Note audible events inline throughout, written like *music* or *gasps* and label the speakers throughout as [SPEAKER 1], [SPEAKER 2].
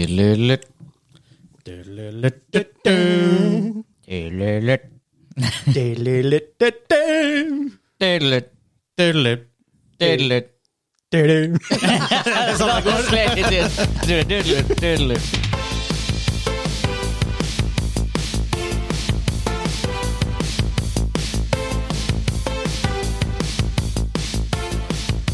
[SPEAKER 1] Tilulult,
[SPEAKER 2] Du-lu-lu-du-du.
[SPEAKER 1] tilulult,
[SPEAKER 2] Du-lu-lu-du-du.
[SPEAKER 1] tilulult,
[SPEAKER 2] Du-lu.
[SPEAKER 1] tilulult.
[SPEAKER 2] Du-lu.
[SPEAKER 1] Tilulult, tilulult.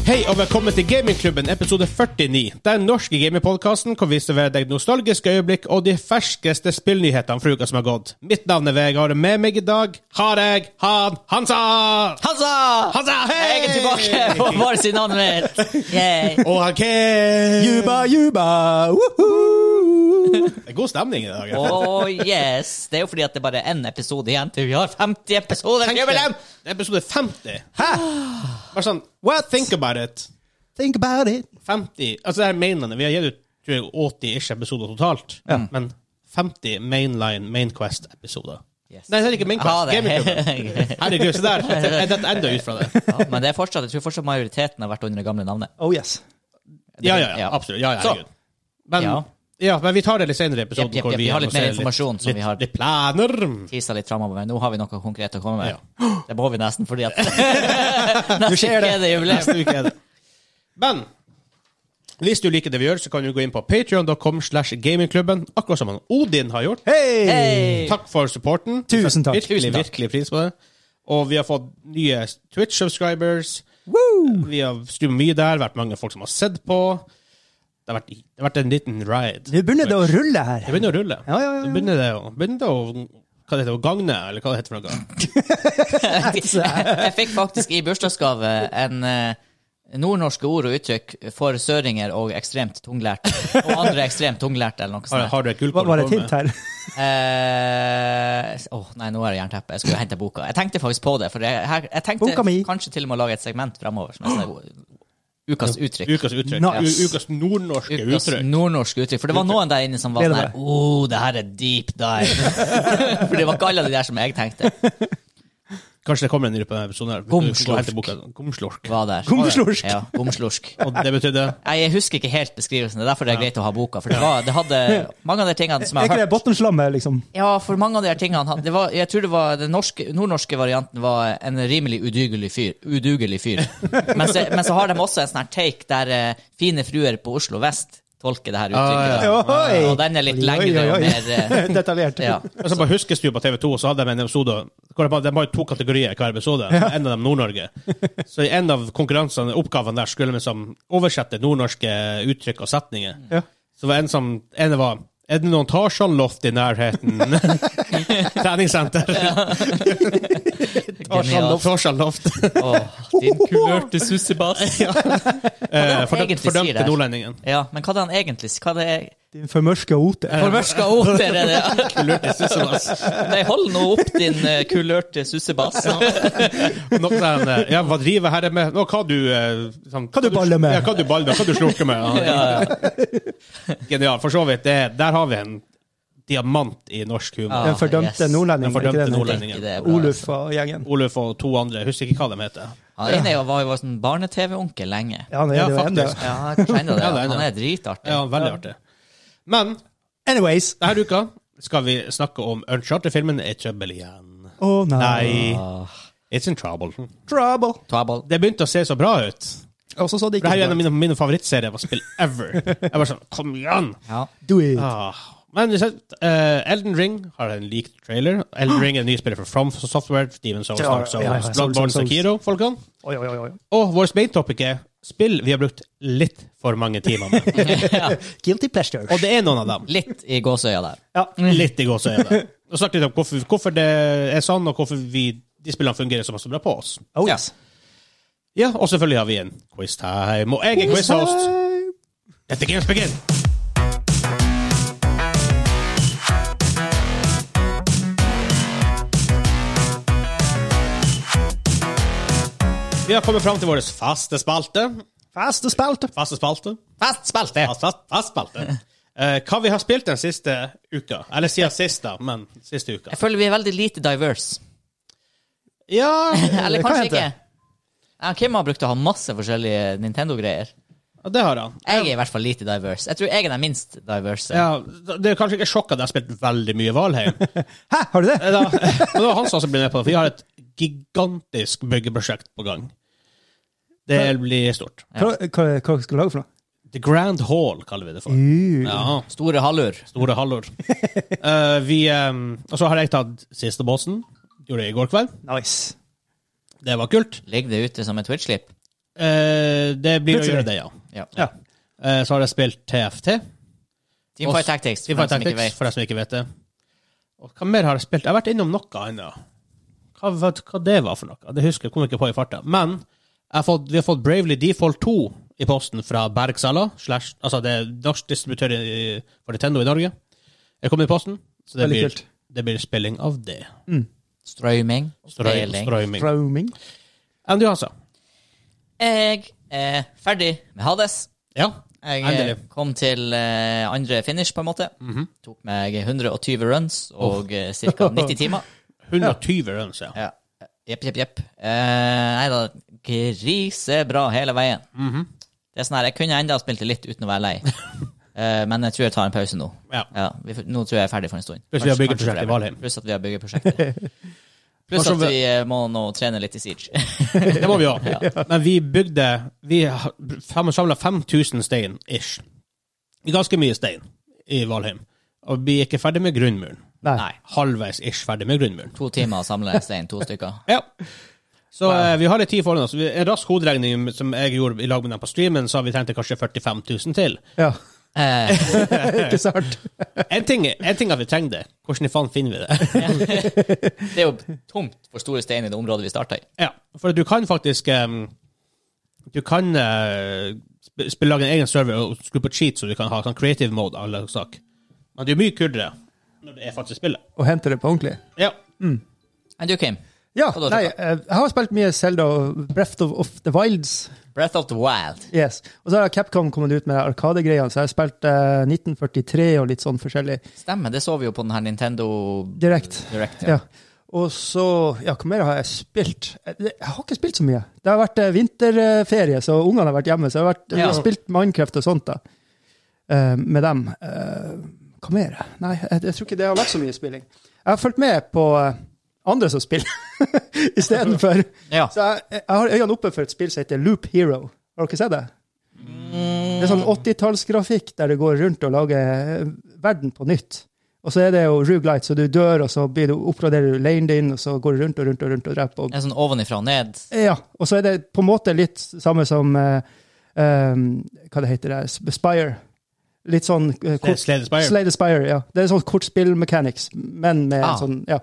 [SPEAKER 2] Hei og velkommen til Gamingklubben episode 49. Den norske gamingpodkasten hvor vi serverer deg nostalgiske øyeblikk og de ferskeste spillnyhetene fra uka som har gått. Mitt navn er Vegard, og med meg i dag har jeg Han Hansa!
[SPEAKER 3] Hansa!
[SPEAKER 2] Hansa, hei!
[SPEAKER 3] Jeg er tilbake *laughs* på hver sin navn mitt. Yay.
[SPEAKER 2] *laughs* Og han Ken!
[SPEAKER 3] juba,
[SPEAKER 2] Det er god stemning i dag.
[SPEAKER 3] Oh yes. Det er jo fordi at det er bare én episode igjen til vi har 50 episoder.
[SPEAKER 2] Tenk deg, det er episode 50. Hæ? Bare sånn, what? Think about it.
[SPEAKER 4] Think about it.
[SPEAKER 2] 50, altså det er mainlandet. Vi har gitt ut tror jeg, 80-ish episoder totalt. Men 50 mainline Mainquest-episoder.
[SPEAKER 3] Yes.
[SPEAKER 2] Nei, det er ikke
[SPEAKER 3] Ja,
[SPEAKER 2] Mainquest.
[SPEAKER 3] det-
[SPEAKER 2] Gamingklubben.
[SPEAKER 3] *laughs*
[SPEAKER 2] Herregud, se der. Jeg detter enda ut fra det.
[SPEAKER 3] Ja, men det er fortsatt, jeg tror fortsatt majoriteten har vært under det gamle navnet.
[SPEAKER 4] Oh yes.
[SPEAKER 2] Ja, ja, ja, absolutt. Ja, ja,
[SPEAKER 3] Så.
[SPEAKER 2] herregud. Men, ja.
[SPEAKER 3] Ja.
[SPEAKER 2] men vi tar det litt senere i episoden.
[SPEAKER 3] Jepp, jepp,
[SPEAKER 2] hvor
[SPEAKER 3] jepp. Vi har litt mer
[SPEAKER 2] annonserer
[SPEAKER 3] informasjon som
[SPEAKER 2] litt,
[SPEAKER 3] vi har-
[SPEAKER 2] Litt planer.
[SPEAKER 3] Tisa litt fremover, men nå har vi noe konkret å komme med. *gasps* Det må vi nesten,
[SPEAKER 2] *laughs*
[SPEAKER 3] fordi at *laughs* Nå
[SPEAKER 2] skjer det.
[SPEAKER 3] Er det jubileum.
[SPEAKER 2] Neste uke er det. Men hvis du liker det vi gjør, så kan du gå inn på patreon.com slash gamingklubben, akkurat som han Odin har gjort.
[SPEAKER 4] Hei!
[SPEAKER 2] *laughs*
[SPEAKER 3] Hey.
[SPEAKER 2] Takk for supporten.
[SPEAKER 4] Tusen takk.
[SPEAKER 2] Virkelig,
[SPEAKER 3] Tusen takk.
[SPEAKER 2] virkelig pris på det. Og vi har fått nye Twitch-subscribers. Vi har streamet mye der, vært mange folk som har sett på. Det har vært, det har vært en liten ride.
[SPEAKER 4] Nå begynner det å rulle her.
[SPEAKER 2] Det begynner å rulle.
[SPEAKER 4] Ja, ja, ja, ja.
[SPEAKER 2] Det begynner det å, begynner det å hva det heter, å gagne, eller hva det heter for noe.
[SPEAKER 3] Jeg fikk faktisk i bursdagsgave en eh, nordnorske ord og uttrykk for søringer og ekstremt tunglært. Og andre ekstremt tunglærte, eller noe
[SPEAKER 2] Har,
[SPEAKER 3] sånt.
[SPEAKER 2] har du et gullkort?
[SPEAKER 4] Hva var det
[SPEAKER 2] å komme
[SPEAKER 4] hint
[SPEAKER 2] med?
[SPEAKER 4] her?
[SPEAKER 3] Eh, s- Åh, nei, nå er det jernteppe. Jeg skulle jo hente boka. Jeg tenkte faktisk på det. For jeg, her, jeg tenkte
[SPEAKER 4] Boka mi.
[SPEAKER 3] kanskje til og med å lage et segment fremover. Som er sånn, ukas uttrykk.
[SPEAKER 2] Ukas uttrykk.
[SPEAKER 4] Nice.
[SPEAKER 2] U ukas nordnorske
[SPEAKER 3] Ukas
[SPEAKER 2] uttrykk.
[SPEAKER 3] nordnorske uttrykk. For det var noen der inne som var sånn
[SPEAKER 4] Gleder
[SPEAKER 3] her oh, det her er deep dive. for det var ikke alle de der som jeg tenkte
[SPEAKER 2] Kanskje det kommer en ny på denne episoden her.
[SPEAKER 3] Gomslork.
[SPEAKER 2] Gå og hente boka. Gomslork.
[SPEAKER 3] var der.
[SPEAKER 4] Gomslorsk.
[SPEAKER 3] Ja, gomslorsk.
[SPEAKER 2] Og det betydde
[SPEAKER 3] Nei, Jeg husker ikke helt beskrivelsen. Det er derfor det er greit å ha boka. For det, var, det hadde mange av de tingene som
[SPEAKER 4] Er
[SPEAKER 3] jeg
[SPEAKER 4] ikke
[SPEAKER 3] har
[SPEAKER 4] det
[SPEAKER 3] hørt.
[SPEAKER 4] bunnslamme, liksom?
[SPEAKER 3] Ja, for mange av de her tingene han- det var, Jeg tror det var den norske, nordnorske varianten var en rimelig udugelig fyr. Udugelig fyr. Men, så, men så har de også en sånn her take der eh, fine fruer på Oslo vest tolker det her uttrykket.
[SPEAKER 4] Ah, ja.
[SPEAKER 3] da. Ah,
[SPEAKER 4] Oi.
[SPEAKER 3] Og den er litt
[SPEAKER 4] Oi,
[SPEAKER 3] lengre
[SPEAKER 4] oi, oi.
[SPEAKER 3] og mer eh,
[SPEAKER 4] *laughs* Detaljert.
[SPEAKER 3] ja.
[SPEAKER 2] Altså På Huskestua på TV 2 så hadde de en episode hvor de, bare- de har jo to kategorier i hver episode. En av dem Nord-Norge. Så i en av konkurransene, oppgavene der, skulle de liksom oversette nordnorske uttrykk og setninger.
[SPEAKER 4] Ja.
[SPEAKER 2] Så var en som En var Er det noen Tarzan-loft i
[SPEAKER 4] *laughs*
[SPEAKER 2] nærheten? Treningssenter.
[SPEAKER 3] genialt.
[SPEAKER 2] Tarzan-loft.
[SPEAKER 3] Åh, din kulørte
[SPEAKER 2] *laughs*
[SPEAKER 3] sussebass. Ja.
[SPEAKER 2] Eh,
[SPEAKER 3] Hva er det han
[SPEAKER 2] fordøm-
[SPEAKER 3] egentlig sier
[SPEAKER 2] Fordømte
[SPEAKER 3] der?
[SPEAKER 2] nordlendingen.
[SPEAKER 3] ja, men hva er det han egentlig Hva er det er
[SPEAKER 4] Din formørska ote.
[SPEAKER 3] Formørska oter er
[SPEAKER 4] *laughs*
[SPEAKER 3] det?
[SPEAKER 2] Lurte sussebass.
[SPEAKER 3] Nei, hold nå opp din eh, kulørte
[SPEAKER 4] *laughs*
[SPEAKER 3] sussebass.
[SPEAKER 2] Noe sånn der, Ja, hva driver herre med? Nå, hva du eh, sånn-
[SPEAKER 4] Hva du baller med?
[SPEAKER 2] Ja, hva du baller med? Hva du slurker
[SPEAKER 3] *laughs*
[SPEAKER 2] med? Ja.
[SPEAKER 3] Ja, ja.
[SPEAKER 2] Genial. For så vidt. Det, der har vi en diamant i norsk humor.
[SPEAKER 3] Ja.
[SPEAKER 4] Ah, Den fordømte
[SPEAKER 3] Yes.
[SPEAKER 4] nordlendingen.
[SPEAKER 2] Den
[SPEAKER 4] ikke det
[SPEAKER 2] fordømte
[SPEAKER 4] den heter?
[SPEAKER 2] nordlendingen.
[SPEAKER 3] Ikke det er bra.
[SPEAKER 4] Oluf og gjengen.
[SPEAKER 2] Oluf og to andre. Jeg husker ikke hva de heter.
[SPEAKER 3] Han ene jo- var jo vår sånn barne-TV-onkel lenge.
[SPEAKER 4] Ja, han er
[SPEAKER 2] Ja,
[SPEAKER 4] det jo
[SPEAKER 2] faktisk.
[SPEAKER 4] enda.
[SPEAKER 3] Ja, jeg kjenner
[SPEAKER 2] *laughs*
[SPEAKER 3] det.
[SPEAKER 2] Ja, det er det.
[SPEAKER 3] Han er dritartig.
[SPEAKER 2] Ja, Veldig artig. Men
[SPEAKER 4] Anyways.
[SPEAKER 2] denne uka skal vi snakke om Uncharted-filmen Er trøbbel igjen.
[SPEAKER 4] Å nei.
[SPEAKER 2] Nei,
[SPEAKER 4] Ah.
[SPEAKER 2] it's in trouble.
[SPEAKER 4] Oh, Trouble.
[SPEAKER 3] Trouble.
[SPEAKER 2] Det begynte å se så bra ut.
[SPEAKER 4] Og så så det ikke
[SPEAKER 2] For Det her
[SPEAKER 4] så
[SPEAKER 2] er en av
[SPEAKER 4] bra ut.
[SPEAKER 2] mine, mine favorittserier av spill ever. Jeg var sånn, kom igjen!
[SPEAKER 3] Ja.
[SPEAKER 4] Do it.
[SPEAKER 2] Ah. Men vi har sett, eh, Elden Ring har en lik trailer. Elden Ring er en ny spiller for From Software, Steven Souls,
[SPEAKER 4] Ah. Ja,
[SPEAKER 2] Dark Souls,
[SPEAKER 4] ja, ja, ja.
[SPEAKER 2] Bloodborne,
[SPEAKER 4] Souls, Souls.
[SPEAKER 2] Sekiro, folkene.
[SPEAKER 4] Oi, oi, oi. oi.
[SPEAKER 2] Og vårt main topic er spill vi har brukt litt for mange timer med.
[SPEAKER 4] Guilty pleasure.
[SPEAKER 2] Og det er noen av dem.
[SPEAKER 3] Litt i gåsøya der.
[SPEAKER 4] Ja.
[SPEAKER 2] Litt i gåseøyne. Og snakket litt om hvorfor, hvorfor det er sånn, og hvorfor vi, de spillene fungerer såpass bra på oss.
[SPEAKER 4] Oh, yes.
[SPEAKER 2] Ja, Og selvfølgelig har vi en quiz-time. Og jeg er quiz-host. Let the games begin! Vi har kommet fram til vår faste spalte.
[SPEAKER 4] Faste spalte.
[SPEAKER 2] Faste spalte.
[SPEAKER 3] Fast spilte!
[SPEAKER 2] Fast, fast, fast
[SPEAKER 4] *laughs*
[SPEAKER 2] spalte. Eh, hva vi har spilt den siste uka. Eller siden sist, da, men siste uka.
[SPEAKER 4] *laughs*
[SPEAKER 3] Jeg føler vi er veldig lite diverse.
[SPEAKER 2] Ja
[SPEAKER 3] Eller
[SPEAKER 4] Hva
[SPEAKER 3] kanskje
[SPEAKER 4] heter
[SPEAKER 3] ikke.
[SPEAKER 4] det?
[SPEAKER 3] Ja, Kim har brukt å ha masse forskjellige Nintendo-greier.
[SPEAKER 2] Og det har han.
[SPEAKER 3] Jeg er i hvert fall lite diverse. Jeg tror jeg er den minst diverse.
[SPEAKER 2] Ja, det er kanskje ikke sjokk at jeg har spilt veldig mye Valheim.
[SPEAKER 5] Hæ, har du det?
[SPEAKER 2] Eh, Da, men det var han som også ble med på det, for vi har et gigantisk byggeprosjekt på gang. Det blir stort.
[SPEAKER 5] Hva, hva, hva skal du lage for noe?
[SPEAKER 2] The Grand Hall kaller vi det for.
[SPEAKER 5] Uh,
[SPEAKER 2] Ja,
[SPEAKER 3] Store hallur.
[SPEAKER 2] store hallor. Eh, vi, ehm, og så har jeg tatt siste bossen. Gjorde det i går kveld.
[SPEAKER 5] nice.
[SPEAKER 2] Det var kult.
[SPEAKER 3] Ligger det ute som en Twitch-slipp?
[SPEAKER 2] Eh, det blir å
[SPEAKER 5] Plutselig.
[SPEAKER 2] gjøre det, ja.
[SPEAKER 3] Ja.
[SPEAKER 5] Ja.
[SPEAKER 2] Eh, så har jeg spilt TFT.
[SPEAKER 3] Teamfight Tactics,
[SPEAKER 2] Teamfight
[SPEAKER 3] for dem som ikke
[SPEAKER 2] Tactics,
[SPEAKER 3] vet.
[SPEAKER 2] for dem som ikke vet det. Og hva mer har jeg spilt? Jeg har vært innom noe annet. Hva, vet, hva det var for noe? Det husker jeg, kom ikke på i farta. Men jeg har fått, vi har fått Bravely Default 2 i posten fra Bergsala, slash, altså det er norsk distributør i- for Nintendo i Norge. Jeg kom i posten, så det
[SPEAKER 5] Veldig
[SPEAKER 2] blir,
[SPEAKER 5] kult.
[SPEAKER 2] det blir spilling av det.
[SPEAKER 3] Strøyming.
[SPEAKER 2] Strøy-
[SPEAKER 3] Mm. Spilling.
[SPEAKER 2] Strøyming.
[SPEAKER 5] Roaming.
[SPEAKER 2] Enn du, altså?
[SPEAKER 3] Jeg er ferdig med Hades.
[SPEAKER 2] Ja,
[SPEAKER 3] Jeg
[SPEAKER 2] Endelig. Mhm.
[SPEAKER 3] eh, kom til eh, andre finish, på en måte. Tok meg 120 runs og eh, ca.
[SPEAKER 2] *laughs*
[SPEAKER 3] 90 timer.
[SPEAKER 2] 120 runs, ja.
[SPEAKER 3] Ja. Jepp, jepp, jepp. Eh, nei da, grisebra hele veien.
[SPEAKER 2] Mhm.
[SPEAKER 3] Det er sånn her, Jeg kunne enda spilt det litt uten å være
[SPEAKER 2] *laughs*
[SPEAKER 3] lei, Eh, men jeg tror jeg tar en pause nå.
[SPEAKER 2] Ja.
[SPEAKER 3] vi, får- nå tror jeg jeg er ferdig for en stund.
[SPEAKER 2] Pluss vi har
[SPEAKER 3] Kanskje-
[SPEAKER 2] byggeprosjekt
[SPEAKER 3] kanskje
[SPEAKER 2] i
[SPEAKER 3] forever.
[SPEAKER 2] Valheim.
[SPEAKER 3] Pluss at vi har
[SPEAKER 2] *laughs*
[SPEAKER 3] byggeprosjektet. Pluss
[SPEAKER 2] Kanskje
[SPEAKER 3] at vi eh, må nå trene litt i Siege. *laughs*
[SPEAKER 2] Det må vi ha. Men vi bygde Vi har samla 5000 stein, ish. Ganske mye stein i Valheim. Og vi er ikke ferdig med grunnmuren.
[SPEAKER 5] Nei.
[SPEAKER 2] Halvveis ish ferdig med grunnmuren.
[SPEAKER 3] to timer å samle stein, to stykker.
[SPEAKER 2] Ja. Så eh, vi har litt tid foran oss. Vi- En rask hoderegning som jeg gjorde i lag med dem på streamen, sa vi trengte kanskje 45 000 til.
[SPEAKER 5] *laughs* Ja,
[SPEAKER 3] Eh,
[SPEAKER 5] ikke sant?
[SPEAKER 2] En ting, en ting er at vi trenger det. Hvordan i faen finner vi det?
[SPEAKER 3] det er jo tomt for store stein i det området vi starta i.
[SPEAKER 2] Ja, for du kan faktisk em, Du kan eh, sp- sp- lage en egen server og skru på cheat, så du kan ha sånn creative mode. Alle sak. Men det er mye kulere når det er faktisk spillet.
[SPEAKER 5] Og hente det på ordentlig.
[SPEAKER 2] Ja.
[SPEAKER 3] Men du, Kim.
[SPEAKER 5] Ja,
[SPEAKER 3] Og da-
[SPEAKER 5] nei, eh, jeg har spilt mye Zelda og Breath of, of the Wilds.
[SPEAKER 3] Breath of the Wild.
[SPEAKER 5] Yes. Og så har Capcom kommet ut med Arkade-greiene, så jeg har spilt eh, 1943 og litt sånn forskjellig
[SPEAKER 3] Stemmer, det så vi jo på den her Nintendo
[SPEAKER 5] direkte.
[SPEAKER 3] Direct.
[SPEAKER 5] Ja. Og så Ja, hva mer har jeg spilt? Eh, det- Jeg har ikke spilt så mye. Det har vært eh, vinterferie, så ungene har vært hjemme, så jeg har, vært, jeg
[SPEAKER 3] Ja.
[SPEAKER 5] har spilt Minecraft og sånt da, eh, med dem. Eh, hva mer? Nei, jeg, jeg tror ikke det har vært så mye spilling. Jeg har fulgt med på eh, andre som spiller istedenfor.
[SPEAKER 3] *laughs* Ja.
[SPEAKER 5] Så jeg, jeg har øynene oppe for et spill som heter Loop Hero. Har dere sett det?
[SPEAKER 3] Mm.
[SPEAKER 5] Det er sånn 80-tallsgrafikk der du går rundt og lager eh, verden på nytt. Og så er det jo rugelight, så du dør, og så blir du, oppgraderer du lane din, og så går du rundt og rundt og rundt og dreper. Og,
[SPEAKER 3] En sånn ovenifra og ned.
[SPEAKER 5] ja, og så er det på en måte litt samme som eh, eh, Hva det heter det? Sp- Spire. Litt sånn eh, kort,
[SPEAKER 2] Slade Spire.
[SPEAKER 5] Slay the Spire, ja. Det er sånn kortspill-mechanics, men med
[SPEAKER 3] Ah.
[SPEAKER 5] en sånn Ja.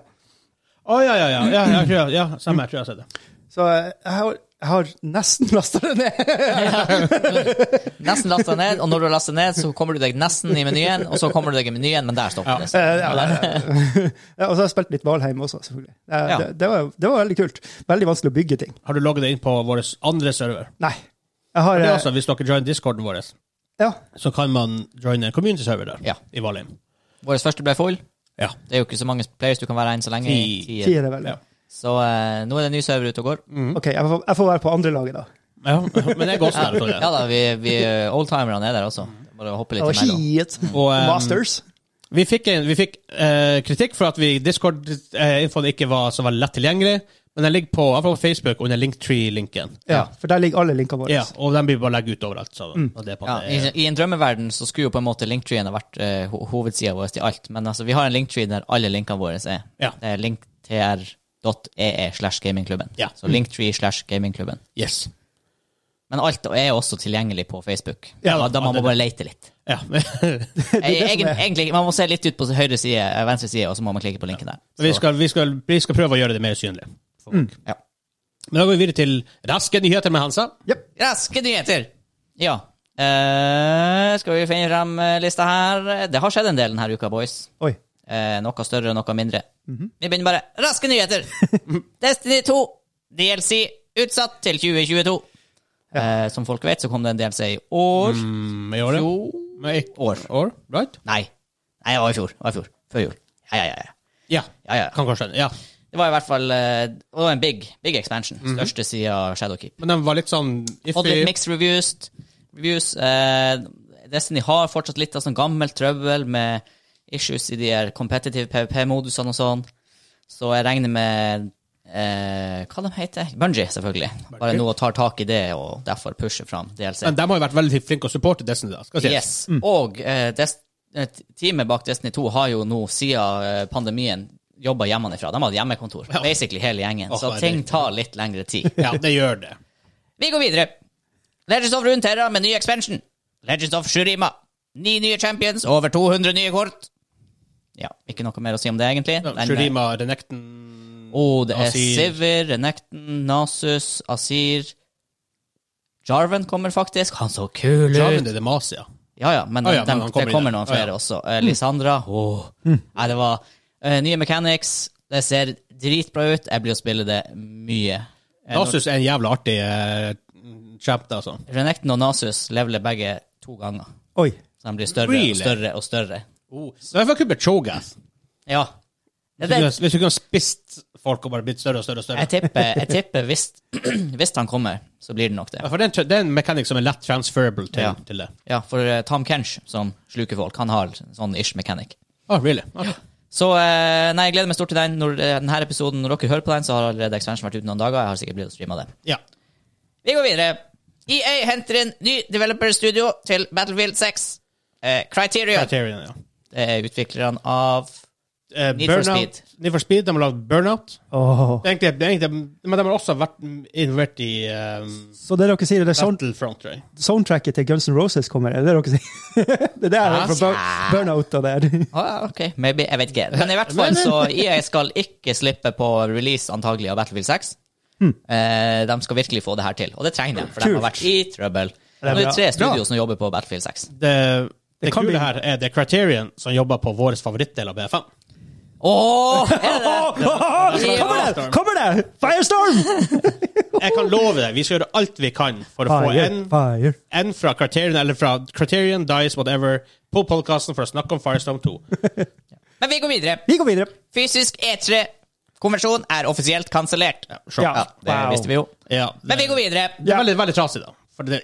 [SPEAKER 2] Å, ja, ja, ja. ja, jeg tror, jeg- ja samme, jeg tror jeg har sett det.
[SPEAKER 5] Så eh, jeg har, jeg har nesten *laughs* lasta det ned.
[SPEAKER 3] Nesten lasta ned, og når du har lastet ned, så kommer du deg nesten i menyen, og så kommer du deg i menyen, men der stopper det.
[SPEAKER 5] Eh, ja, ja,
[SPEAKER 2] *laughs*
[SPEAKER 5] ja. ja, og så har jeg spilt litt Valheim også, selvfølgelig. Det,
[SPEAKER 3] Ja.
[SPEAKER 5] det, det, var, det var veldig kult. Veldig vanskelig å bygge ting.
[SPEAKER 2] Har du logget deg inn på vår andre server?
[SPEAKER 5] Nei. Jeg har
[SPEAKER 2] Det er
[SPEAKER 5] eh,
[SPEAKER 2] altså, Hvis dere joiner discorden vår,
[SPEAKER 5] ja,
[SPEAKER 2] så kan man joine en community-server der.
[SPEAKER 3] Ja.
[SPEAKER 2] I Valheim.
[SPEAKER 3] Vår første ble full.
[SPEAKER 2] Ja.
[SPEAKER 3] Det er jo ikke så mange players du kan være en så lenge.
[SPEAKER 2] Ti. Mm.
[SPEAKER 3] Ti.
[SPEAKER 5] ti er det vel. Mm.
[SPEAKER 2] Ja.
[SPEAKER 3] Så eh, nå er det en ny server ute og går.
[SPEAKER 5] OK, jeg får, jeg får være på andre laget, da.
[SPEAKER 2] ja. Men jeg går også der. tror
[SPEAKER 3] Ja
[SPEAKER 2] jeg.
[SPEAKER 3] da, vi, vi eh, oldtimerne er der også. Bare hoppe litt
[SPEAKER 5] Og
[SPEAKER 3] imellom.
[SPEAKER 5] shit.
[SPEAKER 2] Og, eh,
[SPEAKER 5] Masters.
[SPEAKER 2] Vi fikk, en, vi fikk eh, kritikk for at vi Discord-infoen ikke var så veldig lett tilgjengelig, men den ligger på, i hvert fall på Facebook under Linktree-linken.
[SPEAKER 5] Ja, for der ligger alle linkene våre.
[SPEAKER 2] Ja, og den blir bare legge ut overalt. Så, og det er på
[SPEAKER 3] Ja,
[SPEAKER 2] en måte-
[SPEAKER 3] i, I en drømmeverden så skulle jo på en måte linktreen ha vært uh, hovedsida vår til alt, men altså, vi har en linktree der alle linkene våre er.
[SPEAKER 2] Ja.
[SPEAKER 3] Det er linktr.ee slash gamingklubben.
[SPEAKER 2] Ja.
[SPEAKER 3] Så linktree slash gamingklubben.
[SPEAKER 2] yes.
[SPEAKER 3] Men alt er også tilgjengelig på Facebook.
[SPEAKER 2] Ja,
[SPEAKER 3] da, da man
[SPEAKER 2] det-
[SPEAKER 3] må bare leite litt.
[SPEAKER 2] Ja. *laughs* Men
[SPEAKER 3] Egen, egentlig, man må se litt ut på høyre side, eh, venstre side, og så må man klikke på linken der. Så,
[SPEAKER 2] vi, skal, vi, skal, vi skal prøve å gjøre det mer synlig. for folk.
[SPEAKER 3] ja.
[SPEAKER 2] Men da går vi videre til raske nyheter med Hansa.
[SPEAKER 5] Jep.
[SPEAKER 3] Raske nyheter! Ja. Eh, skal vi finne frem eh, lista her? Det har skjedd en del denne uka, boys.
[SPEAKER 5] Oi.
[SPEAKER 3] Eh, noe større og noe mindre. Vi begynner bare. Raske nyheter! Destiny 2, DLC, utsatt til 2022. Eh, som folk vet, så kom det en DLC i år.
[SPEAKER 2] Mm. Med året.
[SPEAKER 3] Jo.
[SPEAKER 2] Med et
[SPEAKER 3] År.
[SPEAKER 2] år, right?
[SPEAKER 3] Nei. Nei, det var i fjor. Det var i fjor. Før jul. Ja, ja, ja. ja.
[SPEAKER 2] Ja.
[SPEAKER 3] Ja, ja.
[SPEAKER 2] Kan kanskje den. Ja.
[SPEAKER 3] Det var i hvert fall eh, det var en big, big expansion. Største sida Shadowkeep.
[SPEAKER 2] Men den var litt sånn
[SPEAKER 3] Fått litt
[SPEAKER 2] iffy.
[SPEAKER 3] mixed reviews. reviews. Eh, Destiny har fortsatt litt av sånn gammelt trøbbel med issues i de her competitive PVP-modusene og sånn. Så jeg regner med eh, Hva de heter Bungee, selvfølgelig. Bare nå tar tak i det, og derfor pusher fram DLC.
[SPEAKER 2] Men de har jo vært veldig flinke å supporte Destiny, da. Skal sies.
[SPEAKER 3] Yes. Og eh, Dest- eh, teamet bak Destiny 2 har jo nå, siden eh, pandemien, jobba hjemmefra. De hadde hjemmekontor, basically hele gjengen.
[SPEAKER 2] Å,
[SPEAKER 3] så
[SPEAKER 2] herregud.
[SPEAKER 3] ting tar litt lengre
[SPEAKER 2] *laughs*
[SPEAKER 3] tid.
[SPEAKER 2] Ja, det gjør det.
[SPEAKER 3] Vi går videre. Legends of Runeterra med ny expansion. Legends of Shurima. Ni nye champions og over 200 nye kort. Ja, ikke noe mer å si om det, egentlig.
[SPEAKER 2] Ja,
[SPEAKER 3] Den-
[SPEAKER 2] Shurima, Renekton
[SPEAKER 3] Å, det er
[SPEAKER 2] Azir.
[SPEAKER 3] Sivir, Renekton, Nasus, Asir Jarven kommer faktisk. Han så kul
[SPEAKER 2] Jarvin
[SPEAKER 3] ut.
[SPEAKER 2] er Demacia.
[SPEAKER 3] Ja, ja, men,
[SPEAKER 2] Å, ja,
[SPEAKER 3] dem-
[SPEAKER 2] men han kommer
[SPEAKER 3] det kommer
[SPEAKER 2] i det.
[SPEAKER 3] noen
[SPEAKER 2] Å, ja. Mm.
[SPEAKER 3] flere også. Eh, Lisandra. Åh. Nei, det var eh, nye mechanics. Det ser dritbra ut. Jeg blir å spille det mye. Eh, når-
[SPEAKER 2] Nasus er en jævla artig uh, champ, da, altså.
[SPEAKER 3] Renekton og Nasus leveler begge to ganger.
[SPEAKER 4] Oi.
[SPEAKER 3] Så de blir større
[SPEAKER 2] Really?
[SPEAKER 3] og større og større.
[SPEAKER 2] Så jeg får kuppe Chogath.
[SPEAKER 3] Oh. Ja.
[SPEAKER 2] Hvis
[SPEAKER 3] Jeg,
[SPEAKER 2] du kunne-
[SPEAKER 3] vet,
[SPEAKER 2] hvis du kunne spist folk og bare blitt større og større og større.
[SPEAKER 3] jeg tipper, jeg tipper hvis, *clears throat* hvis han kommer, så blir det nok det.
[SPEAKER 2] Ja, For det er en- det er en mekanikk som er lett transferable til,
[SPEAKER 3] Ja.
[SPEAKER 2] til det.
[SPEAKER 3] Ja, for eh, Tom Kench, som sluker folk, han har sånn ish mechanic.
[SPEAKER 2] Ah, really? Ah.
[SPEAKER 3] Så eh, nei, jeg gleder meg stort til den. Når eh, denne episoden, når dere hører på den, så har allerede expansion vært ute noen dager. Jeg har sikkert blitt å streame det.
[SPEAKER 2] Ja.
[SPEAKER 3] Vi går videre. EA henter inn ny developer-studio til Battlefield 6. Eh, Criterion.
[SPEAKER 2] Criterion, ja.
[SPEAKER 3] Det er utviklerne av
[SPEAKER 2] Eh,
[SPEAKER 3] Need for
[SPEAKER 2] Burnout-
[SPEAKER 3] Speed.
[SPEAKER 2] Need for Speed. De har lagd Burnout.
[SPEAKER 4] Åh.
[SPEAKER 2] Det er egentlig, det er egentlig, men de har også vært involvert i um,
[SPEAKER 3] Sånn-
[SPEAKER 4] Så det dere sier, det er sound
[SPEAKER 2] Battlefront, tror jeg.
[SPEAKER 4] soundtracket til Guns N' Roses kommer, er det det dere sier?
[SPEAKER 5] *laughs*
[SPEAKER 4] det der er fra bur Burnout og der.
[SPEAKER 2] *laughs*
[SPEAKER 3] Å, ja, ok, maybe, jeg vet
[SPEAKER 4] *laughs*
[SPEAKER 3] ikke. Men i hvert fall så EA skal ikke slippe på release antagelig av Battlefield 6. Eh, de skal virkelig få det her til, og det trenger de, for de
[SPEAKER 4] Hmm. Kult.
[SPEAKER 3] har vært i trøbbel.
[SPEAKER 4] Det er
[SPEAKER 3] Nå er det
[SPEAKER 4] bra.
[SPEAKER 3] tre studio som jobber på Battlefield 6.
[SPEAKER 2] Det, det,
[SPEAKER 4] kan
[SPEAKER 2] kule
[SPEAKER 4] bli-
[SPEAKER 2] her er det Criterion som jobber på vår favorittdel av BFM.
[SPEAKER 3] Åh, er det
[SPEAKER 4] Åh,
[SPEAKER 3] det?
[SPEAKER 4] åh,
[SPEAKER 3] Ja.
[SPEAKER 4] Kommer det! Kommer det! Firestorm!
[SPEAKER 2] Jeg kan love deg, vi skal gjøre alt vi kan for å få
[SPEAKER 4] Fire,
[SPEAKER 2] en,
[SPEAKER 4] fire.
[SPEAKER 2] en fra Criterion, eller fra Criterion, Dice, whatever, på podkasten for å snakke om Firestorm 2.
[SPEAKER 3] Men vi går videre.
[SPEAKER 4] Vi går videre.
[SPEAKER 3] Fysisk E3-konvensjon er offisielt kansellert.
[SPEAKER 2] Sure.
[SPEAKER 4] Ja.
[SPEAKER 3] Ja, det
[SPEAKER 4] Wow.
[SPEAKER 3] visste vi jo.
[SPEAKER 2] Ja, det,
[SPEAKER 3] *laughs* Men vi går videre.
[SPEAKER 2] det er veldig, veldig trasig, da. For det,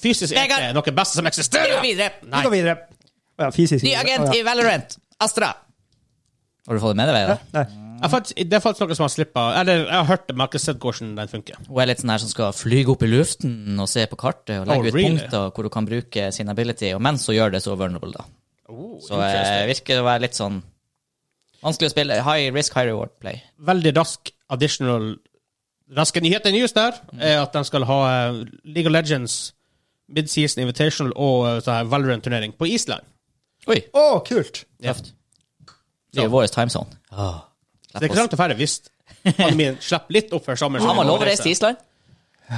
[SPEAKER 2] fysisk er
[SPEAKER 3] Vegard.
[SPEAKER 2] det noe beste som
[SPEAKER 3] Vi går
[SPEAKER 2] eksisterer!
[SPEAKER 3] videre.
[SPEAKER 4] Vi går videre. Å Ja, fysisk.
[SPEAKER 3] Ny agent
[SPEAKER 4] Å
[SPEAKER 3] i Valorant, Astra. Har du fått det med deg, Vegard?
[SPEAKER 4] Nei.
[SPEAKER 2] Jeg har faktisk- Det er faktisk noe som har slippa Eller jeg har hørt det, men jeg har ikke sett hvordan den funker.
[SPEAKER 3] Hun er litt sånn her som skal flyge opp i luften og se på kartet og
[SPEAKER 2] Oh,
[SPEAKER 3] legge ut
[SPEAKER 2] really?
[SPEAKER 3] punkter hvor hun kan bruke sin ability, og mens hun gjør det, så er hun vulnerable, da.
[SPEAKER 2] Oh,
[SPEAKER 3] Så eh, virker det å være litt sånn vanskelig å spille. High risk, high reward play.
[SPEAKER 2] veldig rask additional Raske nyheter nyest der
[SPEAKER 3] Mm.
[SPEAKER 2] er at de skal ha eh, League of Legends Midseason Invitational og eh, sånn her Valorant-turnering på Island.
[SPEAKER 3] Oi,
[SPEAKER 4] Åh, kult.
[SPEAKER 3] tøft. Det er jo vår time zone.
[SPEAKER 2] Så det er ikke langt å fære hvis pandemien slipper litt opp før sommeren. så
[SPEAKER 3] Har man
[SPEAKER 2] vi må
[SPEAKER 3] lov å reise til Island?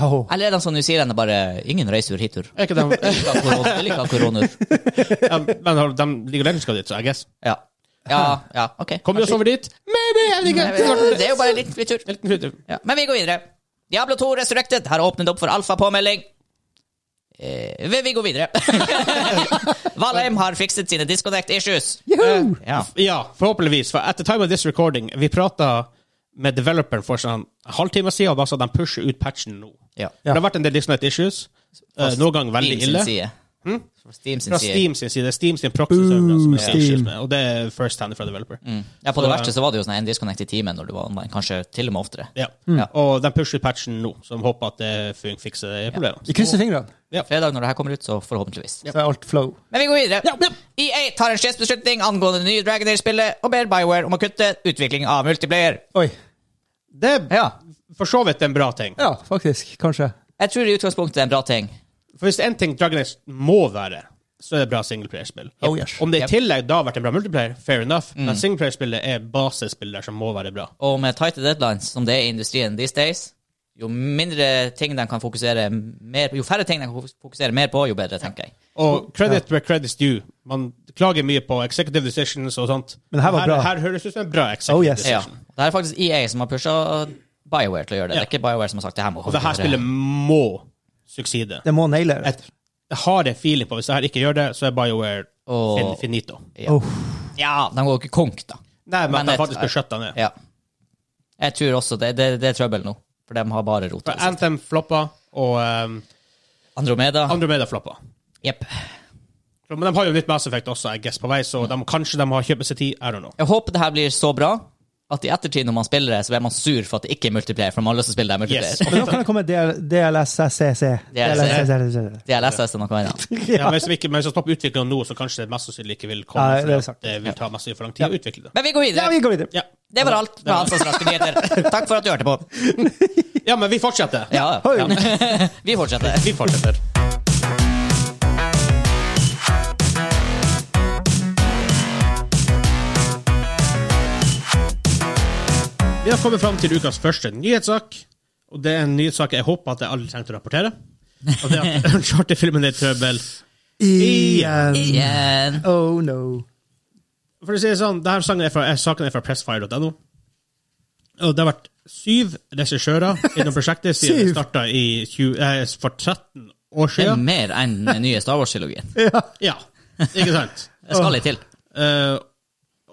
[SPEAKER 4] Åh.
[SPEAKER 3] Eller er de som New Zealand er bare ingen reisetur hitur?
[SPEAKER 2] Er ikke de,
[SPEAKER 3] De liker korona- de liker koronaer.
[SPEAKER 2] ja, men har de League of Legends skal dit, så I guess.
[SPEAKER 3] Ja. Ja, ja, OK.
[SPEAKER 2] Kommer vi oss over dit? Maybe! Jeg vet
[SPEAKER 3] Nei,
[SPEAKER 2] ikke.
[SPEAKER 3] Det er jo bare en liten flytur.
[SPEAKER 2] En liten slutt.
[SPEAKER 3] Ja, men vi går videre. Diablo 2 Resurrected har åpnet opp for alfapåmelding. Eh, vi vi
[SPEAKER 2] *laughs*
[SPEAKER 3] går videre. Valheim har fikset sine disconnect issues.
[SPEAKER 4] Juhu!
[SPEAKER 3] Ja.
[SPEAKER 2] Eh, Ja, forhåpentligvis. For at the time of this recording, vi prata med developeren for sånn en halvtime siden, og da sa de pusher ut patchen nå.
[SPEAKER 3] ja.
[SPEAKER 2] Det har vært en del Disney issues. eh, noen ganger veldig
[SPEAKER 3] Steam sin
[SPEAKER 2] ille.
[SPEAKER 3] side. Fra Steam sin
[SPEAKER 2] Fra
[SPEAKER 3] side.
[SPEAKER 2] Steam sin side. Det er Steam sin proxy-server som er
[SPEAKER 4] Steam.
[SPEAKER 2] issues med, og det er first hand fra developer.
[SPEAKER 3] Mm. Ja, på det
[SPEAKER 2] Så,
[SPEAKER 3] verste så var det jo sånn en disconnect i timen når du var online. Kanskje til og med oftere.
[SPEAKER 2] Ja.
[SPEAKER 3] Ja.
[SPEAKER 2] Og de pusher patchen nå, som håper at det fun- fikser problemene.
[SPEAKER 4] Vi krysser fingrene.
[SPEAKER 3] Fredag når det her kommer ut, så forhåpentligvis.
[SPEAKER 4] Så er alt flow.
[SPEAKER 3] Men vi går videre. EA tar en sjefsbeslutning angående det nye Dragon Age-spillet og ber Bioware om å kutte utvikling av multiplayer.
[SPEAKER 4] Oi.
[SPEAKER 2] Det er
[SPEAKER 3] Ja.
[SPEAKER 2] for så vidt en bra ting.
[SPEAKER 4] Ja, faktisk. Kanskje.
[SPEAKER 3] Jeg tror i utgangspunktet det er en bra ting.
[SPEAKER 2] For hvis det er én ting Dragon Age må være, så er det bra singleplayerspill.
[SPEAKER 4] Oh, yes. Mm.
[SPEAKER 2] Om det i
[SPEAKER 3] Yep.
[SPEAKER 2] tillegg da har vært en bra multiplayer, fair enough, men singleplayerspillet er basespillet som må være bra.
[SPEAKER 3] Og med tighte deadlines, som det er i industrien these days, jo mindre ting de kan fokusere mer jo færre ting de kan fokusere mer på, jo bedre, tenker jeg.
[SPEAKER 2] Og credit where credit's due. Man klager mye på executive decisions og sånt.
[SPEAKER 4] Men det her var bra.
[SPEAKER 2] Her, høres ut som en bra executive
[SPEAKER 4] Oh, yes.
[SPEAKER 3] Ja.
[SPEAKER 2] decision.
[SPEAKER 3] Det er faktisk EA som har pusha Bioware til å gjøre det. Det er ikke Bioware som har sagt det her må
[SPEAKER 2] Og det her spillet må sukside.
[SPEAKER 4] Det må naile. det.
[SPEAKER 2] et, jeg har en feeling på hvis jeg her ikke gjør det, så er BioWare
[SPEAKER 3] Åh.
[SPEAKER 2] fin, finito.
[SPEAKER 4] Åh.
[SPEAKER 3] Ja, de går jo ikke konk, da.
[SPEAKER 2] Nei, men,
[SPEAKER 3] Men
[SPEAKER 2] at de
[SPEAKER 3] et-
[SPEAKER 2] faktisk blir skjøtta ned.
[SPEAKER 3] Ja. Jeg tror også det, det, det er trøbbel nå, for de har bare rota.
[SPEAKER 2] For Anthem floppa, og um,
[SPEAKER 3] Andromeda.
[SPEAKER 2] Andromeda floppa.
[SPEAKER 3] Jepp.
[SPEAKER 2] Men de har jo nytt Mass Effect også, I guess, på vei, så de, kanskje de har kjøpt seg tid. I don't know.
[SPEAKER 3] Jeg håper det her blir så bra at i ettertid, når man spiller det, så blir man sur for at det ikke er multiplayer, for man har lyst til å spille det her
[SPEAKER 2] Yes.
[SPEAKER 3] multiplayer.
[SPEAKER 4] Men nå kan det komme DL DLSSCC. DLSSCC.
[SPEAKER 3] DLSS er noe annet.
[SPEAKER 2] *laughs* Ja, men hvis vi ikke men hvis vi stopper utviklingen nå, så kanskje det mest sannsynlig ikke vil komme.
[SPEAKER 4] Nei, det er
[SPEAKER 2] fordi at
[SPEAKER 4] sant.
[SPEAKER 2] det vil ta masse for lang tid å utvikle det.
[SPEAKER 3] Men vi går
[SPEAKER 4] Ja,
[SPEAKER 3] videre.
[SPEAKER 4] vi går videre.
[SPEAKER 2] Ja.
[SPEAKER 3] Det var alt med Hansas raske nyheter. Takk for at du hørte på.
[SPEAKER 2] ja, men vi fortsetter.
[SPEAKER 3] Ja, *laughs*
[SPEAKER 4] Hoi.
[SPEAKER 3] ja. Vi fortsetter.
[SPEAKER 2] Vi fortsetter. Vi har kommet fram til ukas første nyhetssak. Og det er en nyhetssak jeg håper at jeg aldri trengte å rapportere. Og det er at *laughs* Uncharted-filmen er i trøbbel.
[SPEAKER 4] Igjen.
[SPEAKER 3] Igjen.
[SPEAKER 4] Oh no.
[SPEAKER 2] For å si det sånn, denne saken er fra, eh, saken er fra pressfire.no. Og det har vært syv regissører innom prosjektet siden det
[SPEAKER 4] Syv?
[SPEAKER 2] starta i 20, eh, for 13 år
[SPEAKER 3] Det er
[SPEAKER 2] siden.
[SPEAKER 3] mer enn den nye Star Wars-trilogien.
[SPEAKER 4] Ja.
[SPEAKER 2] Ja, ikke sant?
[SPEAKER 3] Det skal litt til.
[SPEAKER 2] Eh,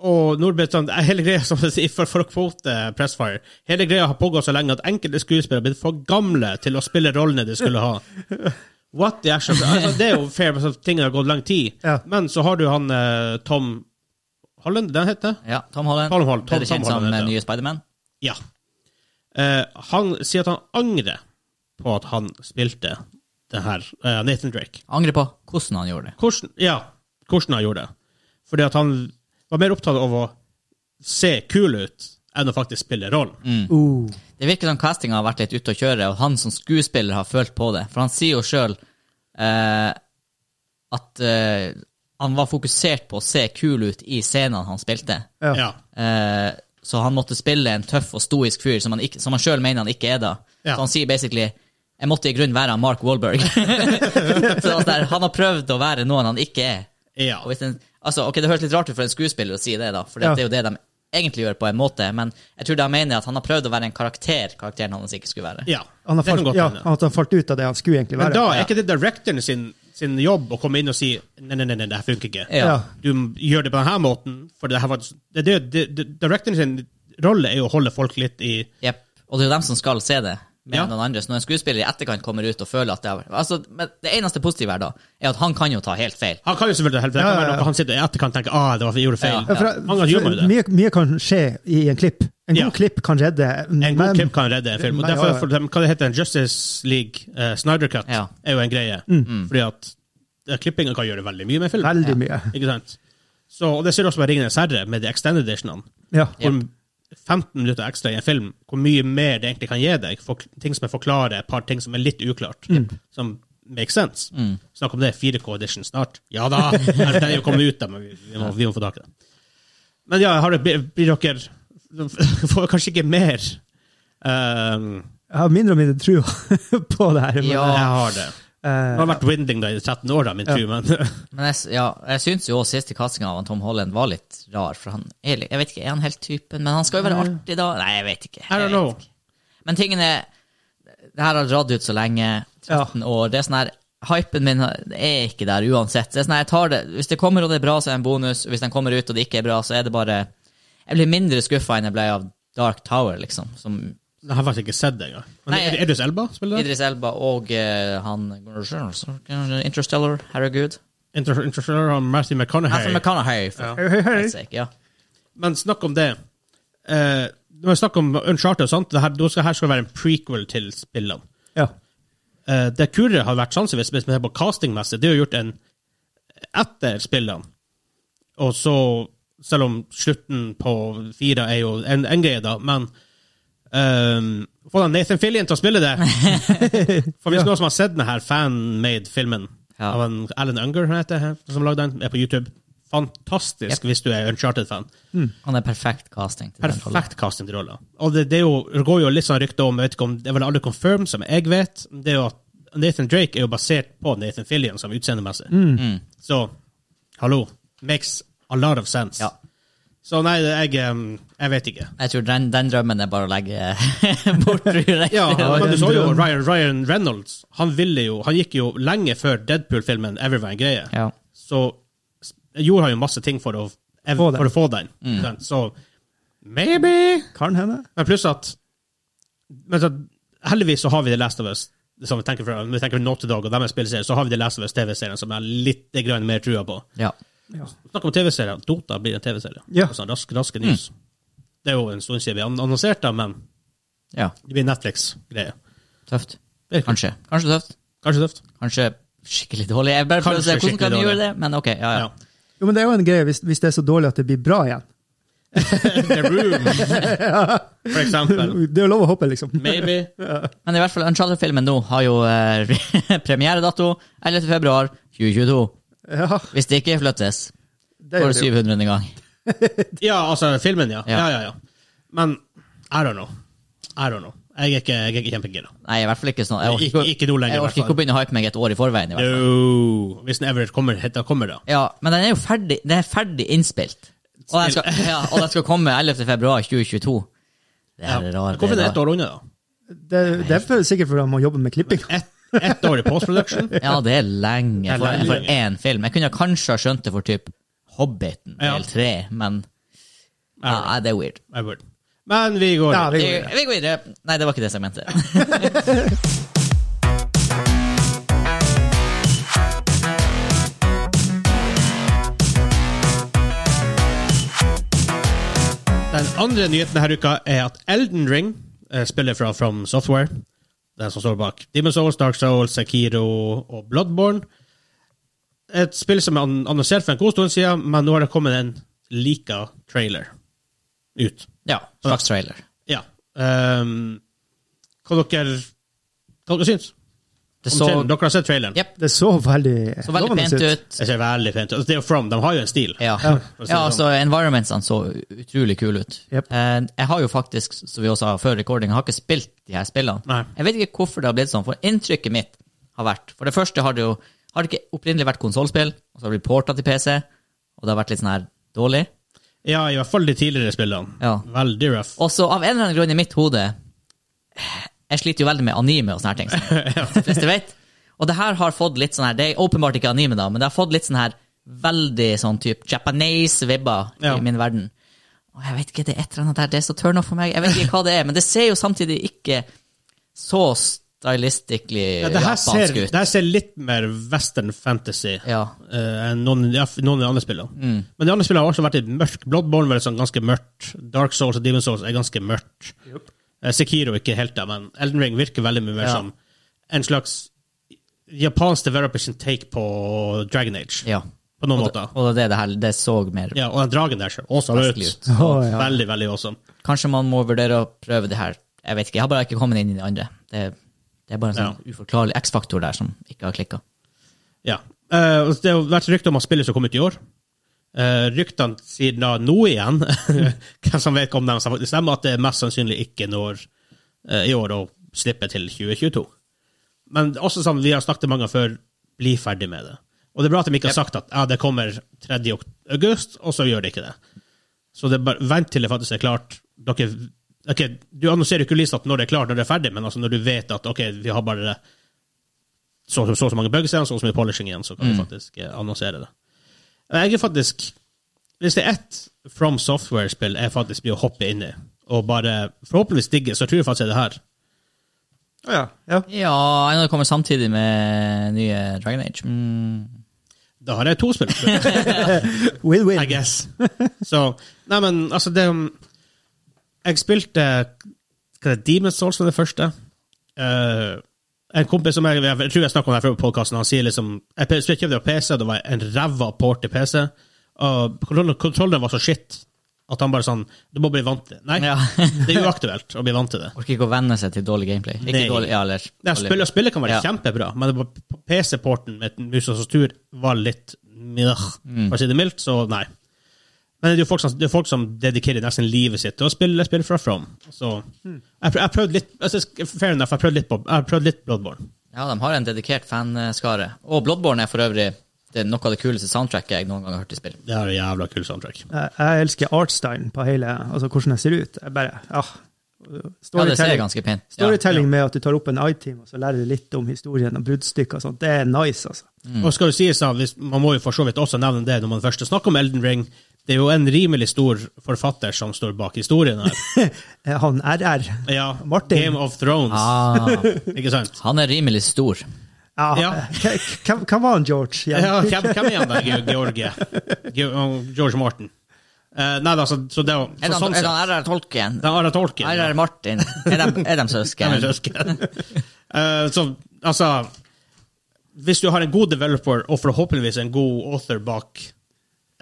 [SPEAKER 2] og Nordbritannia eh, Hele greia, som jeg sier, for, for å kvote Pressfire Hele greia har pågått så lenge at enkelte skuespillere har blitt for gamle til å spille rollene de skulle ha. What the actual altså, Det er jo fair, for sånn, ting har gått lang tid.
[SPEAKER 4] Ja.
[SPEAKER 2] Men så har du han eh, Tom Holland, den heter?
[SPEAKER 3] Ja, Tom Holland.
[SPEAKER 2] Tom Holland, Tom-
[SPEAKER 3] Bedre
[SPEAKER 2] Tom
[SPEAKER 3] kjent som
[SPEAKER 2] Holland,
[SPEAKER 3] eh,
[SPEAKER 2] ja.
[SPEAKER 3] nye Spiderman.
[SPEAKER 2] Ja. Eh, han sier at han angrer på at han spilte det her, eh, Nathan Drake.
[SPEAKER 3] Angrer på hvordan han gjorde det.
[SPEAKER 2] Hvordan, ja, hvordan han gjorde det. Fordi at han var mer opptatt av å se kul ut enn å faktisk spille rollen.
[SPEAKER 4] Uh.
[SPEAKER 3] Det virker som castinga har vært litt ute å kjøre, og han som skuespiller har følt på det. For han sier jo sjøl eh, at eh, han var fokusert på å se kul ut i scenene han spilte.
[SPEAKER 4] Ja.
[SPEAKER 2] Ja.
[SPEAKER 3] Eh, så han måtte spille en tøff og stoisk fyr som han, ikke- som han sjøl mener han ikke er da.
[SPEAKER 2] Ja.
[SPEAKER 3] Så han sier basically jeg måtte i grunnen være han Mark Wahlberg. *laughs* så altså der, han har prøvd å være noen han ikke er.
[SPEAKER 2] Ja.
[SPEAKER 3] Og hvis en, altså, ok, Det høres litt rart ut for en skuespiller å si det, da, for det,
[SPEAKER 4] Ja.
[SPEAKER 3] det er jo det de egentlig gjør på en måte, men jeg tror de mener at han har prøvd å være en karakter karakteren hans ikke skulle være.
[SPEAKER 2] ja.
[SPEAKER 4] Han har
[SPEAKER 2] det kan
[SPEAKER 4] falt,
[SPEAKER 2] godt
[SPEAKER 4] ja,
[SPEAKER 2] hende.
[SPEAKER 4] at han falt ut av det han skulle egentlig
[SPEAKER 2] Men
[SPEAKER 4] være.
[SPEAKER 2] da er ikke det directoren sin, sin jobb å komme inn og si nei, nei, nei, nei det her funker ikke.
[SPEAKER 3] Ja.
[SPEAKER 4] Ja.
[SPEAKER 2] Du m- gjør det på denne måten, for det her var det, det, det, det, Directoren sin rolle er jo å holde folk litt i
[SPEAKER 3] Jep. Og det er jo dem som skal se det, mer
[SPEAKER 2] Ja.
[SPEAKER 3] enn noen andre. Så når en skuespiller i etterkant kommer ut og føler at det har altså, Men det eneste positive her, da, er at han kan jo ta helt feil.
[SPEAKER 2] Han kan jo selvfølgelig ta helt feil. Det
[SPEAKER 4] Ja,
[SPEAKER 2] kan
[SPEAKER 4] ja,
[SPEAKER 2] være
[SPEAKER 4] ja.
[SPEAKER 2] noe Han sitter i etterkant og tenker ah, det var, jeg gjorde feil.
[SPEAKER 3] Ja,
[SPEAKER 4] For,
[SPEAKER 2] Mange ganger gjør man jo det.
[SPEAKER 4] mye, mye kan skje i en klipp. En god
[SPEAKER 2] Ja.
[SPEAKER 4] klipp kan redde.
[SPEAKER 2] En god klipp kan redde en film. Og
[SPEAKER 4] Men-
[SPEAKER 2] derfor,
[SPEAKER 4] ja, ja.
[SPEAKER 2] for dem, hva det heter Justice League eh, Snyder Cut
[SPEAKER 3] Ja. Mm.
[SPEAKER 2] er jo en greie.
[SPEAKER 4] Mm.
[SPEAKER 2] Fordi at eh, klippinga kan gjøre veldig mye med film.
[SPEAKER 4] Veldig mye.
[SPEAKER 2] Ikke sant? Så, og det ser du også med Ringenes herre, med de extended editionene.
[SPEAKER 4] Ja.
[SPEAKER 2] Hvor 15 minutter ekstra i en film, hvor mye mer det egentlig kan gi deg. For, ting som er forklare, et par ting som er litt uklart. Som makes sense. Snakk om det, 4K-edition snart. Ja da! *laughs* Den er jo kommet ut, da, men vi, vi, må, vi må få tak i den. Men ja, har det, blir blir dere *laughs* Får vi kanskje ikke mer ehm,
[SPEAKER 4] Jeg har mindre og mindre tro *laughs* på det her. men,
[SPEAKER 3] Ja.
[SPEAKER 2] Jeg har det. Det
[SPEAKER 4] eh,
[SPEAKER 2] har vært winding da i 13 år, da, min tru, men *laughs*
[SPEAKER 3] Men jeg, s- ja, jeg syns jo også siste castinga av han Tom Holland var litt rar, for han er litt Jeg vet ikke, er han helt typen? Men han skal jo være artig, da? Nei, jeg vet ikke.
[SPEAKER 2] I don't
[SPEAKER 3] Jeg
[SPEAKER 2] know.
[SPEAKER 3] vet ikke. Men tingen er Det her har dratt ut så lenge. 13 år. Det er sånn her Hypen min er ikke der uansett. Det er sånn her, jeg tar det, Hvis det kommer og det er bra, så er det en bonus. Hvis den kommer ut og det ikke er bra, så er det bare Jeg blir mindre skuffa enn jeg ble av Dark Tower, liksom. Som
[SPEAKER 2] Jeg har faktisk ikke sett det engang. Men
[SPEAKER 3] Nei, jeg-
[SPEAKER 2] er Idris Elba spiller der?
[SPEAKER 3] Idris Elba og eh, han Interstellar. Herregud.
[SPEAKER 2] Inter- Interstellar og Matthew
[SPEAKER 3] Hanson
[SPEAKER 2] McConaughey.
[SPEAKER 3] McConaughey, for
[SPEAKER 2] Ja.
[SPEAKER 4] hei, hei, hei.
[SPEAKER 3] Guds sake, ja.
[SPEAKER 2] Men snakk om det. Eh, når vi snakker om Uncharted og sånt, det her, det skal, her skal være en prequel til spillene.
[SPEAKER 4] ja.
[SPEAKER 2] Eh, det kulere har vært sannsynligvis, hvis vi ser på castingmessig, det er å gjort en etter spillene. Og så, selv om slutten på fire er jo en, en greie, da, men ehm, Få den Nathan Fillian til å spille det! For hvis noen som har sett denne her fan-made-filmen
[SPEAKER 3] Ja.
[SPEAKER 2] av en Alan Unger, han heter, han som lagde den, er på YouTube. Fantastisk hvis du er Uncharted-fan.
[SPEAKER 3] Han er perfekt casting. Til den rollen.
[SPEAKER 2] Perfekt casting til rolla. Og det, det er jo, det går jo litt sånn rykter om, jeg vet ikke om det er vel aldri confirmed, som jeg vet, det er jo at Nathan Drake er jo basert på Nathan Fillion som utseendemessig. Så hallo, makes a lot of sense.
[SPEAKER 3] Ja.
[SPEAKER 2] Så nei, jeg, em, jeg vet ikke.
[SPEAKER 3] Jeg tror den, den drømmen er bare å legge *laughs* bort, tror jeg.
[SPEAKER 2] Ja, *laughs* men du
[SPEAKER 4] den
[SPEAKER 2] så jo
[SPEAKER 4] drømmen.
[SPEAKER 2] Ryan, Ryan Reynolds. Han ville jo, han gikk jo lenge før Deadpool-filmen ever var en greie.
[SPEAKER 3] Ja.
[SPEAKER 2] Så s- gjorde han jo masse ting for å, ev,
[SPEAKER 4] Få den.
[SPEAKER 2] for å få den. Sant? Så maybe
[SPEAKER 4] Kan hende.
[SPEAKER 2] Men pluss at men så, Heldigvis så har vi The Last of Us som vi tenker fra, vi tenker fra Naughty Dog og deres spillserier, så har vi de Last of Us-TV-seriene som jeg har litt grann mer trua på.
[SPEAKER 3] Ja.
[SPEAKER 2] Snakk om TV-serier. Dota blir en TV-serie.
[SPEAKER 4] Ja.
[SPEAKER 2] Altså, raske, raske news. Det er jo en stund siden vi an- annonserte, men
[SPEAKER 3] ja.
[SPEAKER 2] det blir Netflix-greie.
[SPEAKER 3] Tøft.
[SPEAKER 2] Det er kult.
[SPEAKER 3] Kanskje. Kanskje tøft.
[SPEAKER 2] Kanskje tøft.
[SPEAKER 3] Kanskje skikkelig dårlig. Jeg bare prøver å
[SPEAKER 2] Kanskje
[SPEAKER 3] se hvordan kan
[SPEAKER 2] skikkelig
[SPEAKER 3] vi gjøre det,
[SPEAKER 2] dårlig.
[SPEAKER 3] men ok. Ja, ja.
[SPEAKER 2] Ja. *laughs*
[SPEAKER 4] Jo, men det er jo en greie hvis, hvis det er så dårlig at det blir bra igjen.
[SPEAKER 2] The Room, for eksempel.
[SPEAKER 4] Det er jo lov å håpe, liksom.
[SPEAKER 2] Maybe.
[SPEAKER 3] *laughs* Men i hvert fall, Uncharted-filmen nå har jo eh, *laughs* premieredato 11. februar 2022.
[SPEAKER 4] *laughs* Ja,
[SPEAKER 3] Hvis det ikke flyttes
[SPEAKER 4] det
[SPEAKER 3] for
[SPEAKER 4] gjør det jo.
[SPEAKER 3] 700. gang.
[SPEAKER 2] Ja, altså filmen, ja.
[SPEAKER 3] Ja.
[SPEAKER 2] Ja, ja, ja. Men I don't know. I don't know. Jeg er ikke, jeg er ikke kjempegira.
[SPEAKER 3] Nei, i hvert fall ikke sånn. Jeg orker
[SPEAKER 2] Ikke,
[SPEAKER 3] ikke,
[SPEAKER 2] ikke nå lenger,
[SPEAKER 3] jeg
[SPEAKER 2] i
[SPEAKER 3] orker
[SPEAKER 2] hvert
[SPEAKER 3] ikke å
[SPEAKER 2] fall.
[SPEAKER 3] begynne å hype meg et år i forveien. i hvert fall.
[SPEAKER 2] No. Hvis den Everett kommer, da kommer det.
[SPEAKER 3] Ja, men den er jo ferdig, den er ferdig innspilt. Og den skal, ja, og den skal komme 11. februar 2022. Det
[SPEAKER 2] Ja.
[SPEAKER 3] her er rart.
[SPEAKER 2] Hvorfor er
[SPEAKER 3] det
[SPEAKER 2] det ett
[SPEAKER 3] er rart.
[SPEAKER 2] år unna, da?
[SPEAKER 4] Det, det er for- sikkert fordi man jobber med klipping.
[SPEAKER 2] Ett ett år i post-production?
[SPEAKER 3] Ja, det er lenge
[SPEAKER 2] er
[SPEAKER 3] for,
[SPEAKER 2] lenge.
[SPEAKER 3] for én film. Jeg kunne kanskje ha skjønt det for typ Hobbiten
[SPEAKER 2] Ja.
[SPEAKER 3] del tre, men *laughs* ja, nei, det er weird.
[SPEAKER 2] Jeg burde. Men vi går
[SPEAKER 4] Ja, vi
[SPEAKER 3] Vi,
[SPEAKER 4] går videre.
[SPEAKER 3] vi går videre. Nei, det var ikke det som jeg mente.
[SPEAKER 2] Den andre nyheten denne uka er at Elden Ring, eh, spillet fra From Software, den som står bak Demon's Souls, Dark Souls, Sekiro og Bloodborne Et spill som er an- annonsert for en god stund siden, men nå har det kommet en lika trailer ut.
[SPEAKER 3] Ja, slags trailer.
[SPEAKER 2] Ja. ehm, hva dere Hva dere syns?
[SPEAKER 3] Det
[SPEAKER 2] Om
[SPEAKER 3] så,
[SPEAKER 2] traileren? Dere har sett traileren?
[SPEAKER 3] Jep.
[SPEAKER 4] Det så veldig
[SPEAKER 3] så veldig pent ut.
[SPEAKER 2] Det ser veldig fint ut. Altså, Det er jo From, de har jo en stil.
[SPEAKER 3] Ja,
[SPEAKER 4] Ja.
[SPEAKER 3] ja altså environmentsene så utrolig kule ut.
[SPEAKER 4] Jep.
[SPEAKER 3] Eh, Jeg har jo faktisk, som vi også har før recording, har ikke spilt de her spillene.
[SPEAKER 2] Nei.
[SPEAKER 3] Jeg vet ikke hvorfor det har blitt sånn, for inntrykket mitt har vært For det første har det jo har det ikke opprinnelig vært konsollspill, og så har det blitt porta til PC, og det har vært litt sånn her dårlig.
[SPEAKER 2] Ja, i hvert fall de tidligere spillene.
[SPEAKER 3] Ja.
[SPEAKER 2] Veldig rough.
[SPEAKER 3] Og så av en eller annen grunn i mitt hode Jeg sliter jo veldig med anime og sånne her ting.
[SPEAKER 2] *laughs*
[SPEAKER 3] som de fleste vet. Og det her har fått litt sånn her Det er åpenbart ikke anime, da, men det har fått litt sånn her veldig sånn type Japanese-vibber
[SPEAKER 2] Ja.
[SPEAKER 3] i min verden. Og jeg vet ikke, det er et eller annet der, det er så turn off for meg. Jeg vet ikke hva det er, men det ser jo samtidig ikke så stylistically
[SPEAKER 2] Ja, det her ser,
[SPEAKER 3] japansk
[SPEAKER 2] det
[SPEAKER 3] ut.
[SPEAKER 2] her ser litt mer western fantasy
[SPEAKER 3] Ja. Mm.
[SPEAKER 2] eh, enn noen, ja, noen av de andre spillene. Men de andre spillene har også vært litt mørk. Bloodborne var sånn ganske mørkt. Dark Souls og Demon Souls er ganske mørkt. Eh, Sekiro ikke helt da, men Elden Ring virker veldig mye mer
[SPEAKER 3] Ja.
[SPEAKER 2] som en slags japansk developer sin take på Dragon Age.
[SPEAKER 3] ja.
[SPEAKER 2] På noen
[SPEAKER 3] Og det,
[SPEAKER 2] måter.
[SPEAKER 3] og det er det her, det så mer
[SPEAKER 2] Ja, og den dragen der ser awesome
[SPEAKER 3] *laughs*
[SPEAKER 2] ut.
[SPEAKER 3] vestlig ut.
[SPEAKER 4] Å, ja.
[SPEAKER 2] Veldig, veldig awesome.
[SPEAKER 3] Kanskje man må vurdere å prøve det her. Jeg vet ikke, jeg har bare ikke kommet inn i det andre. Det, det er bare en sånn uforklarlig X-faktor der som ikke har klikka.
[SPEAKER 2] Ja. Eh, og det har vært rykter om at spillet som kom ut i år. Eh, ryktene sier da nå igjen, *laughs* hvem som vet om de som faktisk stemmer, at det mest sannsynlig ikke når eh, i år å slippe til 2022. Men også som vi har snakket mange ganger før, bli ferdig med det. Og det er bra at de ikke har sagt at ja, det kommer 3. ok- august, og så gjør det ikke det. Så det er bare, vent til det faktisk er klart. Dere, ok, du annonserer jo ikke lista når det er klart, når det er ferdig, men altså når du vet at ok, vi har bare så så, så, så mange bugs igjen, så og så mye polishing igjen, så kan vi faktisk eh, annonsere det. Jeg er faktisk Hvis det er ett From Software-spill jeg faktisk blir å hoppe inn i, og bare forhåpentligvis digge, så tror jeg faktisk det er det her.
[SPEAKER 4] Ja, ja.
[SPEAKER 3] Ja, en av det kommer samtidig med nye Dragon Age. Mm.
[SPEAKER 2] Da har jeg to spill. I
[SPEAKER 4] Win-win.
[SPEAKER 2] guess. *laughs* Så Nei, men altså, det Jeg spilte hva er det, Demon's Souls som det første. Eh, en kompis som jeg, jeg tror jeg snakket om det her før på podcasten, han sier liksom Jeg pe- spilte kjøpte PC, det var en ræva port til PC. Og kontrollen, kontrollen var så shit at han bare sånn Du må bli vant til det. Nei,
[SPEAKER 3] Ja.
[SPEAKER 2] det er uaktuelt å bli vant til det.
[SPEAKER 3] Orker ikke å venne seg til dårlig gameplay. Ikke
[SPEAKER 2] Nei.
[SPEAKER 3] dårlig, ja, eller
[SPEAKER 2] Det her spillet, spillet kan være
[SPEAKER 3] Ja.
[SPEAKER 2] kjempebra, men det var- p- PC-porten med mus og tastatur var litt mjøh,
[SPEAKER 3] Mm.
[SPEAKER 2] for å si det mildt, så nei. Men det er jo folk som, det er folk som dedikerer nesten livet sitt til å spille spill fra From. Så jeg, prøv, jeg prøvde litt altså, Fair enough, jeg prøvde litt, på, jeg prøvde litt Bloodborne.
[SPEAKER 3] Ja, de har en dedikert fanskare. Og Bloodborne er for øvrig det er noe av det kuleste soundtracket jeg noen gang har hørt i spill.
[SPEAKER 2] Det er en jævla kul soundtrack.
[SPEAKER 4] Jeg, jeg elsker artstylen på hele, altså hvordan det ser ut. Jeg bare, ja.
[SPEAKER 3] Ja, det ser
[SPEAKER 4] Storytelling-
[SPEAKER 3] ganske pent ut. Ja.
[SPEAKER 4] Storytelling med at du tar opp en iTeam og så lærer du litt om historien og bruddstykker og sånt, det er nice, altså.
[SPEAKER 3] Mm.
[SPEAKER 2] Og skal jo sies da, hvis, Man må jo for så vidt også nevne det når man først snakker om Elden Ring. Det er jo en rimelig stor forfatter som står bak historien her.
[SPEAKER 5] Eh, Han RR.
[SPEAKER 2] Ja,
[SPEAKER 5] Martin.
[SPEAKER 2] Game of Thrones,
[SPEAKER 3] Ah,
[SPEAKER 2] *laughs* ikke sant?
[SPEAKER 3] han er rimelig stor.
[SPEAKER 5] Ja,
[SPEAKER 2] Ja.
[SPEAKER 5] k- Hvem hvem var han, George? Ja.
[SPEAKER 2] Ja, hvem, hvem er han der, Ge- George? Ge- oh, George Martin. Eh, nei da, så, så det er jo
[SPEAKER 3] Er
[SPEAKER 2] så
[SPEAKER 3] han,
[SPEAKER 2] sånn
[SPEAKER 3] er
[SPEAKER 2] sett.
[SPEAKER 3] han RR Tolkien?
[SPEAKER 2] Det er Ara Tolkien. ja.
[SPEAKER 3] RR Martin? Er de, er
[SPEAKER 2] *laughs*
[SPEAKER 3] de
[SPEAKER 2] Hvem er
[SPEAKER 3] søsken?
[SPEAKER 2] søsken? Eh, så altså Hvis du har en god developer, og forhåpentligvis en god author bak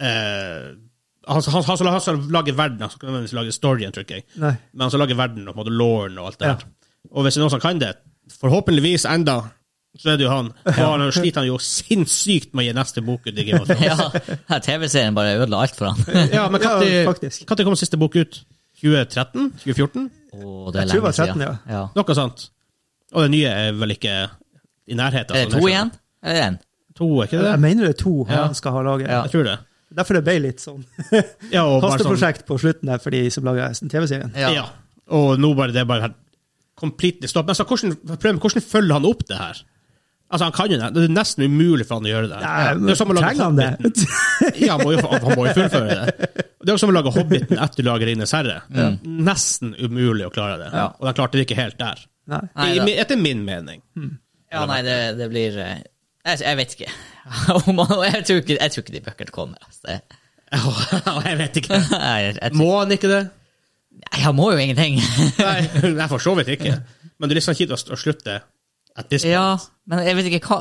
[SPEAKER 2] eh, Han, han, han, som- han som lager verden, han som ikke nødvendigvis lager storyen, tror jeg.
[SPEAKER 5] Nei.
[SPEAKER 2] Men han som lager verden og på en måte lauren og alt det
[SPEAKER 5] Ja.
[SPEAKER 2] der. Og hvis det er noen som kan det, forhåpentligvis enda, så er det jo *laughs* han. Og han sliter han jo sinnssykt med å gi neste bok ut i *laughs* Game of Thrones.
[SPEAKER 3] Ja, *laughs* her TV-serien bare ødela alt for
[SPEAKER 2] *laughs*
[SPEAKER 3] han.
[SPEAKER 2] Ja, men
[SPEAKER 5] Ja,
[SPEAKER 2] når
[SPEAKER 5] faktisk.
[SPEAKER 2] kom siste bok ut? 2013? 2014?
[SPEAKER 3] Å, det er
[SPEAKER 5] Jeg tror det
[SPEAKER 3] lenge
[SPEAKER 5] var 13,
[SPEAKER 3] siden.
[SPEAKER 5] ja.
[SPEAKER 3] Ja.
[SPEAKER 2] Noe sånt. Og det nye er vel ikke i nærheten.
[SPEAKER 3] Er det
[SPEAKER 2] sånn
[SPEAKER 3] to
[SPEAKER 2] jeg skjønner.
[SPEAKER 3] igjen? Eller én?
[SPEAKER 2] To, er ikke
[SPEAKER 5] Jeg
[SPEAKER 2] det?
[SPEAKER 5] mener det er to
[SPEAKER 2] Ja.
[SPEAKER 5] han skal ha laget.
[SPEAKER 3] Ja.
[SPEAKER 2] Jeg tror det.
[SPEAKER 5] Derfor det ble litt sånn *laughs*
[SPEAKER 2] Ja, og bare sånn,
[SPEAKER 5] hasteprosjekt på slutten der for de som lager TV-serien.
[SPEAKER 2] ja. Og nå bare det er bare helt completely stopp. Men så hvordan, prøv, hvordan følger han opp det her? Altså, han kan jo det. Det er nesten umulig for han å gjøre det.
[SPEAKER 5] Nei,
[SPEAKER 2] det er som å lage
[SPEAKER 5] trenger han det?
[SPEAKER 2] Hobbiten. Ja, han må, jo, han må jo fullføre det. Det er jo som å lage Hobbiten etter du lager Ringenes herre. Nesten umulig å klare det.
[SPEAKER 3] Ja.
[SPEAKER 2] Og de klarte det ikke helt der.
[SPEAKER 5] *laughs* Nei.
[SPEAKER 3] Nei,
[SPEAKER 2] I,
[SPEAKER 3] da-
[SPEAKER 2] etter min mening.
[SPEAKER 3] Ja, nei, det, det blir eh, Jeg, jeg vet ikke. *laughs* Om han- jeg, tror ikke. Jeg tror ikke de bøkene kommer. Altså. *laughs* Jeg,
[SPEAKER 2] jeg vet ikke.
[SPEAKER 3] jeg, jeg,
[SPEAKER 2] Må han ikke det?
[SPEAKER 3] Nei, han må jo ingenting.
[SPEAKER 2] Nei, *laughs* nei for så vidt ikke. Men det er litt sånn kjipt å å slutte at this point.
[SPEAKER 3] *laughs* ja, men jeg vet ikke hva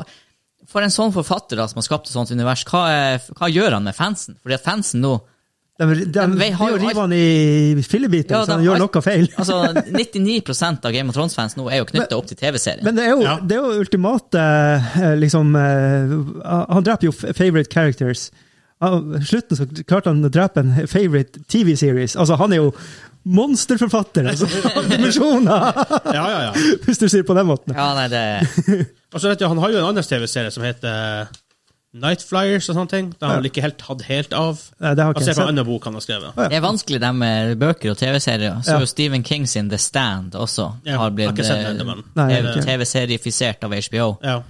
[SPEAKER 3] For en sånn forfatter da, som har skapt et sånt univers, hva, er, hva gjør han med fansen? Fordi at fansen nå
[SPEAKER 5] De, de, de,
[SPEAKER 3] vi har jo
[SPEAKER 5] river
[SPEAKER 3] alt-
[SPEAKER 5] han i fillebiter,
[SPEAKER 3] Ja,
[SPEAKER 5] så han
[SPEAKER 3] de-
[SPEAKER 5] gjør noe feil.
[SPEAKER 3] Altså, *laughs* 99 av Game of Thrones-fans nå er jo knytta opp til TV-serien.
[SPEAKER 5] Men det er jo,
[SPEAKER 2] Ja.
[SPEAKER 5] det er jo ultimate eh, liksom, eh, Han dreper jo f- favorite characters. Av slutten så klarte han å drepe en favorite TV-series. Altså, han er jo monsterforfatter!
[SPEAKER 3] *laughs*
[SPEAKER 5] Altså, av dimensjoner! *laughs*
[SPEAKER 2] Ja, ja, ja.
[SPEAKER 5] Hvis du sier det på den måten.
[SPEAKER 3] Ja, nei, det
[SPEAKER 2] Og så vet du, han har jo en annen TV-serie som heter eh, Night Flyers og sånne ting. Den har han vel ikke helt hatt helt av.
[SPEAKER 5] Nei, det har ikke
[SPEAKER 2] Han ser
[SPEAKER 5] jeg
[SPEAKER 2] på
[SPEAKER 5] sett.
[SPEAKER 2] en annen bok han har skrevet.
[SPEAKER 3] det er vanskelig, det med bøker og TV-serier. Så
[SPEAKER 5] Ja.
[SPEAKER 3] jo Stephen King sin The Stand også
[SPEAKER 2] Ja,
[SPEAKER 3] har
[SPEAKER 2] jeg har
[SPEAKER 3] blitt
[SPEAKER 2] ikke sett den ennå,
[SPEAKER 3] eh,
[SPEAKER 2] men-
[SPEAKER 5] Nei,
[SPEAKER 3] er
[SPEAKER 5] ikke.
[SPEAKER 3] TV-seriefisert av HBO.
[SPEAKER 2] Ja.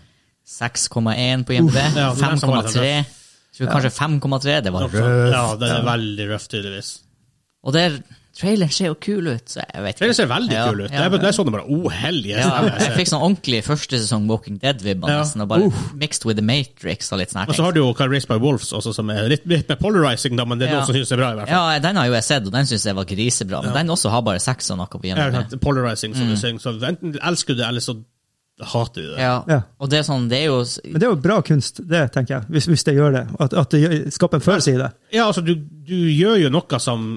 [SPEAKER 3] 6,1 på IMD.
[SPEAKER 2] Ja, det er den som var
[SPEAKER 3] 5,3. Jeg tror kanskje 5,3 det var.
[SPEAKER 2] ja, den er veldig røff, tydeligvis.
[SPEAKER 3] Og der, traileren ser jo kul ut, så jeg vet ikke.
[SPEAKER 2] Traileren ser veldig
[SPEAKER 3] Ja,
[SPEAKER 2] kul ut.
[SPEAKER 3] ja.
[SPEAKER 2] Jeg, jeg så den bare oh, helje.
[SPEAKER 3] Ja, jeg fikk sånn ordentlig første sesong Walking Dead-vibber
[SPEAKER 2] Ja.
[SPEAKER 3] nesten, og bare mixed with the Matrix og litt sånne
[SPEAKER 2] Og så
[SPEAKER 3] ting.
[SPEAKER 2] har du jo Can Race by Wolves, også, som er litt, litt mer polarizing, da, men det er
[SPEAKER 3] Ja.
[SPEAKER 2] noen som synes det er bra. i hvert fall.
[SPEAKER 3] Ja, den har jo jeg sett, og den synes jeg var grisebra, men den også har bare seks og noe på
[SPEAKER 2] Ja,
[SPEAKER 3] IMD.
[SPEAKER 2] sant, polarizing, som du synger. Så enten elsker du det, eller så hater du det.
[SPEAKER 3] Mm. Ja.
[SPEAKER 5] Ja.
[SPEAKER 3] Og det er sånn, det er jo
[SPEAKER 5] Men det er jo bra kunst, det, tenker jeg. Hvis, hvis det gjør det. At, at det gjør- skaper en følelse i det.
[SPEAKER 2] Ja, altså, du, du gjør jo noe som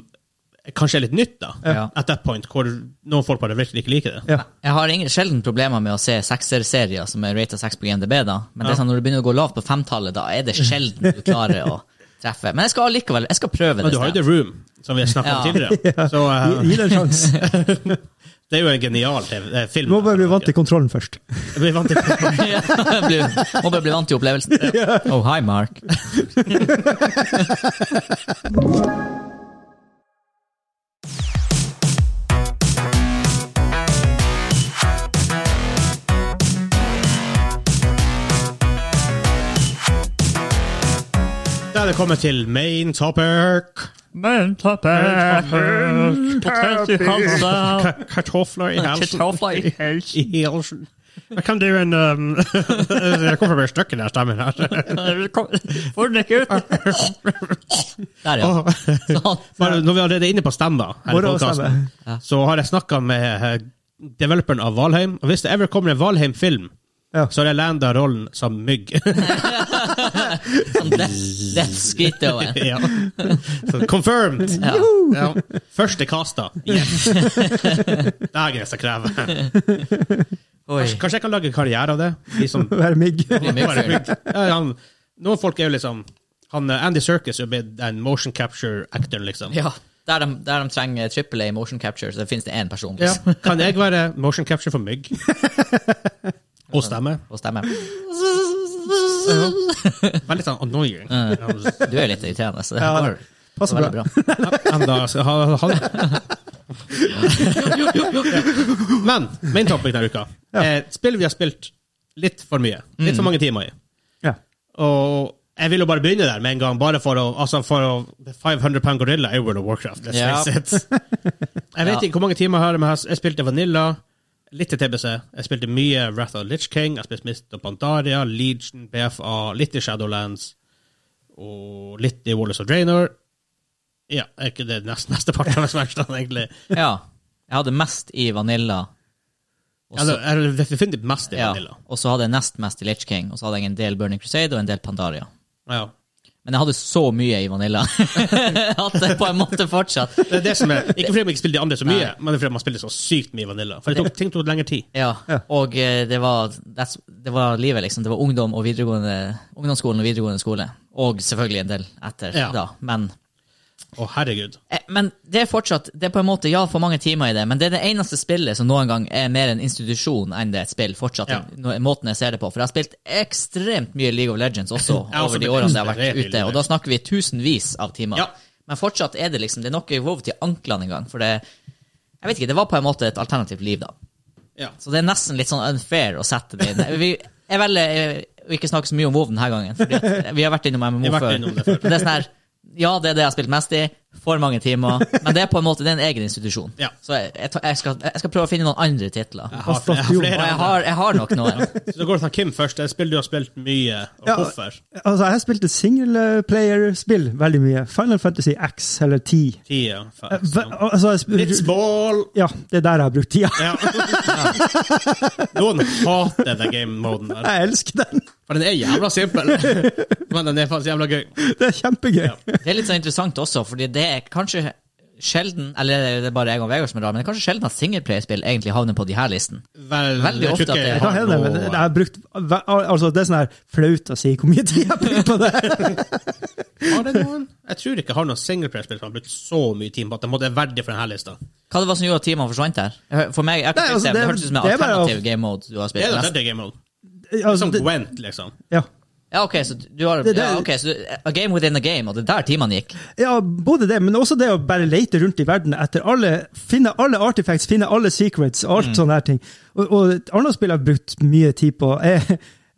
[SPEAKER 2] kanskje er litt nytt, da.
[SPEAKER 3] Ja.
[SPEAKER 2] At that point, hvor noen folk bare virkelig ikke liker det.
[SPEAKER 5] Ja.
[SPEAKER 3] Jeg har ingen, sjelden problemer med å se sekserserier som er rated 6 på GMDB, da. Men det er sånn, når du begynner å gå lavt på femtallet, da er det sjelden du klarer å treffe. Men jeg skal allikevel, jeg skal prøve
[SPEAKER 2] Men
[SPEAKER 3] det.
[SPEAKER 2] du har jo
[SPEAKER 3] stedet.
[SPEAKER 2] The Room, som vi har snakket om
[SPEAKER 3] Ja.
[SPEAKER 2] tidligere. Så eh,
[SPEAKER 5] Gi, gi det en sjanse.
[SPEAKER 2] det er jo en genial TV, eh,
[SPEAKER 5] Du
[SPEAKER 2] film.
[SPEAKER 5] må bare bli vant til kontrollen først. *laughs*
[SPEAKER 2] Jeg blir vant til
[SPEAKER 3] Ja, *laughs* blir- Må bare bli vant til opplevelsen. Oh, hi,
[SPEAKER 2] *laughs*
[SPEAKER 3] Mark.
[SPEAKER 2] Da er det kommet til main topic.
[SPEAKER 3] Men tapper Potet i halsen
[SPEAKER 2] Ka- Kartofler i halsen.
[SPEAKER 3] Kartofler i
[SPEAKER 2] I halsen. Jeg kan du en um, *laughs* Jeg kommer med støkken her, stemmen her.
[SPEAKER 3] Får den ikke ut Der ja sånn.
[SPEAKER 2] Bare, når vi allerede er inne på stemmer, her i
[SPEAKER 5] Bare å
[SPEAKER 2] podcasten, så har jeg snakka med eh, developeren av Valheim. Og hvis det ever kommer en Valheim-film,
[SPEAKER 5] Ja.
[SPEAKER 2] så har jeg landa rollen som mygg. *laughs*
[SPEAKER 3] Sånn death- Death skrit over
[SPEAKER 2] ja. så, confirmed!
[SPEAKER 3] ja.
[SPEAKER 2] Ja. Første kasta. Yes. Det er det som krever.
[SPEAKER 3] Oi
[SPEAKER 2] Kanskje jeg kan lage karriere av det? De som
[SPEAKER 5] Være mygg.
[SPEAKER 3] blir mygg
[SPEAKER 2] bare
[SPEAKER 3] før.
[SPEAKER 2] mygg. Ja, han, noen folk er jo liksom han, eh, Andy Circus er blitt den motion capture-actoren, liksom.
[SPEAKER 3] Ja der de, der de trenger triple A motion capture Så finnes det en person
[SPEAKER 2] Ja.
[SPEAKER 3] liksom,
[SPEAKER 2] Kan jeg være motion capture for mygg? Og stemme.
[SPEAKER 3] Å stemme
[SPEAKER 2] Veldig sånn annoying.
[SPEAKER 3] Du er litt irriterende så det
[SPEAKER 5] Ja,
[SPEAKER 3] var-
[SPEAKER 5] passer
[SPEAKER 3] det var veldig bra
[SPEAKER 2] Enda, så han, han. Men main topic denne uka.
[SPEAKER 3] Mm.
[SPEAKER 2] Eh, spill vi har spilt litt for mye. Litt for mange timer i.
[SPEAKER 5] Ja.
[SPEAKER 2] Og Jeg vil jo bare begynne der med en gang, bare for å Altså, for å 500 pound gorilla er World of Warcraft, let's
[SPEAKER 3] Ja. *laughs*
[SPEAKER 2] face it. Jeg vet
[SPEAKER 3] Ja.
[SPEAKER 2] ikke hvor mange timer jeg har, men jeg har- jeg spilte Vanilla, litt til TBC, jeg spilte mye Wrath of the Lich King, jeg spilte Mist of Pandaria, Legion, BFA, litt i Shadowlands, og litt i Wallace of Draenor. Ja, er ikke det nest, mesteparten av matchene, egentlig?
[SPEAKER 3] Ja. Jeg hadde mest i Vanilla. Og
[SPEAKER 2] Ja, det
[SPEAKER 3] så,
[SPEAKER 2] er definitivt mest i
[SPEAKER 3] ja,
[SPEAKER 2] Vanilla.
[SPEAKER 3] og så hadde jeg nest mest i Lich King, og så hadde jeg en del Burning Crusade og en del Pandaria.
[SPEAKER 2] Ja.
[SPEAKER 3] Men jeg hadde så mye i Vanilla *laughs* at det på en måte fortsatt.
[SPEAKER 2] Det er det som er, ikke fordi man ikke spiller de andre så mye,
[SPEAKER 3] Nei.
[SPEAKER 2] men det er fordi man spiller så sykt mye Vanilla. For det tok, ting tok lengre tid.
[SPEAKER 3] Ja,
[SPEAKER 5] Ja.
[SPEAKER 3] og eh, det var, that's, det var livet, liksom. Det var ungdom og videregående, ungdomsskolen og videregående skole. Og selvfølgelig en del etter
[SPEAKER 2] Ja.
[SPEAKER 3] da. Men,
[SPEAKER 2] Å, herregud.
[SPEAKER 3] eh, men det er fortsatt Det er på en måte ja, for mange timer i det, men det er det eneste spillet som noen gang er mer en institusjon enn det er et spill. Fortsatt
[SPEAKER 2] Ja.
[SPEAKER 3] no- måten jeg ser det på. For jeg har spilt ekstremt mye League of Legends
[SPEAKER 2] *laughs*
[SPEAKER 3] også
[SPEAKER 2] Jeg har også
[SPEAKER 3] over de
[SPEAKER 2] blitt
[SPEAKER 3] årene jeg har
[SPEAKER 2] inspirert i
[SPEAKER 3] vært
[SPEAKER 2] League
[SPEAKER 3] ute,
[SPEAKER 2] of
[SPEAKER 3] og da snakker vi tusenvis av timer.
[SPEAKER 2] Ja.
[SPEAKER 3] Men fortsatt er det liksom Det er nok i Vov til anklene en gang, for det Jeg vet ikke, det var på en måte et alternativt liv, da.
[SPEAKER 2] Ja.
[SPEAKER 3] Så det er nesten litt sånn unfair å sette det inn. Vi, jeg velger eh, å ikke snakke så mye om WoW denne gangen, fordi at eh, vi har vært innom MMO
[SPEAKER 2] Vi har vært
[SPEAKER 3] før.
[SPEAKER 2] innom det før.
[SPEAKER 3] Og er sånn her, ja, det er det jeg har spilt mest i, for mange timer, men det er på en måte det er en egen institusjon.
[SPEAKER 2] Ja.
[SPEAKER 3] Så jeg, jeg, tar- jeg, skal, jeg skal prøve å finne noen andre titler.
[SPEAKER 2] Jeg har, jeg har
[SPEAKER 3] Og
[SPEAKER 2] flere
[SPEAKER 3] jeg
[SPEAKER 2] andre.
[SPEAKER 3] har, jeg har nok noen.
[SPEAKER 2] Så da går det til Kim først. Jeg spiller du har spilt mye, og
[SPEAKER 5] Ja.
[SPEAKER 2] hvorfor?
[SPEAKER 5] Altså, jeg spilte singleplayer-spill veldig mye. Final Fantasy X, eller 10.
[SPEAKER 2] Tida,
[SPEAKER 5] Eh,
[SPEAKER 2] fast.
[SPEAKER 5] hva- Altså, jeg sp-
[SPEAKER 2] It's ball!
[SPEAKER 5] ja, det er der jeg har brukt tida.
[SPEAKER 2] Ja. *laughs* Noen hater den game-moden
[SPEAKER 5] *laughs*
[SPEAKER 2] der.
[SPEAKER 5] Jeg elsker den!
[SPEAKER 2] For den er jævla simpel. Men den er faktisk jævla gøy.
[SPEAKER 5] Det er kjempegøy.
[SPEAKER 3] Det er litt sånn interessant også, fordi det er kanskje sjelden, eller det er bare jeg og Vegard som er rar, men det er kanskje sjelden at singleplayerspill egentlig havner på de her listen.
[SPEAKER 2] Vel,
[SPEAKER 3] Veldig
[SPEAKER 2] jeg tror
[SPEAKER 3] ofte
[SPEAKER 2] ikke
[SPEAKER 3] at det-
[SPEAKER 2] jeg
[SPEAKER 5] Hva
[SPEAKER 2] har
[SPEAKER 5] er det? Men
[SPEAKER 2] noe-
[SPEAKER 5] jeg har brukt, altså, det er sånn her flaut å si hvor mye tid jeg har brukt på
[SPEAKER 2] *laughs*
[SPEAKER 5] det.
[SPEAKER 2] Har det noen? Jeg tror ikke jeg har noen singleplayer-spill som har brukt så mye tid på at det måtte være verdig for denne lista.
[SPEAKER 3] Hva det var som gjorde at timene forsvant der? For meg, jeg har ikke
[SPEAKER 5] Nei,
[SPEAKER 3] spilt
[SPEAKER 5] altså,
[SPEAKER 3] det, men det
[SPEAKER 5] det-
[SPEAKER 3] hørtes ut som en
[SPEAKER 5] det er bare å-
[SPEAKER 3] alternativ game mode du har
[SPEAKER 2] Det
[SPEAKER 3] spilt.
[SPEAKER 2] er den
[SPEAKER 3] mest.
[SPEAKER 2] tredje game-moden.
[SPEAKER 5] Altså,
[SPEAKER 2] Som
[SPEAKER 5] det,
[SPEAKER 2] Gwent, liksom.
[SPEAKER 5] ja.
[SPEAKER 3] Ja, ok, så du har
[SPEAKER 5] Det- det-
[SPEAKER 3] ja, ok, så du, A game within a game, og det er der timene gikk.
[SPEAKER 5] Ja, både det, men også det å bare lete rundt i verden etter alle Finne alle artifacts, finne alle secrets og
[SPEAKER 2] Mm.
[SPEAKER 5] alt sånne her ting. Og, og et annet spill jeg har brukt mye tid på, er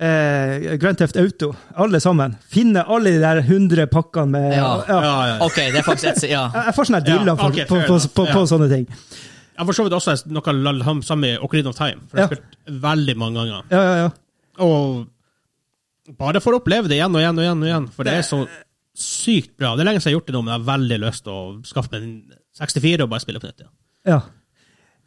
[SPEAKER 5] eh, Grand Theft Auto. Alle sammen. Finne alle de der 100 pakkene med
[SPEAKER 3] Ja.
[SPEAKER 5] ja.
[SPEAKER 2] Ja, ja, ja.
[SPEAKER 3] Ok, det er faktisk et Ja.
[SPEAKER 5] Jeg jeg får sånne her
[SPEAKER 2] *laughs* Ja,
[SPEAKER 5] diller på,
[SPEAKER 2] ok,
[SPEAKER 5] på,
[SPEAKER 2] fair
[SPEAKER 5] på,
[SPEAKER 2] enough.
[SPEAKER 5] på, på
[SPEAKER 2] Ja.
[SPEAKER 5] sånne ting.
[SPEAKER 2] Jeg for så vidt også noe lall- ham- samme i Ocarina of Time, for jeg
[SPEAKER 5] Ja.
[SPEAKER 2] har spilt veldig mange ganger.
[SPEAKER 5] Ja, ja, ja.
[SPEAKER 2] Og bare for å oppleve det igjen og igjen og igjen, og igjen for det er så sykt bra. Det er lenge siden jeg har gjort det nå, men jeg har veldig lyst til å skaffe meg en 64 og bare spille på nytt. Ja.
[SPEAKER 5] ja.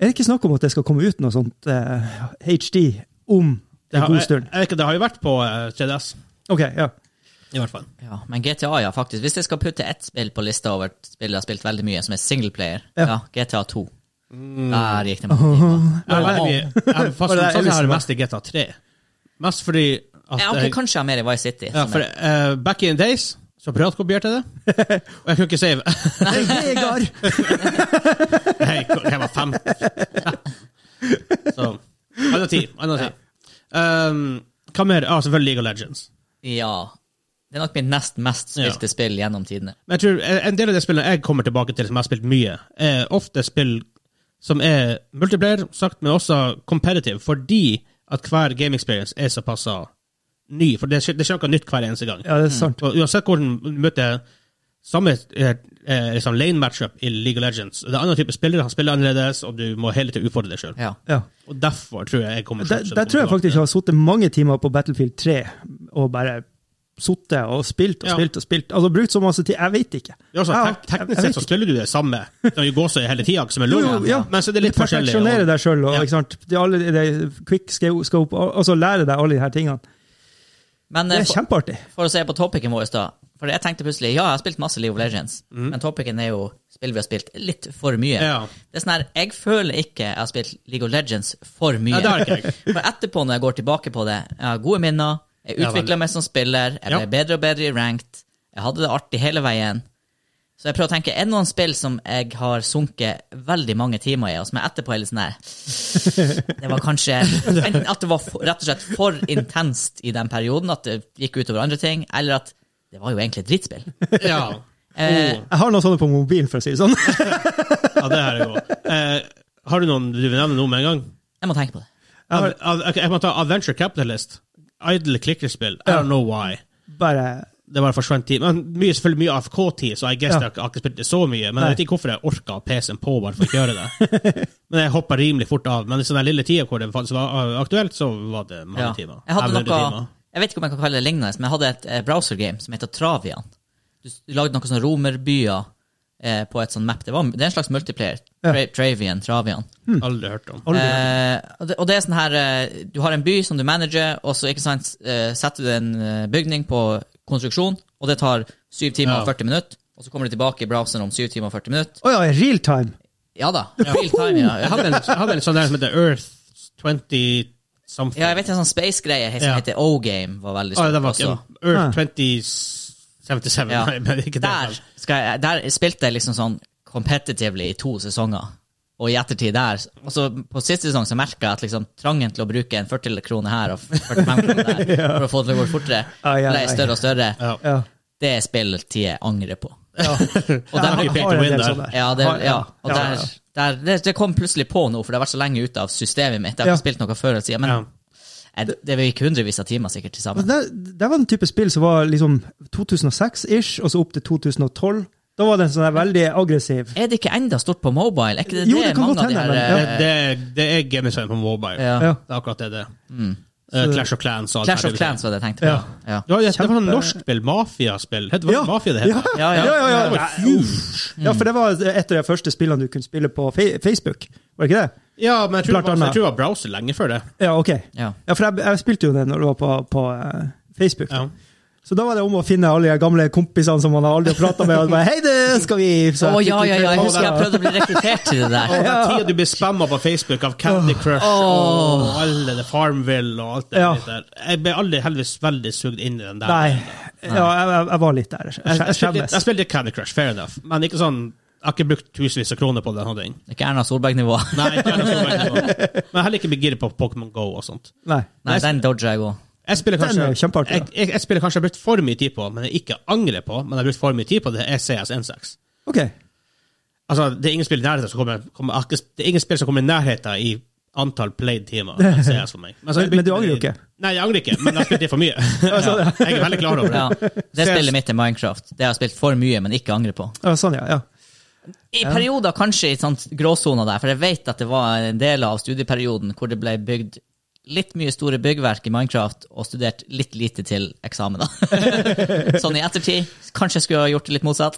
[SPEAKER 5] Er det ikke snakk om at det skal komme ut noe sånt eh, HD om
[SPEAKER 2] Det
[SPEAKER 5] en
[SPEAKER 2] har,
[SPEAKER 5] god
[SPEAKER 2] jeg, jeg,
[SPEAKER 5] stund?
[SPEAKER 2] vet ikke, det har jo vært på eh, 3DS,
[SPEAKER 5] OK, ja.
[SPEAKER 2] *laughs* i hvert fall.
[SPEAKER 3] ja. Men GTA, ja, faktisk. Hvis jeg skal putte ett spill på lista over spill jeg har spilt veldig mye, som er singleplayer,
[SPEAKER 5] Ja.
[SPEAKER 3] ja. GTA 2.
[SPEAKER 2] Mm.
[SPEAKER 3] Der
[SPEAKER 5] *laughs*
[SPEAKER 3] gikk det mange timer.
[SPEAKER 2] Jeg har veldig- jeg *laughs* har
[SPEAKER 5] Var
[SPEAKER 2] fast
[SPEAKER 5] det det
[SPEAKER 2] sånn jeg har
[SPEAKER 5] Ellison
[SPEAKER 2] det
[SPEAKER 5] var?
[SPEAKER 2] mest i GTA 3. Mest fordi at
[SPEAKER 3] Ja, ok,
[SPEAKER 2] jeg,
[SPEAKER 3] kanskje jeg har mer i Vice City.
[SPEAKER 2] ja,
[SPEAKER 3] som
[SPEAKER 2] for,
[SPEAKER 3] er-
[SPEAKER 2] eh, Back in the days så piratkopierte jeg det, *laughs* og jeg kunne ikke save.
[SPEAKER 5] Nei, Vegard!
[SPEAKER 2] Nei, jeg var fem. Så Anna ti. Anna ti. Um, hva mer? Ja, selvfølgelig League of Legends.
[SPEAKER 3] ja. Det er nok mitt nest mest spilte spill gjennom tidene.
[SPEAKER 2] Men jeg tror eh, en- En del av de spillene jeg kommer tilbake til, som jeg har spilt mye, er ofte spill som er multiplayer, sagt, men også competitive, fordi at hver game experience er såpass ny. For det skjer, det skjer noe nytt hver eneste gang.
[SPEAKER 5] Ja, det er sant.
[SPEAKER 2] Og uansett hvordan du møter samme eh, eh, liksom lane matchup i League of Legends, det er andre type spillere, han spiller annerledes, og du må hele tiden utfordre deg sjøl.
[SPEAKER 3] Ja.
[SPEAKER 5] Ja.
[SPEAKER 2] Og derfor tror jeg jeg kommer til
[SPEAKER 5] Der,
[SPEAKER 2] å fortsette
[SPEAKER 5] der tror jeg
[SPEAKER 2] tilbake til
[SPEAKER 5] faktisk jeg har sittet mange timer på Battlefield 3 og bare sittet og spilt og
[SPEAKER 2] Ja.
[SPEAKER 5] spilt og spilt. Altså brukt så masse tid. Jeg vet ikke.
[SPEAKER 2] det er også,
[SPEAKER 5] Jeg har-
[SPEAKER 2] tek
[SPEAKER 5] jeg- jeg
[SPEAKER 2] teknisk sett så
[SPEAKER 5] vet ikke.
[SPEAKER 2] spiller du det samme. Det er jo gåsøy hele tida, som er lov.
[SPEAKER 5] Jo, jo, ja.
[SPEAKER 2] Men så er det litt
[SPEAKER 5] Du
[SPEAKER 2] forskjellig.
[SPEAKER 5] perfeksjonerer deg sjøl og
[SPEAKER 2] Ja.
[SPEAKER 5] ikke sant? Det er alle de quick sco- scope, og og så lærer deg alle de her tingene.
[SPEAKER 3] Men
[SPEAKER 5] Det
[SPEAKER 3] eh,
[SPEAKER 5] er
[SPEAKER 3] for,
[SPEAKER 5] kjempeartig.
[SPEAKER 3] for å se på topicen vår, da. For jeg tenkte plutselig ja, jeg har spilt masse League of Legends, men topicen er jo spill vi har spilt litt for mye.
[SPEAKER 2] Mm. Ja.
[SPEAKER 3] Det er sånn her, Jeg føler ikke jeg har spilt League of Legends for mye.
[SPEAKER 2] Ja, det har ikke jeg.
[SPEAKER 3] For etterpå, når jeg går tilbake på det, jeg har gode minner, jeg
[SPEAKER 2] Ja,
[SPEAKER 3] utvikla
[SPEAKER 2] veldig.
[SPEAKER 3] meg som spiller, jeg ble
[SPEAKER 2] Ja.
[SPEAKER 3] bedre og bedre i ranked, jeg hadde det artig hele veien. Så jeg prøver å tenke, er det noen spill som jeg har sunket veldig mange timer i, og som jeg etterpå er litt sånn her Det var
[SPEAKER 2] *laughs*
[SPEAKER 3] kanskje enten at det var for, rett og slett for intenst i den perioden, at det gikk utover andre ting, eller at det var jo egentlig
[SPEAKER 2] *laughs*
[SPEAKER 3] et drittspill.
[SPEAKER 2] Ja.
[SPEAKER 3] Eh,
[SPEAKER 5] Jeg har noen sånne på mobilen, for å si det sånn. *laughs*
[SPEAKER 2] ja, det er det godt. Eh, har du noen du vil nevne noe med en gang?
[SPEAKER 3] Jeg må tenke på det.
[SPEAKER 2] Av, av, ok, jeg må ta Adventure Capitalist. Idle klikkerspill. I don't know why.
[SPEAKER 5] Bare
[SPEAKER 2] det bare forsvant tid. Men mye, selvfølgelig mye AFK-tid, så I guess
[SPEAKER 5] Ja.
[SPEAKER 2] jeg har ikke spilt det så mye. Men
[SPEAKER 5] Nei.
[SPEAKER 2] jeg vet ikke hvorfor jeg orka PC-en på bare for å gjøre det.
[SPEAKER 5] *laughs*
[SPEAKER 2] men jeg hoppa rimelig fort av. Men i den lille tida hvor det faktisk var aktuelt, så var det mange
[SPEAKER 3] Ja.
[SPEAKER 2] timer.
[SPEAKER 3] Jeg hadde
[SPEAKER 2] Eller
[SPEAKER 3] noe,
[SPEAKER 2] timer.
[SPEAKER 3] jeg vet ikke om jeg kan kalle det lignende, men jeg hadde et eh, browser-game som heter Travian. Du, s- du lagde noen sånne romerbyer eh, på et sånt map. Det, var, det er en slags multiplayer.
[SPEAKER 5] Ja.
[SPEAKER 3] Tra Travian, Travian.
[SPEAKER 5] Hmm.
[SPEAKER 2] Aldri hørt om.
[SPEAKER 5] Aldri.
[SPEAKER 3] Eh, og, det, og det er sånn her eh, Du har en by som du manager, og så ikke sant, eh, setter du en eh, bygning på konstruksjon, og det tar 7 timer og
[SPEAKER 2] Ja.
[SPEAKER 3] 40 minutter. Og så kommer du tilbake i browseren om 7 timer og 40 minutter.
[SPEAKER 5] Å ja, real time.
[SPEAKER 3] Ja da. Real time, ja.
[SPEAKER 2] Jeg hadde en, jeg hadde en sånn der som heter Earth 20 something.
[SPEAKER 3] ja jeg vet en sånn space-greie som
[SPEAKER 2] Ja.
[SPEAKER 3] heter O-Game. var veldig
[SPEAKER 2] ah,
[SPEAKER 3] stor
[SPEAKER 2] det var
[SPEAKER 3] også.
[SPEAKER 2] ikke
[SPEAKER 5] Ah.
[SPEAKER 2] Earth 2077.
[SPEAKER 3] Mm.
[SPEAKER 5] *laughs*
[SPEAKER 2] *laughs*
[SPEAKER 3] Ja.
[SPEAKER 2] Nei, men ikke det.
[SPEAKER 3] der, skal jeg, der spilte jeg liksom sånn competitively i to sesonger. Og i ettertid der. Og så på siste sesong så merka jeg at liksom trangen til å bruke en 40 kroner her og 45 kroner
[SPEAKER 5] *laughs*
[SPEAKER 3] der for å få det til å gå fortere,
[SPEAKER 5] Ah, ja,
[SPEAKER 3] ble
[SPEAKER 5] nei.
[SPEAKER 3] større og større.
[SPEAKER 2] Ja.
[SPEAKER 5] Ja.
[SPEAKER 3] Det er spill tid jeg angrer på. *laughs*
[SPEAKER 5] Og
[SPEAKER 3] der-
[SPEAKER 5] har,
[SPEAKER 2] You pay to
[SPEAKER 5] har en
[SPEAKER 2] win
[SPEAKER 5] del
[SPEAKER 2] der.
[SPEAKER 5] sånne.
[SPEAKER 3] Ja, det,
[SPEAKER 5] Har-
[SPEAKER 3] ja. Og
[SPEAKER 5] ja,
[SPEAKER 3] der,
[SPEAKER 5] ja.
[SPEAKER 3] der, det, det kom plutselig på nå, for det har vært så lenge ute av systemet mitt. Jeg har
[SPEAKER 5] Ja.
[SPEAKER 3] ikke spilt noe før. Siden, men
[SPEAKER 2] Ja.
[SPEAKER 3] eh, det- det gikk hundrevis av timer sikkert til sammen.
[SPEAKER 5] Det, Altså, det var en type spill som var liksom 2006-ish, og så opp til 2012. Da var den sånn der veldig aggressiv.
[SPEAKER 3] Er det ikke enda stort på mobile? Er ikke det,
[SPEAKER 5] Jo,
[SPEAKER 3] det
[SPEAKER 5] det kan
[SPEAKER 3] mange
[SPEAKER 5] godt
[SPEAKER 3] av de
[SPEAKER 5] hende,
[SPEAKER 3] her
[SPEAKER 5] men-
[SPEAKER 2] Det,
[SPEAKER 3] eh,
[SPEAKER 2] det, det er gamedesign på mobile.
[SPEAKER 3] ja. Mm.
[SPEAKER 5] Ja.
[SPEAKER 2] Det er akkurat det det er. Eh, Clash of Clans. og alt
[SPEAKER 3] Clash
[SPEAKER 2] det der.
[SPEAKER 3] of Clans var det jeg tenkte på. Ja.
[SPEAKER 2] Du har, det var sånn
[SPEAKER 5] Kjempe-
[SPEAKER 2] norsk spill, mafiaspill. Het- Var det
[SPEAKER 5] Ja.
[SPEAKER 2] Mafia det heter?
[SPEAKER 5] Ja,
[SPEAKER 3] ja.
[SPEAKER 5] ja, ja, ja. Mm.
[SPEAKER 2] Det var huge.
[SPEAKER 5] Ja, for det var et av de første spillene du kunne spille på fe Facebook, var det ikke det?
[SPEAKER 2] Ja, men jeg tror, det
[SPEAKER 5] Blant
[SPEAKER 2] var,
[SPEAKER 5] annet.
[SPEAKER 2] jeg tror det var browser lenge før det.
[SPEAKER 5] Ja, ok.
[SPEAKER 3] Ja.
[SPEAKER 5] Ja, for jeg, jeg spilte jo det når det var på, på eh, Facebook.
[SPEAKER 2] Ja.
[SPEAKER 5] Så da var det om å finne alle de gamle kompisene som man aldri har prata med. Og bare, hei, det skal vi... Så
[SPEAKER 3] *laughs* Å
[SPEAKER 5] jeg
[SPEAKER 3] ja,
[SPEAKER 5] fikk litt
[SPEAKER 3] ja, ja,
[SPEAKER 5] mer
[SPEAKER 3] jeg
[SPEAKER 5] på
[SPEAKER 3] husker
[SPEAKER 5] det.
[SPEAKER 3] jeg prøvde å bli rekruttert til det der.
[SPEAKER 2] Den tida du blir spamma på Facebook av Candy Crush og alle det Farmville og alt det
[SPEAKER 5] Ja.
[SPEAKER 2] der. Jeg ble aldri heldigvis veldig sugd inn i den der.
[SPEAKER 5] *laughs* Nei, ja, jeg, jeg, jeg var litt der. Jeg,
[SPEAKER 2] Jeg,
[SPEAKER 5] jeg
[SPEAKER 2] jeg, spilte,
[SPEAKER 5] skjemmes.
[SPEAKER 2] jeg spilte Candy Crush, fair enough, men ikke sånn jeg har ikke brukt tusenvis av kroner på den. og den.
[SPEAKER 3] Ikke Erna Solberg-nivå.
[SPEAKER 2] Nei, ikke jeg har noe sånt. Men jeg har heller ikke blitt gira på Pokémon Go og sånt.
[SPEAKER 5] Nei.
[SPEAKER 3] Nei, den dodger jeg òg.
[SPEAKER 2] Jeg spiller
[SPEAKER 5] Den
[SPEAKER 2] kanskje
[SPEAKER 5] er jo kjempeartig,
[SPEAKER 2] jeg,
[SPEAKER 5] da.
[SPEAKER 2] jeg, jeg spiller kanskje jeg har brukt for mye tid på, men jeg ikke angrer på, men jeg har brukt for mye tid på det, E er CS16.
[SPEAKER 5] Ok.
[SPEAKER 2] Altså, det er ingen spill i nærheten som kommer, kommer jeg har ikke- Det er ingen spill som kommer i nærheten i antall played
[SPEAKER 5] *laughs*
[SPEAKER 2] timer. enn CS for meg. så jeg
[SPEAKER 5] Men- men du
[SPEAKER 2] brukte-
[SPEAKER 5] angrer jo ikke.
[SPEAKER 2] Nei, jeg angrer ikke, men jeg har spilt det for
[SPEAKER 5] *laughs*
[SPEAKER 2] mye. Ja, jeg er veldig klar over det.
[SPEAKER 3] Ja. Det spillet mitt er Minecraft. Det har jeg spilt for mye, men ikke angrer på.
[SPEAKER 5] Ja, sånn, ja. ja.
[SPEAKER 3] I perioder kanskje i sånt gråsona der, for jeg vet at det var en del av studieperioden hvor det ble bygd litt mye store byggverk i Minecraft og studert litt lite til
[SPEAKER 5] *laughs*
[SPEAKER 3] eksamener. sånn i ettertid. Kanskje jeg skulle ha gjort det litt motsatt.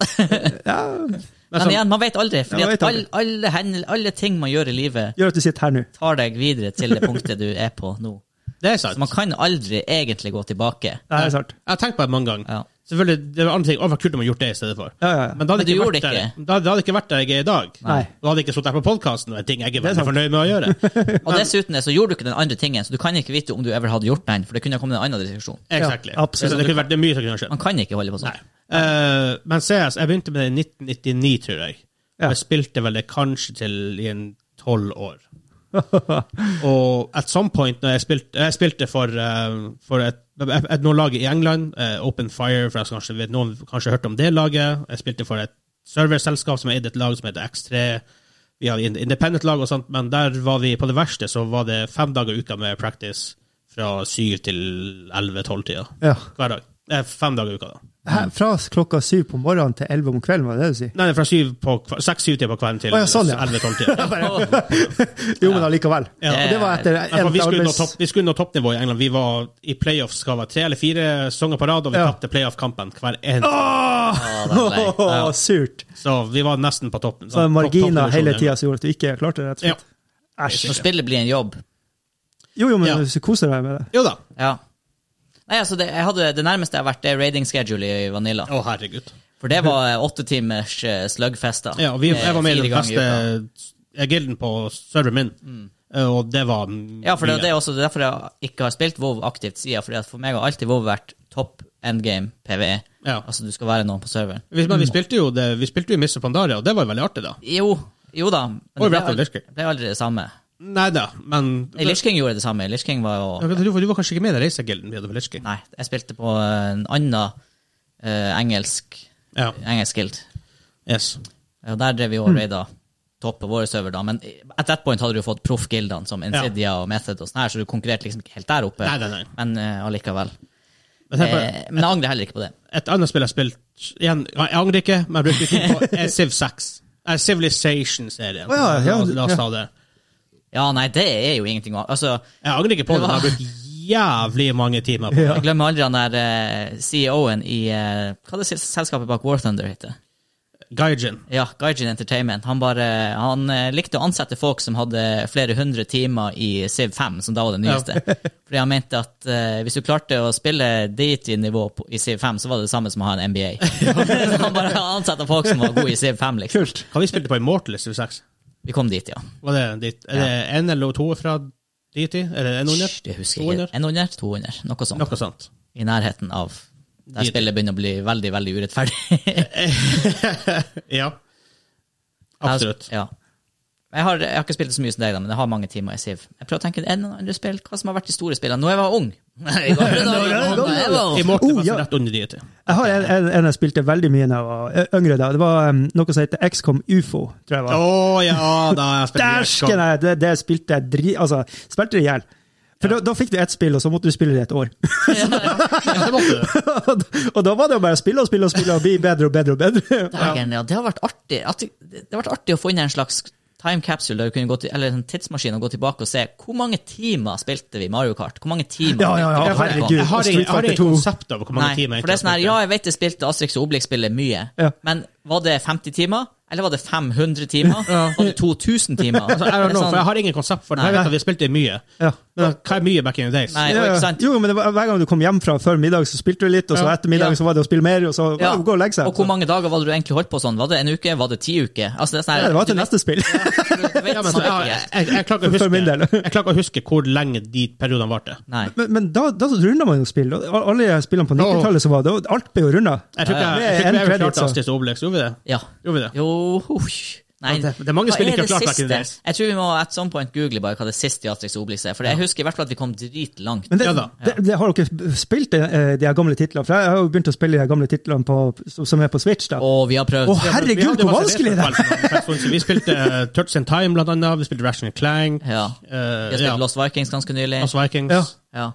[SPEAKER 2] Men
[SPEAKER 3] Men
[SPEAKER 2] sånn-
[SPEAKER 3] igjen, man vet aldri. Fordi
[SPEAKER 5] Ja, man vet
[SPEAKER 3] at
[SPEAKER 5] aldri.
[SPEAKER 3] alle, alle, hendel- alle ting man gjør i livet,
[SPEAKER 5] Gjør at du sitter her nå.
[SPEAKER 3] tar deg
[SPEAKER 2] *laughs*
[SPEAKER 3] videre til det punktet du er på nå.
[SPEAKER 2] det er
[SPEAKER 3] Så
[SPEAKER 2] sant.
[SPEAKER 3] man kan aldri egentlig gå tilbake.
[SPEAKER 5] Nei, det er sant.
[SPEAKER 2] Jeg har tenkt på det mange ganger.
[SPEAKER 3] Ja.
[SPEAKER 2] Selvfølgelig, det var andre ting. Å, hva kult om jeg hadde gjort det i stedet for.
[SPEAKER 5] Ja, ja, ja.
[SPEAKER 2] Men da hadde
[SPEAKER 3] Men du
[SPEAKER 2] jeg
[SPEAKER 3] gjorde
[SPEAKER 2] ikke vært
[SPEAKER 3] det
[SPEAKER 2] der-
[SPEAKER 3] ikke.
[SPEAKER 2] da hadde jeg ikke vært der jeg er i dag.
[SPEAKER 5] Nei.
[SPEAKER 2] Da hadde jeg ikke sittet her på podkasten, og det er ting jeg ikke
[SPEAKER 5] Det
[SPEAKER 2] er
[SPEAKER 5] er
[SPEAKER 2] veldig
[SPEAKER 5] sant.
[SPEAKER 2] fornøyd med å gjøre.
[SPEAKER 5] *laughs*
[SPEAKER 3] Og dessuten er så gjorde du ikke den andre tingen, så du kan ikke vite om du ever hadde gjort den, for det kunne ha kommet en annen diskusjon.
[SPEAKER 2] Exactly.
[SPEAKER 5] Ja, absolutt.
[SPEAKER 2] Så Det kunne vært det er mye som kunne skjedd.
[SPEAKER 3] Man kan ikke holde på sånn.
[SPEAKER 2] Nei. Eh, men CS, jeg begynte med det i 1999, tror jeg.
[SPEAKER 5] Ja.
[SPEAKER 2] Jeg spilte vel det kanskje til i en
[SPEAKER 5] *laughs*
[SPEAKER 2] tolv år. Og at some point når jeg spilte, jeg spilte for, eh, for et, et, et noen lag i England, eh, Open Fire, for jeg som kanskje vet noen kanskje har hørt om det laget. Jeg spilte for et serverselskap som eide et lag som heter X3. Vi hadde ind- independent-lag og sånt, men der var vi på det verste, så var det fem dager i uka med practice fra syv til elleve-tolv-tida.
[SPEAKER 5] Ja.
[SPEAKER 2] Hver dag. Eh, fem dager i uka, da.
[SPEAKER 5] Her, fra klokka syv på morgenen til elleve om kvelden, var det det du sier?
[SPEAKER 2] Nei, det er fra syv på kve- seks syv til på kvelden til
[SPEAKER 5] Å, ja, sånn, ja. *laughs*
[SPEAKER 2] 11-12-tida.
[SPEAKER 5] Jo, men allikevel.
[SPEAKER 2] Ja.
[SPEAKER 5] Og det var etter
[SPEAKER 2] Ja, for vi,
[SPEAKER 5] endt
[SPEAKER 2] skulle nå
[SPEAKER 5] arbeids...
[SPEAKER 2] topp, vi skulle nå toppnivå i England. Vi var i playoffs skal det være tre eller fire sesonger på rad, og vi
[SPEAKER 5] Ja.
[SPEAKER 2] tapte playoff-kampen hver en.
[SPEAKER 3] Åh,
[SPEAKER 5] *laughs* Åh, surt.
[SPEAKER 2] Så vi var nesten på toppen. sånn,
[SPEAKER 5] Så det var marginer
[SPEAKER 2] toppdivisjonen i
[SPEAKER 5] hele
[SPEAKER 2] England.
[SPEAKER 5] tida som gjorde at du ikke klarte det, rett og
[SPEAKER 2] Ja.
[SPEAKER 5] slett. Æsj.
[SPEAKER 3] Når spillet blir en jobb.
[SPEAKER 5] Jo, jo,
[SPEAKER 2] Ja.
[SPEAKER 5] men hvis du koser deg med det.
[SPEAKER 2] Jo da.
[SPEAKER 3] Ja. Nei, altså, det, jeg hadde, det nærmeste jeg har vært, det er raiding schedule i Vanilla.
[SPEAKER 2] Å, herregud.
[SPEAKER 3] For det var eh, åtte timers eh, slugfester. Eh,
[SPEAKER 2] Ja, og vi, jeg var med i
[SPEAKER 3] Fire
[SPEAKER 2] den
[SPEAKER 3] ganger i
[SPEAKER 2] beste
[SPEAKER 3] uka.
[SPEAKER 2] eh, gilden på serveren min, Eh, og det var
[SPEAKER 3] Ja, for det,
[SPEAKER 2] mye.
[SPEAKER 3] det er også derfor jeg ikke har spilt WoW aktivt siden, fordi at for meg har alltid WoW vært topp endgame PVE.
[SPEAKER 2] Ja.
[SPEAKER 3] Altså, du skal være noen på serveren.
[SPEAKER 2] Vi, men vi spilte jo det, vi spilte jo i Mr. Pandaria, og det var jo veldig artig, da.
[SPEAKER 3] Jo, jo da. Men
[SPEAKER 2] Og i
[SPEAKER 3] det
[SPEAKER 2] Wrath of
[SPEAKER 3] ble,
[SPEAKER 2] Lich King.
[SPEAKER 3] aldri, ble aldri det samme.
[SPEAKER 2] Nei da, men
[SPEAKER 3] Nei, Lich King gjorde det samme. Lich King var jo...
[SPEAKER 2] Ja, du, du var kanskje ikke med i den reisegilden vi hadde på Litchking?
[SPEAKER 3] Nei, jeg spilte på en annen eh, engelsk,
[SPEAKER 2] Ja.
[SPEAKER 3] engelsk guild.
[SPEAKER 2] Yes.
[SPEAKER 3] Og der drev vi og raida toppet våre server, da. Men at that point hadde du jo fått proffgildene som Insidia og Method og sånn her, så du konkurrerte liksom ikke helt der oppe.
[SPEAKER 2] Nei, nei, nei.
[SPEAKER 3] Men eh, allikevel.
[SPEAKER 2] Men tenk på-
[SPEAKER 3] Eh, men jeg angrer heller ikke på det.
[SPEAKER 2] Et annet spill jeg har spilt igjen, Jeg angrer ikke, men jeg brukte tid
[SPEAKER 3] *laughs*
[SPEAKER 2] på, er Civ 6. Er Civilization-serien.
[SPEAKER 5] Å ja, ja,
[SPEAKER 2] la, la oss ta det.
[SPEAKER 3] Ja, nei, det er jo ingenting å Altså,
[SPEAKER 2] Jeg angrer ikke på det, men jeg
[SPEAKER 3] Det var-
[SPEAKER 2] har brukt jævlig mange timer på det.
[SPEAKER 3] jeg glemmer aldri han der eh, CEO-en i eh, Hva er det selskapet bak War Thunder heter?
[SPEAKER 2] Gaijin.
[SPEAKER 3] Ja, Gaijin Entertainment. Han, bare, han eh, likte å ansette folk som hadde flere hundre timer i Civ 5, som da var det nyeste. Fordi han mente at eh, hvis du klarte å spille dit i nivå på, i Civ 5, så var det det samme som å ha en MBA. *laughs* Så han bare ansatte folk som var gode i Civ 5, liksom.
[SPEAKER 5] Kult.
[SPEAKER 2] Hva vi spilte på Immortal i Civ 6?
[SPEAKER 3] Vi kom dit, ja.
[SPEAKER 2] Var det dit? Er det en eller to fra dit i? Er det en under?
[SPEAKER 3] Hysj, Det husker jeg
[SPEAKER 2] 200?
[SPEAKER 3] ikke. 100? 200? Noe sånt.
[SPEAKER 2] Noe sånt. *laughs*
[SPEAKER 3] I nærheten av der
[SPEAKER 2] Dit.
[SPEAKER 3] spillet begynner å bli veldig, veldig urettferdig. *laughs*
[SPEAKER 2] Ja. Absolutt.
[SPEAKER 3] Ja. Jeg har, jeg har ikke spilt så mye som deg, da, men jeg har mange timer i Siv. Jeg prøver å tenke er det noen andre spill, hva som har vært de store spillene. Når jeg
[SPEAKER 2] *laughs*
[SPEAKER 3] var ung. Jeg var- Når jeg var ung.
[SPEAKER 2] Immortal
[SPEAKER 5] Oh,
[SPEAKER 2] var
[SPEAKER 5] ja.
[SPEAKER 2] rett under dit.
[SPEAKER 5] Jeg har en, en, en jeg spilte veldig mye da jeg var eh, yngre. da. Det var em, noe som heter XCOM UFO. tror jeg
[SPEAKER 2] Å
[SPEAKER 5] var.
[SPEAKER 2] ja, da har jeg spilt mye
[SPEAKER 5] Dæsken! jeg- Det, det spilte jeg dri... Altså, spilte det i hjel. For da, da fikk du ett spill, og så måtte du spille det et år. *laughs*
[SPEAKER 2] Ja, det måtte du.
[SPEAKER 5] og da var det jo bare å spille og spille og spille og bli bedre og bedre. og bedre.
[SPEAKER 3] *laughs* Dagen, ja. Det har vært artig at du- Det har vært artig å få inn en slags time capsule, der du kunne gå til, eller en tidsmaskin og gå tilbake og se hvor mange timer spilte vi Mario Kart? Hvor mange timer
[SPEAKER 5] Ja, ja, ja,
[SPEAKER 3] spilte vi?
[SPEAKER 5] herregud.
[SPEAKER 2] Jeg har
[SPEAKER 5] Street
[SPEAKER 2] ingen- jeg har
[SPEAKER 5] Fighter
[SPEAKER 2] ingen
[SPEAKER 5] 2.
[SPEAKER 2] konsept av hvor mange timer
[SPEAKER 3] Nei,
[SPEAKER 2] jeg
[SPEAKER 3] for det er
[SPEAKER 2] egentlig
[SPEAKER 3] sånn
[SPEAKER 2] har
[SPEAKER 3] her,
[SPEAKER 2] spilt.
[SPEAKER 3] Ja, jeg vet jeg spilte Asterix og Obelix-spillet mye,
[SPEAKER 5] Ja.
[SPEAKER 3] men var det 50 timer? Eller var det 500 timer? Var det 2000 timer?
[SPEAKER 2] Altså, I don't
[SPEAKER 3] Det er
[SPEAKER 2] know,
[SPEAKER 3] sånn-
[SPEAKER 2] for *laughs* jeg har ingen konsept for det. Jeg vet at vi spilte mye.
[SPEAKER 5] Ja.
[SPEAKER 2] Men hva er mye back in the days?
[SPEAKER 3] Nei,
[SPEAKER 5] Ja,
[SPEAKER 3] og
[SPEAKER 5] ja.
[SPEAKER 3] ikke sant?
[SPEAKER 5] Jo, men det var, Hver gang du kom hjem fra før middag, så spilte du litt, og så etter middagen
[SPEAKER 3] Ja.
[SPEAKER 5] så var det å spille mer, og så ja.
[SPEAKER 3] Ja.
[SPEAKER 5] gå og legge seg. altså.
[SPEAKER 3] Og hvor mange dager var det du egentlig holdt på sånn? Var det en uke? Var det ti uker? Altså, det, er sånn, her-
[SPEAKER 5] ja, det var til neste spill.
[SPEAKER 3] Du vet- *laughs* du vet
[SPEAKER 2] Ja, men,
[SPEAKER 3] sånn
[SPEAKER 2] jeg,
[SPEAKER 3] ikke
[SPEAKER 2] jeg,
[SPEAKER 3] helt.
[SPEAKER 2] jeg, jeg, klarer ikke å
[SPEAKER 5] For min del.
[SPEAKER 2] huske, jeg klarer ikke å huske hvor lenge de periodene varte.
[SPEAKER 3] Nei.
[SPEAKER 5] *laughs* Men, men da, da så runda man jo spill. og Alle de spillene på 90-tallet som var det, og alt ble jo runda.
[SPEAKER 2] Jeg tror ikke
[SPEAKER 5] Ja, ja.
[SPEAKER 2] jeg- jeg tror
[SPEAKER 5] Med
[SPEAKER 2] ikke
[SPEAKER 5] end
[SPEAKER 2] vi ever klarte
[SPEAKER 5] credits,
[SPEAKER 2] Astis og Obelix. Gjorde vi det?
[SPEAKER 3] Ja.
[SPEAKER 2] Gjorde vi det?
[SPEAKER 3] Jo huff. Nei,
[SPEAKER 2] Ja, det- det er mange
[SPEAKER 3] hva
[SPEAKER 2] spill ikke
[SPEAKER 3] det
[SPEAKER 2] klart back in the
[SPEAKER 3] siste?
[SPEAKER 2] days.
[SPEAKER 3] Jeg tror vi må at some point google bare hva det siste i Atrix Obelix er, for jeg husker i hvert fall at vi kom dritlangt.
[SPEAKER 5] Men det,
[SPEAKER 2] Ja da.
[SPEAKER 5] det, det har dere spilt eh, de her gamle titlene? For jeg har jo begynt å spille de her gamle titlene på, som som er på Switch. da. Å,
[SPEAKER 3] Og vi har prøvd.
[SPEAKER 2] Vi
[SPEAKER 5] herregud,
[SPEAKER 2] hadde
[SPEAKER 5] hvor
[SPEAKER 2] masse
[SPEAKER 5] vanskelig det er!
[SPEAKER 2] retrospill. Vi spilte eh, Turtles in Time, blant annet. Vi spilte Ration Clank.
[SPEAKER 3] Ja.
[SPEAKER 2] eh,
[SPEAKER 3] Vi har spilt
[SPEAKER 2] ja. Altså,
[SPEAKER 3] Lost Vikings ganske nylig.
[SPEAKER 2] Lost Vikings.
[SPEAKER 5] Ja.
[SPEAKER 3] Ja.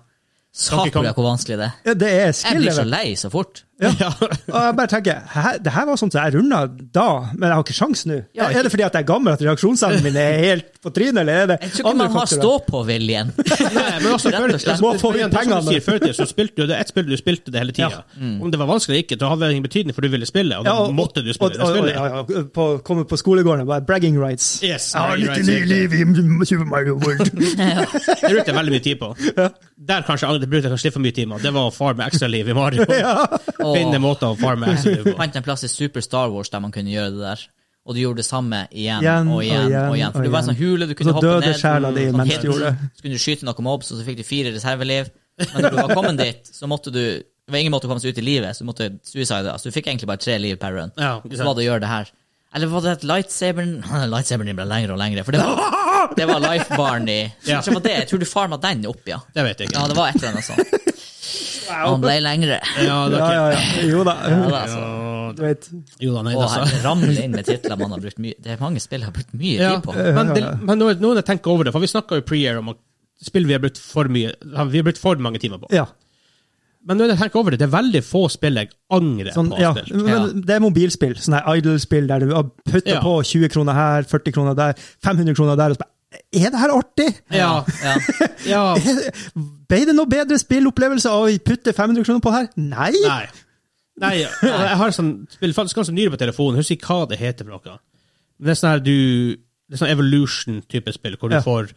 [SPEAKER 2] Donkey Kong.
[SPEAKER 3] Saker jeg hvor vanskelig det er.
[SPEAKER 5] Ja, Det er
[SPEAKER 3] Jeg blir så
[SPEAKER 5] skill-level.
[SPEAKER 3] lei så fort.
[SPEAKER 2] Ja.
[SPEAKER 5] Og jeg bare tenker, hæ, det her var sånt som jeg runda da, men jeg har ikke sjans nå.
[SPEAKER 3] Ja, ikke-
[SPEAKER 5] Er det fordi at jeg er gammel at reaksjonsevnen min er helt på trynet, eller er det
[SPEAKER 3] Jeg tror ikke man har stå-på-viljen.
[SPEAKER 2] Nei, men også
[SPEAKER 3] Rett
[SPEAKER 2] før,
[SPEAKER 3] og slett.
[SPEAKER 5] Må få inn
[SPEAKER 2] igjen, det er som
[SPEAKER 5] pengene.
[SPEAKER 2] du sier, før i tida så spilte du det ett spill du spilte det hele tida. Om det var vanskelig eller ikke, det hadde det ingen betydning, for du ville spille, og da
[SPEAKER 5] Ja, og-
[SPEAKER 2] måtte du spille
[SPEAKER 5] og-
[SPEAKER 2] det
[SPEAKER 5] og-
[SPEAKER 2] spillet.
[SPEAKER 5] Ja, ja, på, komme på skolegården og bare bragging rights.
[SPEAKER 2] Yes,
[SPEAKER 5] jeg har
[SPEAKER 2] bragging
[SPEAKER 5] litt
[SPEAKER 2] rights,
[SPEAKER 5] ny liv i Super Mario
[SPEAKER 3] *laughs*
[SPEAKER 5] World.
[SPEAKER 2] Det brukte jeg veldig mye tid på. Der kanskje jeg brukte jeg kanskje litt for mye timer. Det var å farme ekstra liv i
[SPEAKER 5] *laughs*
[SPEAKER 2] Mario. Finne måter å farme ekstra liv på.
[SPEAKER 3] fant en plass i Super Star Wars der man kunne gjøre det der. Og du gjorde det samme igjen,
[SPEAKER 5] Igjen,
[SPEAKER 3] og igjen. og igjen.
[SPEAKER 5] og
[SPEAKER 3] For det var en
[SPEAKER 5] igjen.
[SPEAKER 3] sånn hule du kunne
[SPEAKER 5] Og så
[SPEAKER 3] hoppe
[SPEAKER 5] døde
[SPEAKER 3] ned.
[SPEAKER 5] sjela di
[SPEAKER 3] sånn
[SPEAKER 5] mens du
[SPEAKER 3] hit,
[SPEAKER 5] gjorde det.
[SPEAKER 3] Så kunne du skyte noen mobs, og så fikk du fire reserveliv. Men når du var kommet dit, så måtte du Det var ingen måte å komme seg ut i livet, så du måtte suicide. Så du fikk egentlig bare tre liv per run.
[SPEAKER 2] Ja,
[SPEAKER 3] Og så var det å gjøre det her. Eller var det at lightsaberen *laughs* Lightsaberen din ble lengre og lengre. For det var, *laughs* det var life barn
[SPEAKER 2] *laughs*
[SPEAKER 3] i Jeg tror ikke det var det. Jeg tror du farma den opp, ja.
[SPEAKER 2] Det vet jeg
[SPEAKER 3] Ja,
[SPEAKER 2] ikke.
[SPEAKER 3] det var et eller annet sånt.
[SPEAKER 2] *laughs*
[SPEAKER 3] Han ble lengre.
[SPEAKER 2] Ja, det er
[SPEAKER 5] Ja,
[SPEAKER 2] ikke.
[SPEAKER 5] ja, ja. Jo da.
[SPEAKER 3] Ja, det, er altså.
[SPEAKER 5] Du vet.
[SPEAKER 2] Jo da, nei,
[SPEAKER 3] Og
[SPEAKER 2] altså.
[SPEAKER 3] her ramler inn med titler man har brukt mye Det er mange spill jeg har brukt mye
[SPEAKER 2] Ja,
[SPEAKER 3] tid på.
[SPEAKER 2] men, det, men nå, nå når jeg tenker over det, for vi snakka jo pre-air om at spill vi har brukt for mye Vi har brukt for mange timer på.
[SPEAKER 5] Ja,
[SPEAKER 2] Men når jeg tenker over det, det er veldig få spill jeg angrer
[SPEAKER 5] sånn,
[SPEAKER 2] på. å
[SPEAKER 5] ja.
[SPEAKER 2] ha spilt.
[SPEAKER 5] Men det er mobilspill. Sånne her Idle-spill der du har putter
[SPEAKER 2] Ja.
[SPEAKER 5] på 20 kroner her, 40 kroner der, 500 kroner der, og så bare Er det her artig?
[SPEAKER 2] Ja,
[SPEAKER 3] Ja.
[SPEAKER 2] ja.
[SPEAKER 3] *laughs*
[SPEAKER 5] Ble det noe bedre spillopplevelse av å putte 500 kroner på her? Nei!
[SPEAKER 2] Nei. Nei, jeg har sånn spill faktisk ganske nylig på telefonen, husker ikke hva det heter for noe. Men det er sånn her du Det er sånn Evolution-type spill, hvor du
[SPEAKER 5] Ja.
[SPEAKER 2] får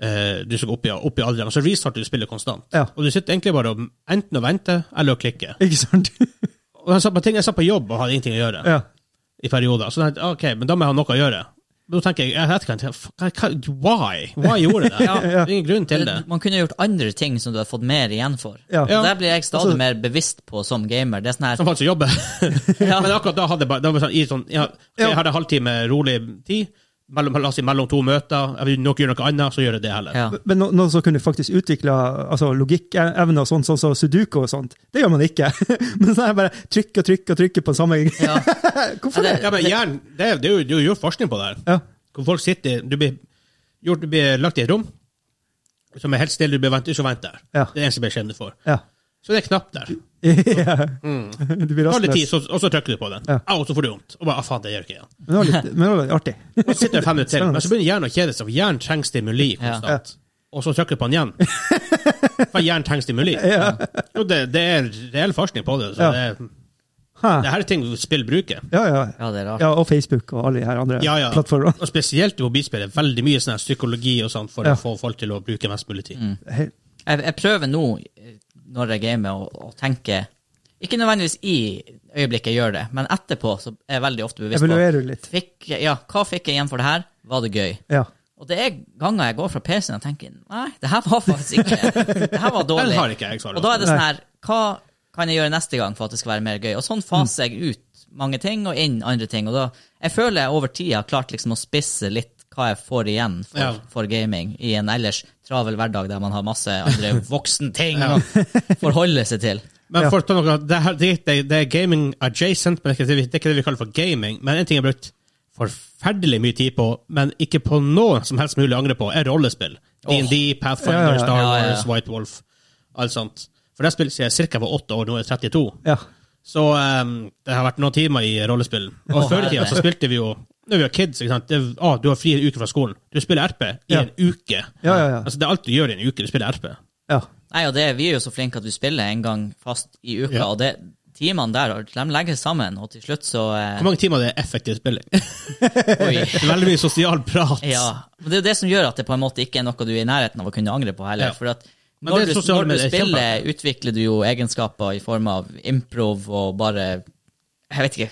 [SPEAKER 2] eh, Du skal opp i, opp i alderen, og så restarter du spillet konstant.
[SPEAKER 5] Ja.
[SPEAKER 2] Og du sitter egentlig bare og enten og venter, eller og klikker.
[SPEAKER 5] Ikke sant? *laughs*
[SPEAKER 2] Og jeg satt på ting jeg satt på jobb og hadde ingenting å gjøre
[SPEAKER 5] Ja.
[SPEAKER 2] i perioder. Så tenkte jeg, ok, men da må jeg ha noe å gjøre. Men da tenker jeg, jeg vet ikke, hva- hva- why? Why
[SPEAKER 5] *laughs*
[SPEAKER 2] gjorde jeg det? Det er ingen grunn til det.
[SPEAKER 3] Man kunne gjort andre ting som du hadde fått mer igjen for.
[SPEAKER 5] Ja.
[SPEAKER 3] Og Der blir jeg stadig
[SPEAKER 5] Altså-
[SPEAKER 3] mer bevisst på som gamer. Det er sånn her
[SPEAKER 2] Som faktisk
[SPEAKER 5] *laughs*
[SPEAKER 2] jobber. Men akkurat da hadde jeg bare da var det sånn, i sånn, ja, ok, jeg hadde en halvtime rolig tid, mellom, la oss si mellom to møter, jeg vil nok gjøre noe annet, så gjør jeg det heller.
[SPEAKER 3] ja.
[SPEAKER 5] Men nå, nå så kunne du faktisk utvikle altså, logikkevner og sånt, sånn som sudoku og sånt. Det gjør man ikke. *laughs* Men så er det bare trykke og trykke og trykke på samme
[SPEAKER 3] Ja.
[SPEAKER 5] *laughs* Hvorfor det?
[SPEAKER 2] Ja,
[SPEAKER 3] Ja,
[SPEAKER 2] men hjernen, det, er- det, er jo- det er jo forskning på det her.
[SPEAKER 5] Ja.
[SPEAKER 2] Hvor folk sitter, du blir, gjort, du blir lagt i et rom, som er helt stille, du blir vent, ikke vent der.
[SPEAKER 5] Ja.
[SPEAKER 2] Det er det eneste jeg blir skjemmet for.
[SPEAKER 5] Ja. *laughs*
[SPEAKER 2] Så det er en knapp der.
[SPEAKER 5] ja. Du blir
[SPEAKER 2] Ta Mm. litt tid,
[SPEAKER 5] rastløs.
[SPEAKER 2] så, og så trykker du på den.
[SPEAKER 5] Ja.
[SPEAKER 2] Au, så får du vondt. Og bare, ah, faen, det gjør ikke igjen.
[SPEAKER 5] Men det var litt, men det var litt artig.
[SPEAKER 2] Og så sitter du fem minutter til, men så begynner hjernen å kjede seg, for hjernen trenger stimuli konstant. Og så trykker du på den igjen.
[SPEAKER 5] *laughs*
[SPEAKER 2] For hjernen trenger stimuli. Jo, det, det er reell forskning på det. Så
[SPEAKER 5] Ja.
[SPEAKER 2] det,
[SPEAKER 5] Hæ.
[SPEAKER 2] det her er ting spill bruker.
[SPEAKER 5] Ja, ja.
[SPEAKER 3] Ja, det er rart.
[SPEAKER 5] ja, og Facebook og alle de her andre
[SPEAKER 2] Ja, ja.
[SPEAKER 5] plattformene.
[SPEAKER 2] Og spesielt i mobilspill er det veldig mye sånn her psykologi og sånt for
[SPEAKER 5] Ja. Mm.
[SPEAKER 2] å få folk til å bruke mest mulig tid.
[SPEAKER 5] Helt-
[SPEAKER 3] Jeg, jeg prøver nå, eh, når jeg gamer, å, å tenke Ikke nødvendigvis i øyeblikket jeg gjør det, men etterpå så er jeg veldig ofte bevisst på
[SPEAKER 5] Evaluerer du litt?
[SPEAKER 3] fikk, jeg- ja, hva fikk jeg igjen for det her. Var det gøy?
[SPEAKER 5] Ja.
[SPEAKER 3] Og det er ganger jeg går fra PC-en og tenker nei, det her var faktisk ikke Det her var
[SPEAKER 2] *laughs*
[SPEAKER 3] dårlig.
[SPEAKER 2] Den har ikke jeg, Sara.
[SPEAKER 3] Og da er det sånn
[SPEAKER 5] Nei.
[SPEAKER 3] her, hva kan jeg gjøre neste gang for at det skal være mer gøy? Og sånn faser jeg ut mange ting og inn andre ting. Og da, jeg føler jeg over tid har klart liksom å spisse litt hva jeg får igjen for,
[SPEAKER 2] Ja.
[SPEAKER 3] for gaming i en ellers travel hverdag der man har masse
[SPEAKER 2] *laughs*
[SPEAKER 3] andre voksenting å forholde seg til.
[SPEAKER 2] Men
[SPEAKER 5] Ja.
[SPEAKER 2] for å ta noe, det, her, det, det, det er gaming adjacent, men det er, ikke det, vi- det er ikke det vi kaller for gaming. Men en ting jeg har brukt forferdelig mye tid på, men ikke på noe som helst mulig å angre på, er rollespill. DND,
[SPEAKER 5] Ja, ja,
[SPEAKER 2] Pathfinder,
[SPEAKER 5] ja.
[SPEAKER 2] Star
[SPEAKER 3] Ja, ja, ja.
[SPEAKER 2] Wars, White Wolf, alt sånt. For det spillet siden jeg cirka var åtte år, nå er jeg 32.
[SPEAKER 5] ja.
[SPEAKER 2] Så ehm, det har vært noen timer i rollespill. Og
[SPEAKER 3] Å,
[SPEAKER 2] før i tida
[SPEAKER 3] herre.
[SPEAKER 2] så spilte vi jo Når vi var kids, ikke sant? Det, ah, du har fri en uke fra skolen. Du spiller RP i
[SPEAKER 5] Ja.
[SPEAKER 2] en uke.
[SPEAKER 5] Ja, ja, ja.
[SPEAKER 2] Altså, det er alt du gjør i en uke. Du spiller RP.
[SPEAKER 5] ja.
[SPEAKER 3] Nei, og det, vi er jo så flinke at vi spiller en gang fast i uka,
[SPEAKER 2] Ja.
[SPEAKER 3] og det, timene der de legges sammen, og til slutt så eh,
[SPEAKER 2] Hvor mange timer er det effektiv spilling?
[SPEAKER 3] *laughs* Oi.
[SPEAKER 2] Veldig mye sosial prat.
[SPEAKER 3] Ja, men det er jo det som gjør at det på en måte ikke er noe du er i nærheten av å kunne angre på heller.
[SPEAKER 2] Ja.
[SPEAKER 3] For at
[SPEAKER 2] Men
[SPEAKER 3] når
[SPEAKER 2] det
[SPEAKER 3] du,
[SPEAKER 2] sosiale
[SPEAKER 3] når du
[SPEAKER 2] medier er
[SPEAKER 3] spiller, utvikler du jo egenskaper i form av improv og bare Jeg vet ikke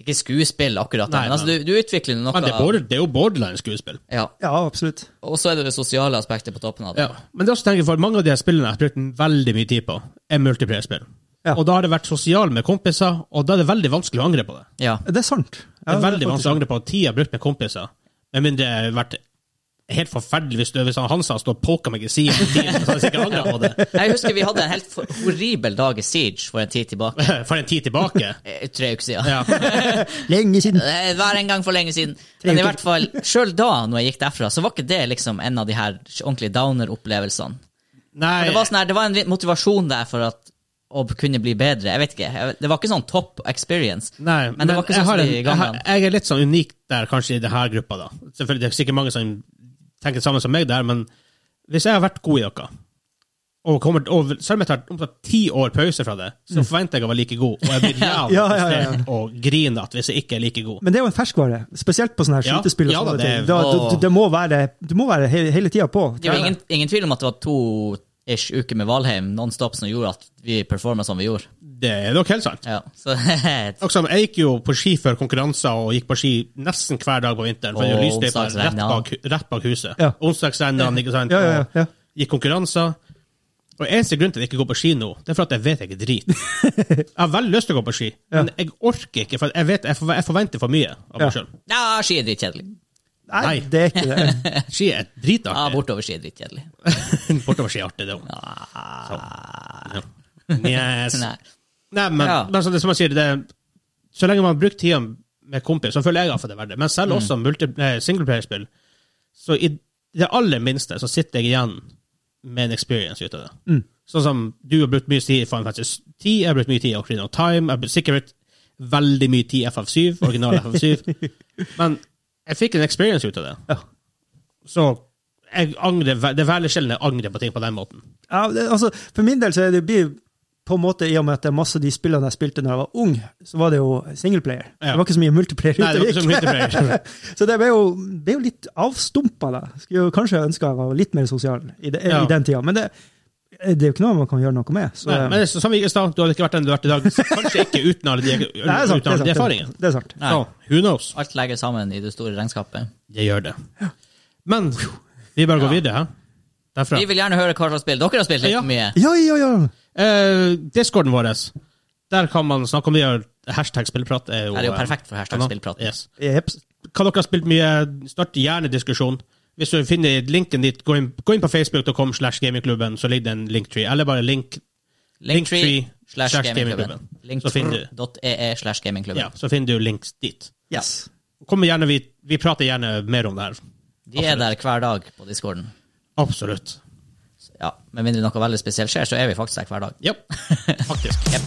[SPEAKER 3] Ikke skuespill, akkurat,
[SPEAKER 2] Nei,
[SPEAKER 3] men altså,
[SPEAKER 2] men-
[SPEAKER 3] du, du utvikler noe
[SPEAKER 2] Men det er, border, det er jo borderline skuespill.
[SPEAKER 3] ja.
[SPEAKER 5] ja absolutt.
[SPEAKER 3] Og så er det det sosiale aspektet på toppen av det.
[SPEAKER 2] Men det er også tenker jeg for mange av de her spillene jeg har brukt veldig mye tid på, er multiplierspill.
[SPEAKER 5] Ja.
[SPEAKER 2] Og da har det vært sosial med kompiser, og da er det veldig vanskelig å angre på det.
[SPEAKER 3] Ja.
[SPEAKER 5] Det er sant.
[SPEAKER 2] Det
[SPEAKER 5] Ja,
[SPEAKER 2] er veldig vanskelig
[SPEAKER 5] faktisk-
[SPEAKER 2] å angre på tid jeg har brukt med kompiser, med mindre det har vært helt forferdelig hvis, hvis han Hansa står og poker meg i siden på tiden, så hadde jeg sikkert angret på det *laughs*
[SPEAKER 3] Jeg husker vi hadde en helt for- horribel dag i Siege for en tid tilbake.
[SPEAKER 2] for en tid tilbake.
[SPEAKER 3] Eh, Tre uker siden. Eh,
[SPEAKER 2] Ja.
[SPEAKER 5] Lenge siden.
[SPEAKER 3] Det var en gang for lenge siden. Men i
[SPEAKER 5] uker.
[SPEAKER 3] hvert fall, sjøl da, når jeg gikk derfra, så var ikke det liksom en av de her ordentlige downer-opplevelsene.
[SPEAKER 2] Nei,
[SPEAKER 3] *laughs* Men det var, sånn her, det var en litt motivasjon der for at å kunne bli bedre. Jeg vet ikke. Jeg- Det var ikke sånn top experience.
[SPEAKER 2] nei,
[SPEAKER 3] men det var ikke sånn
[SPEAKER 2] jeg,
[SPEAKER 3] som
[SPEAKER 2] har
[SPEAKER 3] de
[SPEAKER 2] en, jeg, har,
[SPEAKER 3] gangene.
[SPEAKER 2] jeg er litt sånn unik der, kanskje, i denne gruppa, da. Selvfølgelig, det er sikkert mange som tenker det samme som meg der, men hvis jeg har vært god i noe, og, kommer, og selv om jeg tar omtrent ti år pause fra det,
[SPEAKER 3] Mm.
[SPEAKER 2] så forventer jeg å være like god, og jeg
[SPEAKER 3] *laughs*
[SPEAKER 2] blir
[SPEAKER 5] Ja,
[SPEAKER 2] jævlig
[SPEAKER 5] ja, ja.
[SPEAKER 2] frustrert og grinete hvis jeg ikke er like god.
[SPEAKER 5] Men det er jo en ferskvare, spesielt på sånne her
[SPEAKER 2] Ja,
[SPEAKER 5] skytespill. og
[SPEAKER 2] ja da,
[SPEAKER 5] sånne
[SPEAKER 2] det er-
[SPEAKER 5] ting. Da, du, du, det må være, du må være hele, hele tida på.
[SPEAKER 3] Det er jo ingen, ingen tvil om at det var to ish uker med Valheim nonstop som gjorde at vi performa som vi gjorde.
[SPEAKER 2] Det er nok helt sant.
[SPEAKER 3] Ja, så *laughs* det
[SPEAKER 2] Og som- jeg gikk jo på ski før konkurranser og gikk på ski nesten hver dag på vinteren. For det er jo
[SPEAKER 3] Og
[SPEAKER 2] lysløypa rett,
[SPEAKER 3] onsdagsrennene.
[SPEAKER 2] bak- rett bak huset.
[SPEAKER 5] Ja.
[SPEAKER 2] Onsdagsrennene, ikke sant.
[SPEAKER 5] Ja, ja, ja, ja.
[SPEAKER 2] og Gikk konkurranser. Og eneste grunn til at jeg ikke går på ski nå, det er for at jeg vet jeg
[SPEAKER 5] *laughs*
[SPEAKER 2] er drit. Jeg har veldig lyst til å gå på ski, men jeg orker ikke, for jeg vet jeg forve- jeg forventer for mye av meg
[SPEAKER 5] Ja.
[SPEAKER 2] sjøl.
[SPEAKER 3] ja, ski er drittkjedelig.
[SPEAKER 5] Nei,
[SPEAKER 2] Nei.
[SPEAKER 5] det er ikke
[SPEAKER 2] *laughs*
[SPEAKER 5] det.
[SPEAKER 2] Ski er
[SPEAKER 3] Ja,
[SPEAKER 2] dritartig.
[SPEAKER 3] bortover ski er drittkjedelig.
[SPEAKER 2] *laughs* Bortover ski er artig, det òg. Yes.
[SPEAKER 3] Nei.
[SPEAKER 2] Nei, men,
[SPEAKER 3] Ja.
[SPEAKER 2] men som, det, som jeg sier, det, er- så lenge man har brukt tida med kompis, så føler jeg at det er verdt det. Men
[SPEAKER 3] Mm.
[SPEAKER 2] selv også multi, eh, singleplayerspill, så i det aller minste så sitter jeg igjen med en experience ut av det.
[SPEAKER 3] Mm.
[SPEAKER 2] Sånn som du har brukt mye tid i Final Fantasy 10, jeg har brukt mye tid i Ocarina of Time, jeg har brukt- sikkert brukt veldig mye tid i FF7, original
[SPEAKER 3] *laughs*
[SPEAKER 2] FF7. men jeg fikk en experience ut av det.
[SPEAKER 5] Ja.
[SPEAKER 2] Så jeg angrer, ve- det er veldig sjelden jeg angrer på ting på den måten.
[SPEAKER 5] Ja, det, altså, for min del så er det blir på en måte, I og med at det er masse av de spillene jeg spilte når jeg var ung, så var det jo singleplayer.
[SPEAKER 2] Ja.
[SPEAKER 5] Det var ikke så mye multiplayer.
[SPEAKER 2] Nei,
[SPEAKER 5] ute
[SPEAKER 2] det var
[SPEAKER 5] og
[SPEAKER 2] ikke så
[SPEAKER 5] gikk.
[SPEAKER 2] multiplayer.
[SPEAKER 5] *laughs* Så det ble jo, ble jo litt avstumpa, da. Skulle jo kanskje ønske jeg var litt mer sosial i, det,
[SPEAKER 2] Ja.
[SPEAKER 5] i den tida. Men det, det er jo ikke noe man kan gjøre noe med. Så,
[SPEAKER 2] Nei, men det, er så- som vi gikk i stad, du hadde ikke vært den du har vært i dag. så Kanskje ikke uten alle de,
[SPEAKER 5] Nei, det er sant. Det
[SPEAKER 2] uten alle de
[SPEAKER 5] er sant.
[SPEAKER 2] erfaringene.
[SPEAKER 5] Det er sant.
[SPEAKER 3] Nei.
[SPEAKER 2] Så, who knows?
[SPEAKER 3] Alt legger sammen i det store regnskapet.
[SPEAKER 2] Det gjør det. Men vi bare går videre, hæ? Derfra.
[SPEAKER 3] Vi vil gjerne høre hva slags spill dere har spilt litt
[SPEAKER 2] Ja.
[SPEAKER 3] mye.
[SPEAKER 5] Ja, ja, ja!
[SPEAKER 2] Eh, Discorden vår, der kan man snakke om det. gjør- Hashtag spillprat er jo
[SPEAKER 3] Her er jo
[SPEAKER 2] eh,
[SPEAKER 3] perfekt for hashtag
[SPEAKER 2] kanal.
[SPEAKER 3] spillprat.
[SPEAKER 2] Yes.
[SPEAKER 5] Jeps.
[SPEAKER 2] Hva dere har spilt mye, start gjerne diskusjon. Hvis du finner linken dit, gå inn, gå inn på facebook.com slash gamingklubben, så ligger det en linktree. Eller bare link Linktree
[SPEAKER 3] Linktree slash
[SPEAKER 2] slash
[SPEAKER 3] gamingklubben.
[SPEAKER 2] gamingklubben. Så finner du-
[SPEAKER 3] Linktree.ee E slash gamingklubben.
[SPEAKER 2] Ja, så finner du links dit.
[SPEAKER 5] Yes.
[SPEAKER 2] Kom gjerne, vi, vi prater gjerne mer om det her.
[SPEAKER 3] De er der hver dag på discorden.
[SPEAKER 2] Absolutt.
[SPEAKER 3] ja, med mindre noe veldig spesielt skjer, så er vi faktisk her hver dag.
[SPEAKER 2] Ja, faktisk.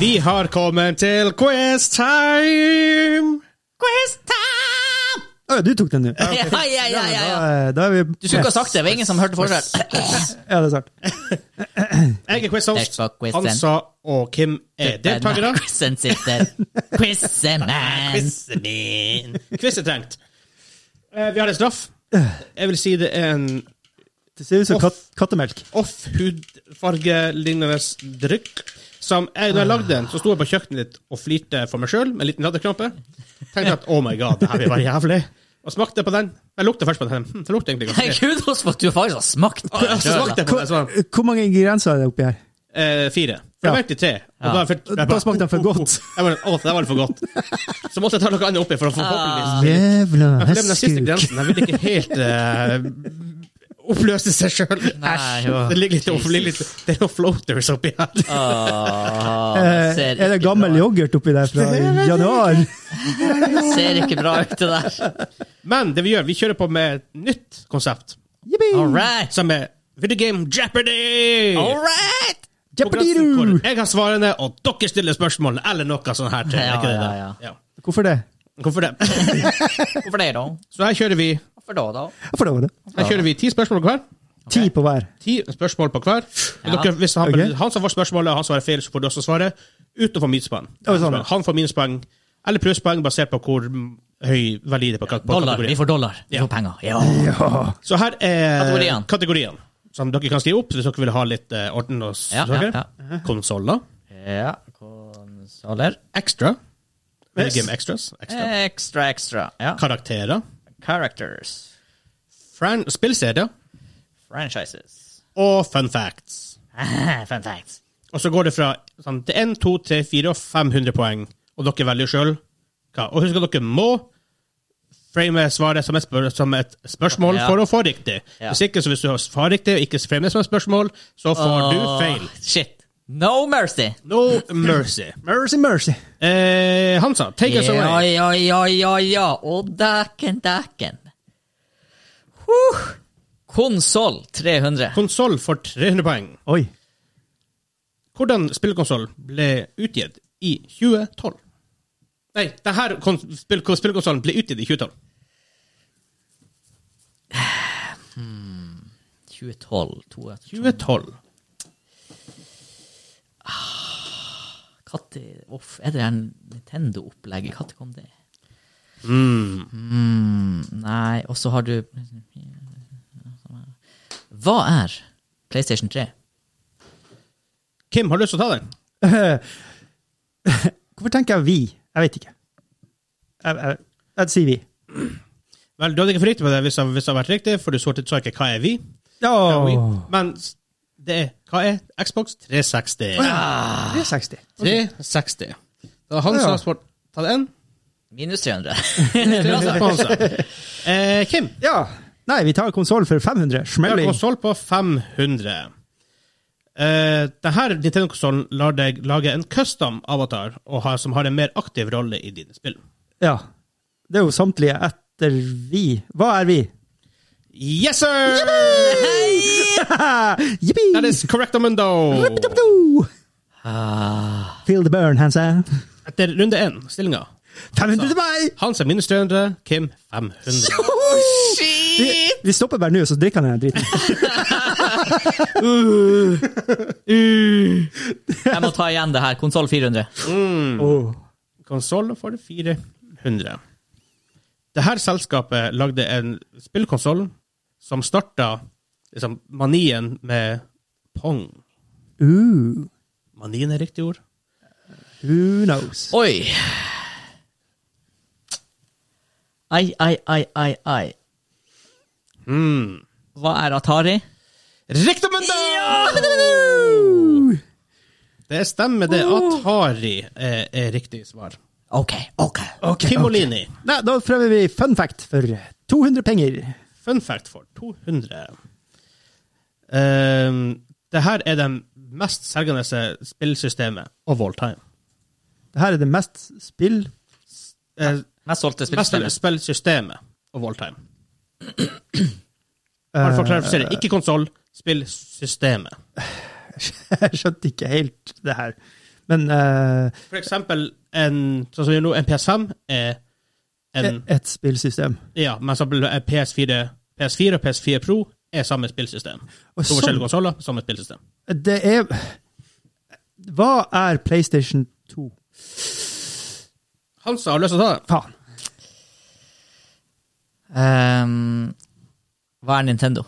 [SPEAKER 2] Vi har kommet til quiz time! Quiz time!
[SPEAKER 5] Å, du tok den nå.
[SPEAKER 3] Ja, ja, ja, ja, ja.
[SPEAKER 5] Da, da er vi
[SPEAKER 3] Du skulle ikke ha sagt det, det var ingen som hørte forskjell.
[SPEAKER 5] Ja, det er sant.
[SPEAKER 2] Jeg er
[SPEAKER 3] Jeg
[SPEAKER 2] quizhost.
[SPEAKER 3] får quizen.
[SPEAKER 2] Hansa og Kim er deltakere.
[SPEAKER 3] Quizen sitter. Quizeman.
[SPEAKER 2] Quiz er trengt. Eh, Vi har en straff. Jeg vil si det er en
[SPEAKER 5] Det ser ut som kat kattemelk.
[SPEAKER 2] off-hudfargelignende drykk. Som jeg, når jeg lagde den, så sto jeg på kjøkkenet litt og flirte for meg sjøl med en liten latterkrampe. Tenkte at oh my god, det her vil være jævlig. Og smakte på den. Jeg lukta først på den. Hm, det lukter egentlig ganske
[SPEAKER 3] Kudos for at du faktisk har smakt på
[SPEAKER 2] greit.
[SPEAKER 3] det
[SPEAKER 2] Og så
[SPEAKER 3] selv,
[SPEAKER 2] altså, smakte
[SPEAKER 3] da.
[SPEAKER 2] jeg på den, så var den
[SPEAKER 5] Hvor mange ingredienser er det oppi her?
[SPEAKER 2] eh, fire. For
[SPEAKER 5] Ja.
[SPEAKER 2] det var egentlig tre. Og da, fikk- jeg
[SPEAKER 5] Da
[SPEAKER 2] bare-
[SPEAKER 5] smakte den for godt.
[SPEAKER 2] Jeg bare, Å, det var litt for godt. Så måtte jeg ta noe annet oppi for å få forhåpentligvis
[SPEAKER 5] Jævla
[SPEAKER 2] Jeg glemte den siste
[SPEAKER 5] hestkuk.
[SPEAKER 2] grensen. Jeg vil ikke helt eh, oppløse seg sjøl.
[SPEAKER 3] Nei, jo.
[SPEAKER 2] Det ligger litt, det ligger litt Det er noen floaters oppi her.
[SPEAKER 3] Åh,
[SPEAKER 5] Eh,
[SPEAKER 3] ser
[SPEAKER 5] Er det
[SPEAKER 3] ikke
[SPEAKER 5] gammel
[SPEAKER 3] bra-
[SPEAKER 5] yoghurt oppi der fra i januar?
[SPEAKER 3] Ser ikke bra ut, det der.
[SPEAKER 2] Men det vi gjør, vi kjører på med et nytt konsept,
[SPEAKER 3] All right.
[SPEAKER 2] som er Video Game Jeopardy!
[SPEAKER 3] All right.
[SPEAKER 2] Konkurransen hvor
[SPEAKER 5] Jeopardy!
[SPEAKER 2] Jeg har svarene, og dere stiller spørsmål, eller noe sånt her. til, er ikke det
[SPEAKER 3] Ja,
[SPEAKER 2] det?
[SPEAKER 3] ja,
[SPEAKER 5] Hvorfor det?
[SPEAKER 2] Hvorfor det? *laughs*
[SPEAKER 3] Hvorfor det, da?
[SPEAKER 2] Så her kjører vi
[SPEAKER 3] Hvorfor da, da?
[SPEAKER 5] For det var det.
[SPEAKER 2] Her kjører vi ti spørsmål på hver.
[SPEAKER 5] Ti på hver.
[SPEAKER 2] Ti spørsmål på hver. Og
[SPEAKER 3] Ja.
[SPEAKER 2] dere, hvis han,
[SPEAKER 5] Ok.
[SPEAKER 2] han som får spørsmålet, og han svarer feil, så får du også svare. Uten å få minuspoeng.
[SPEAKER 5] Ja, sånn, ja.
[SPEAKER 2] Han får minuspoeng, eller plusspoeng, basert på hvor mm, høy verdi det er på kak- på
[SPEAKER 3] Dollar. Vi
[SPEAKER 2] kategorien.
[SPEAKER 3] får dollar. Vi
[SPEAKER 2] Ja.
[SPEAKER 3] får penger. Ja.
[SPEAKER 2] Så her er
[SPEAKER 3] Kategorien.
[SPEAKER 2] kategorien, som dere kan skrive opp hvis dere vil ha litt eh, orden og
[SPEAKER 3] Ja,
[SPEAKER 2] saker.
[SPEAKER 3] ja,
[SPEAKER 2] Konsoller.
[SPEAKER 3] ja. Konsoller.
[SPEAKER 2] Extra.
[SPEAKER 5] Yes.
[SPEAKER 2] Game extras.
[SPEAKER 3] Eh.
[SPEAKER 2] Extra.
[SPEAKER 3] Extra, extra. Ja.
[SPEAKER 2] Karakterer.
[SPEAKER 3] Characters.
[SPEAKER 2] Fran spillserier.
[SPEAKER 3] Franchises. *laughs*
[SPEAKER 2] Og fun facts.
[SPEAKER 3] Fun facts.
[SPEAKER 2] Og så går det fra sånn, til 1, 2, 3, 4 og 500 poeng. Og dere velger sjøl. Og husk at dere må frame svaret som et, spør som et spørsmål
[SPEAKER 3] Ja.
[SPEAKER 2] for å få riktig.
[SPEAKER 3] Ja.
[SPEAKER 2] Hvis ikke, så hvis du har svar riktig og ikke frame det som et spørsmål, så får du feil.
[SPEAKER 3] Shit. No mercy.
[SPEAKER 2] No mercy.
[SPEAKER 5] Mercy, mercy.
[SPEAKER 2] Eh, Hansa, take us
[SPEAKER 3] Ja,
[SPEAKER 2] away.
[SPEAKER 3] ja, ja, ja, ja. Og dæken, dæken. Huh. Konsoll 300.
[SPEAKER 2] Konsoll for 300 poeng.
[SPEAKER 5] Oi.
[SPEAKER 2] Hvordan spillkonsoll ble utgitt i 2012? Nei, denne spill spillkonsollen ble utgitt i 2012.
[SPEAKER 3] 2012. 2012.
[SPEAKER 2] 2012.
[SPEAKER 3] Katte, uff, er det en Nintendo-opplegget? Når kom det? Mm, nei, og så har du Hva er PlayStation 3?
[SPEAKER 2] Kim, har du lyst til å ta den?
[SPEAKER 5] Hvorfor tenker jeg vi? Jeg vet ikke. Jeg, jeg, jeg sier vi.
[SPEAKER 2] Vel, du hadde ikke forriktig på det hvis det hvis det hadde vært riktig, for du sortet sa ikke hva er vi. Hva er vi? Men s- det er hva er Xbox 360?
[SPEAKER 5] 360.
[SPEAKER 2] 360. Da har Hansa
[SPEAKER 5] Ja.
[SPEAKER 2] svart ta den. *laughs*
[SPEAKER 3] Minus 300.
[SPEAKER 2] Hansa på Hansa. Eh, Kim,
[SPEAKER 5] Ja. Nei, vi tar konsoll for 500.
[SPEAKER 2] du har
[SPEAKER 5] Smelling.
[SPEAKER 2] konsoll på 500. Eh, denne Nintendo-konsollen lar deg lage en custom avatar og har, som har en mer aktiv rolle i dine spill.
[SPEAKER 5] Ja. Det er jo samtlige etter vi. Hva er vi?
[SPEAKER 2] Yes, sir!
[SPEAKER 5] Jippi!
[SPEAKER 2] That is correct, Amendo.
[SPEAKER 5] Jippidoppido!
[SPEAKER 3] Ah,
[SPEAKER 5] Feel the burn, Hansa.
[SPEAKER 2] Etter runde én, stillinga.
[SPEAKER 5] 500 til meg!
[SPEAKER 2] Hansa minus 300, Kim 500.
[SPEAKER 5] Vi, *laughs* vi stopper bare nå, så drikker han den driten.
[SPEAKER 3] Jeg må ta igjen det her. Konsoll 400.
[SPEAKER 5] Åh.
[SPEAKER 2] konsoll for 400. Dette selskapet lagde en spillkonsoll som starta liksom, manien med Pong.
[SPEAKER 5] Uh,
[SPEAKER 2] Manien er riktig ord.
[SPEAKER 5] who knows?
[SPEAKER 3] Oi. Ai, ai, ai, ai, ai. Hmm. Hva er Atari?
[SPEAKER 2] Riktig, men da! Det stemmer, det. Atari er, er riktig svar.
[SPEAKER 3] OK, OK.
[SPEAKER 2] Kimolini.
[SPEAKER 5] Nei, da prøver vi fun fact for 200 penger.
[SPEAKER 2] Fun fact for 200. Ehm, Um, det her er det mest selgende spillsystemet of all time.
[SPEAKER 5] Det her er det mest spill *laughs* eh,
[SPEAKER 3] Mest solgte
[SPEAKER 2] Mest
[SPEAKER 3] spillspillet.
[SPEAKER 2] spillsystemet og Walltime. Bare for å klarifisere. Ikke konsoll, spillsystemet.
[SPEAKER 5] Jeg skjønte ikke helt det her. Men eh,
[SPEAKER 2] For eksempel en, sånn som vi gjør nå, en PS5 er en Mm.
[SPEAKER 5] et, et spillsystem.
[SPEAKER 2] Ja, men eh, for eksempel en PS4, PS4 og PS4 Pro er samme spillsystem.
[SPEAKER 5] Og
[SPEAKER 2] To forskjellige
[SPEAKER 5] sånn,
[SPEAKER 2] konsoller, samme spillsystem.
[SPEAKER 5] det er Hva er PlayStation 2?
[SPEAKER 2] Hansa har lyst til å ta det.
[SPEAKER 5] Faen.
[SPEAKER 3] Ehm, hva er Nintendo?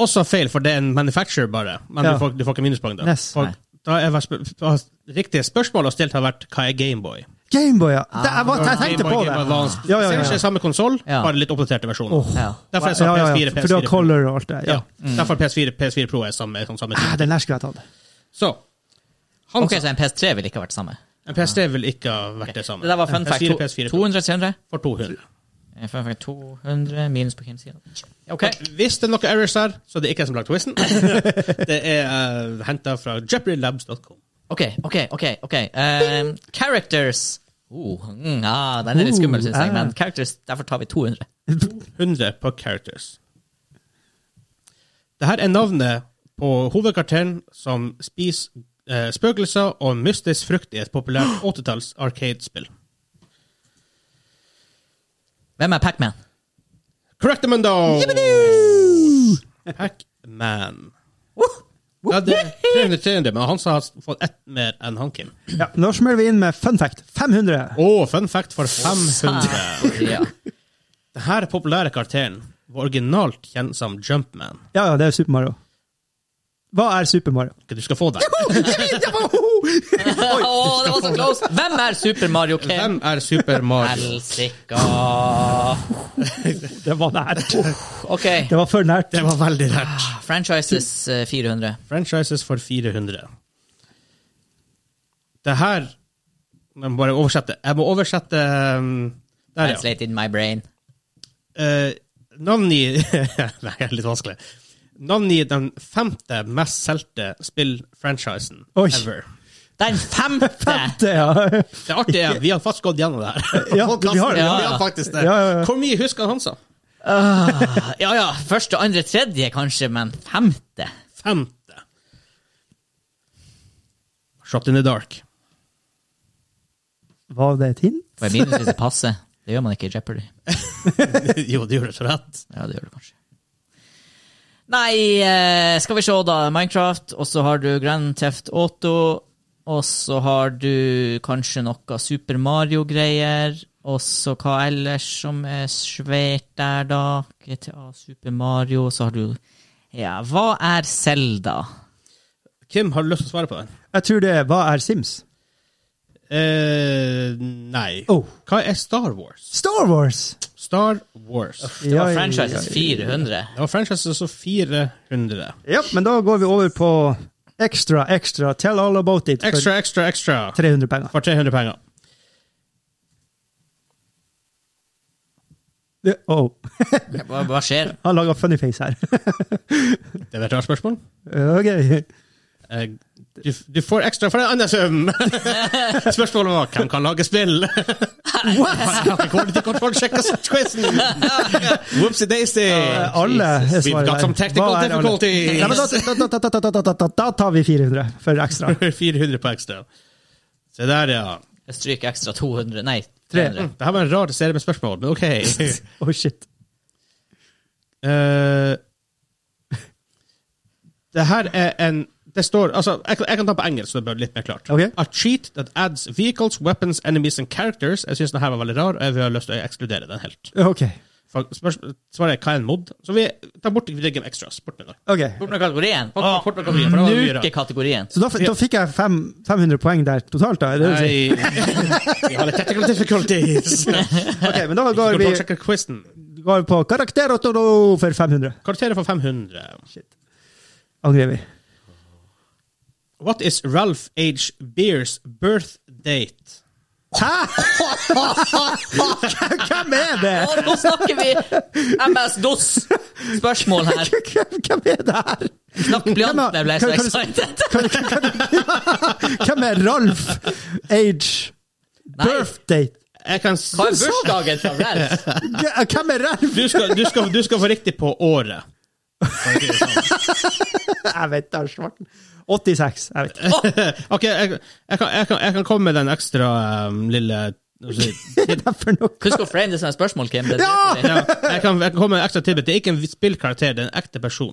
[SPEAKER 2] Også feil, for det er en manufacturer, bare. Men
[SPEAKER 5] Ja.
[SPEAKER 2] du, får, du får ikke minuspoeng da.
[SPEAKER 5] Nes,
[SPEAKER 2] For
[SPEAKER 3] nei.
[SPEAKER 2] da er vært sp- da- Riktige spørsmål å stille har vært hva er Gameboy?
[SPEAKER 5] Gameboy, ja! Det, jeg, var- Ah, jeg tenkte
[SPEAKER 2] Ah, Gameboy,
[SPEAKER 5] på
[SPEAKER 2] Gameboy
[SPEAKER 5] det!
[SPEAKER 2] Advance.
[SPEAKER 5] Ja, ja, ja.
[SPEAKER 2] Ser ikke samme konsoll,
[SPEAKER 3] Ja.
[SPEAKER 2] bare litt oppdaterte versjoner.
[SPEAKER 5] Åh.
[SPEAKER 3] Ja.
[SPEAKER 2] Derfor er det
[SPEAKER 5] Ja,
[SPEAKER 2] samme
[SPEAKER 5] ja,
[SPEAKER 2] PS4,
[SPEAKER 5] ja. For du har
[SPEAKER 2] PS4 Pro.
[SPEAKER 5] color og alt det.
[SPEAKER 2] Ja.
[SPEAKER 5] Ja. Mm.
[SPEAKER 2] Derfor PS4, PS4 Pro er samme, sånn samme
[SPEAKER 5] Ah,
[SPEAKER 2] tid.
[SPEAKER 5] Den der skulle jeg tatt.
[SPEAKER 2] Så Hansa,
[SPEAKER 3] Ok, så en PS3 ville ikke vært samme.
[SPEAKER 2] en PS3 vil ikke ha vært det samme.
[SPEAKER 3] Det der var fun fact.
[SPEAKER 2] PS4, PS4 Pro
[SPEAKER 3] 200-300?
[SPEAKER 2] for 200.
[SPEAKER 3] Eh, Fun fact 200 minus på hvem sida. Ok.
[SPEAKER 2] Hvis det er noen errors her, så er det ikke jeg som lagde twisten. det er uh, henta fra jeopardy.labs.com.
[SPEAKER 3] Ok, ok, ok. ok. Ehm, characters. Oh, mm, ah, den er litt skummel, synes jeg.
[SPEAKER 5] Uh, ah.
[SPEAKER 3] Men characters, derfor tar vi 200.
[SPEAKER 2] 100 på characters. Dette er navnet på hovedkarakteren som spiser eh, spøkelser og mystisk frukt i et populært 80-talls arcade-spill.
[SPEAKER 3] Hvem er Pac-Man?
[SPEAKER 2] Correct them though! Pac-Man.
[SPEAKER 3] Uh.
[SPEAKER 2] Ja, det er 300, 300, men han sa han har fått ett mer enn han, Kim.
[SPEAKER 5] Ja, nå smører vi inn med fun fact. 500!
[SPEAKER 2] Å, fun fact for 500.
[SPEAKER 3] Ja.
[SPEAKER 2] Denne populære karakteren var originalt kjent som Jumpman.
[SPEAKER 5] Ja, ja, det er Super Mario. Hva er Super
[SPEAKER 2] *laughs*
[SPEAKER 5] Mario?
[SPEAKER 2] Ok, Du skal få den.
[SPEAKER 3] Åh, det var så close! Hvem er Super Mario Kim?
[SPEAKER 2] Hvem er Super Mario?
[SPEAKER 3] Helsika.
[SPEAKER 5] Det var nært.
[SPEAKER 3] Ok, Ah,
[SPEAKER 5] Det var for nært.
[SPEAKER 2] Det var veldig nært.
[SPEAKER 3] franchises eh, 400.
[SPEAKER 2] Franchises for 400. Det her Jeg må bare oversette. Jeg må oversette um, Der, ja.
[SPEAKER 3] Translate in my brain.
[SPEAKER 2] Eh, Navnet i *laughs* Nei, det er litt vanskelig. Navnet i den femte mest solgte spill-franchisen
[SPEAKER 5] Oi.
[SPEAKER 2] ever.
[SPEAKER 3] Den femte!
[SPEAKER 5] Det, ja.
[SPEAKER 2] Det artige er vi har faktisk gått gjennom det her. *laughs*
[SPEAKER 5] Ja, vi har det.
[SPEAKER 2] Ja,
[SPEAKER 3] Ja,
[SPEAKER 2] vi
[SPEAKER 3] ja.
[SPEAKER 2] har faktisk det.
[SPEAKER 5] Ja, ja, ja.
[SPEAKER 2] Hvor mye husker han, sa?
[SPEAKER 3] Ja ja, første, andre, tredje kanskje, men femte?
[SPEAKER 2] Femte. Shot in the
[SPEAKER 3] *laughs*
[SPEAKER 2] dark.
[SPEAKER 5] Var det et hint?
[SPEAKER 3] På en minus hvis det passer. Det gjør man ikke i Jeopardy.
[SPEAKER 2] jo, det gjorde du så rett.
[SPEAKER 3] Ja, det gjør du kanskje. Nei, eh, skal vi se, da. Minecraft, og så har du Grand Theft Auto. Og så har du kanskje noe Super Mario-greier. Og så hva ellers som er svært der, da? GTA, Super Mario, så har du Ja, hva er Selda?
[SPEAKER 2] Kim, har du lyst til å svare på den?
[SPEAKER 5] Jeg tror det er Hva er Sims?
[SPEAKER 2] Eh, nei.
[SPEAKER 5] Oh.
[SPEAKER 2] Hva er Star Wars?
[SPEAKER 5] Star Wars!
[SPEAKER 2] Star Wars.
[SPEAKER 3] Det var franchises 400.
[SPEAKER 2] Det var franchise så 400.
[SPEAKER 5] Ja, men da går vi over på Extra, extra, tell all about it. For
[SPEAKER 2] Ekstra, ekstra, ekstra.
[SPEAKER 5] 300 penger.
[SPEAKER 2] For 300 penger.
[SPEAKER 5] Det- Oh,
[SPEAKER 3] Hva, hva skjer?
[SPEAKER 5] han laga funny face her.
[SPEAKER 2] Det var et rart spørsmål.
[SPEAKER 5] *laughs* ok.
[SPEAKER 2] Eh, Du, du får ekstra for en annen
[SPEAKER 3] *laughs*
[SPEAKER 2] sum! Spørsmålet var hvem kan lage spill? *laughs* Quality control checkers quizen!
[SPEAKER 3] *laughs*
[SPEAKER 2] Whoopsie daisy!
[SPEAKER 5] Eh, Alle er
[SPEAKER 2] We've
[SPEAKER 5] svaret
[SPEAKER 2] got
[SPEAKER 5] der.
[SPEAKER 2] some technical
[SPEAKER 5] Hva er alle?
[SPEAKER 2] difficulties.
[SPEAKER 5] Nei, men da, da, da, da, da, da, da, da, da tar vi 400 for
[SPEAKER 2] *laughs*
[SPEAKER 5] ekstra.
[SPEAKER 2] 400 på ekstra. Se der, ja.
[SPEAKER 3] Jeg stryker ekstra 200. Nei,
[SPEAKER 5] Tre.
[SPEAKER 3] 300.
[SPEAKER 2] Det her var en rar serie med spørsmål, men OK.
[SPEAKER 5] Oh shit.
[SPEAKER 2] Eh, det her er en Det står altså, jeg, kan- jeg kan ta på engelsk, så det blir litt mer klart.
[SPEAKER 5] Ok.
[SPEAKER 2] A cheat that adds vehicles, weapons, enemies and characters. Jeg syns den her var veldig rar, og jeg har lyst til å ekskludere den helt.
[SPEAKER 5] Ok.
[SPEAKER 2] For spørs- Svaret er hva er en mod? Så vi tar bort Viggen Extras. Bort med det. Ah.
[SPEAKER 5] ok.
[SPEAKER 3] Bort med kategorien.
[SPEAKER 2] Bort med- bort med kategorien, for det var mye rart.
[SPEAKER 3] Nuke kategorien.
[SPEAKER 5] Så da, f- da fikk jeg fem, 500 poeng der totalt, da? er det det du sier?
[SPEAKER 2] Nei *laughs* Vi har litt technical *laughs* difficulties.
[SPEAKER 5] Ok, men da går vi
[SPEAKER 2] Control checker quizen.
[SPEAKER 5] går vi på karakter og toro for 500.
[SPEAKER 2] Karakterer for 500.
[SPEAKER 5] Shit. Angrer vi.
[SPEAKER 2] What is Ralph H. Beers birth date?
[SPEAKER 5] Hæ?! *laughs* Hvem er det?!
[SPEAKER 3] Å, nå snakker vi MS-DOS-spørsmål her.
[SPEAKER 5] Hvem, hvem er det her?!
[SPEAKER 3] Snakk blyant
[SPEAKER 5] Hvem er-
[SPEAKER 3] med, ble jeg så
[SPEAKER 5] kan- kan du-
[SPEAKER 3] excited.
[SPEAKER 5] Hvem er Ralf? Age?
[SPEAKER 3] Nei.
[SPEAKER 5] Birth date?
[SPEAKER 2] Jeg kan s-
[SPEAKER 3] Hva er bursdagen til Ralf?
[SPEAKER 5] Hvem er Ralf?
[SPEAKER 2] du skal, du, skal, du skal få riktig på året.
[SPEAKER 5] Jeg vet da, svarten. 86. Jeg vet ikke.
[SPEAKER 2] *laughs* OK, jeg, jeg, kan, jeg, kan, jeg kan komme med den ekstra um, lille hva skal jeg si,
[SPEAKER 5] Hva er det for noe?
[SPEAKER 3] Husk å frame det som et spørsmål, Kim. Det er
[SPEAKER 5] Ja!
[SPEAKER 3] derfor
[SPEAKER 2] ja, jeg, kan, jeg kan komme med en ekstra tilbud. Det er ikke en spillkarakter, det er en ekte person.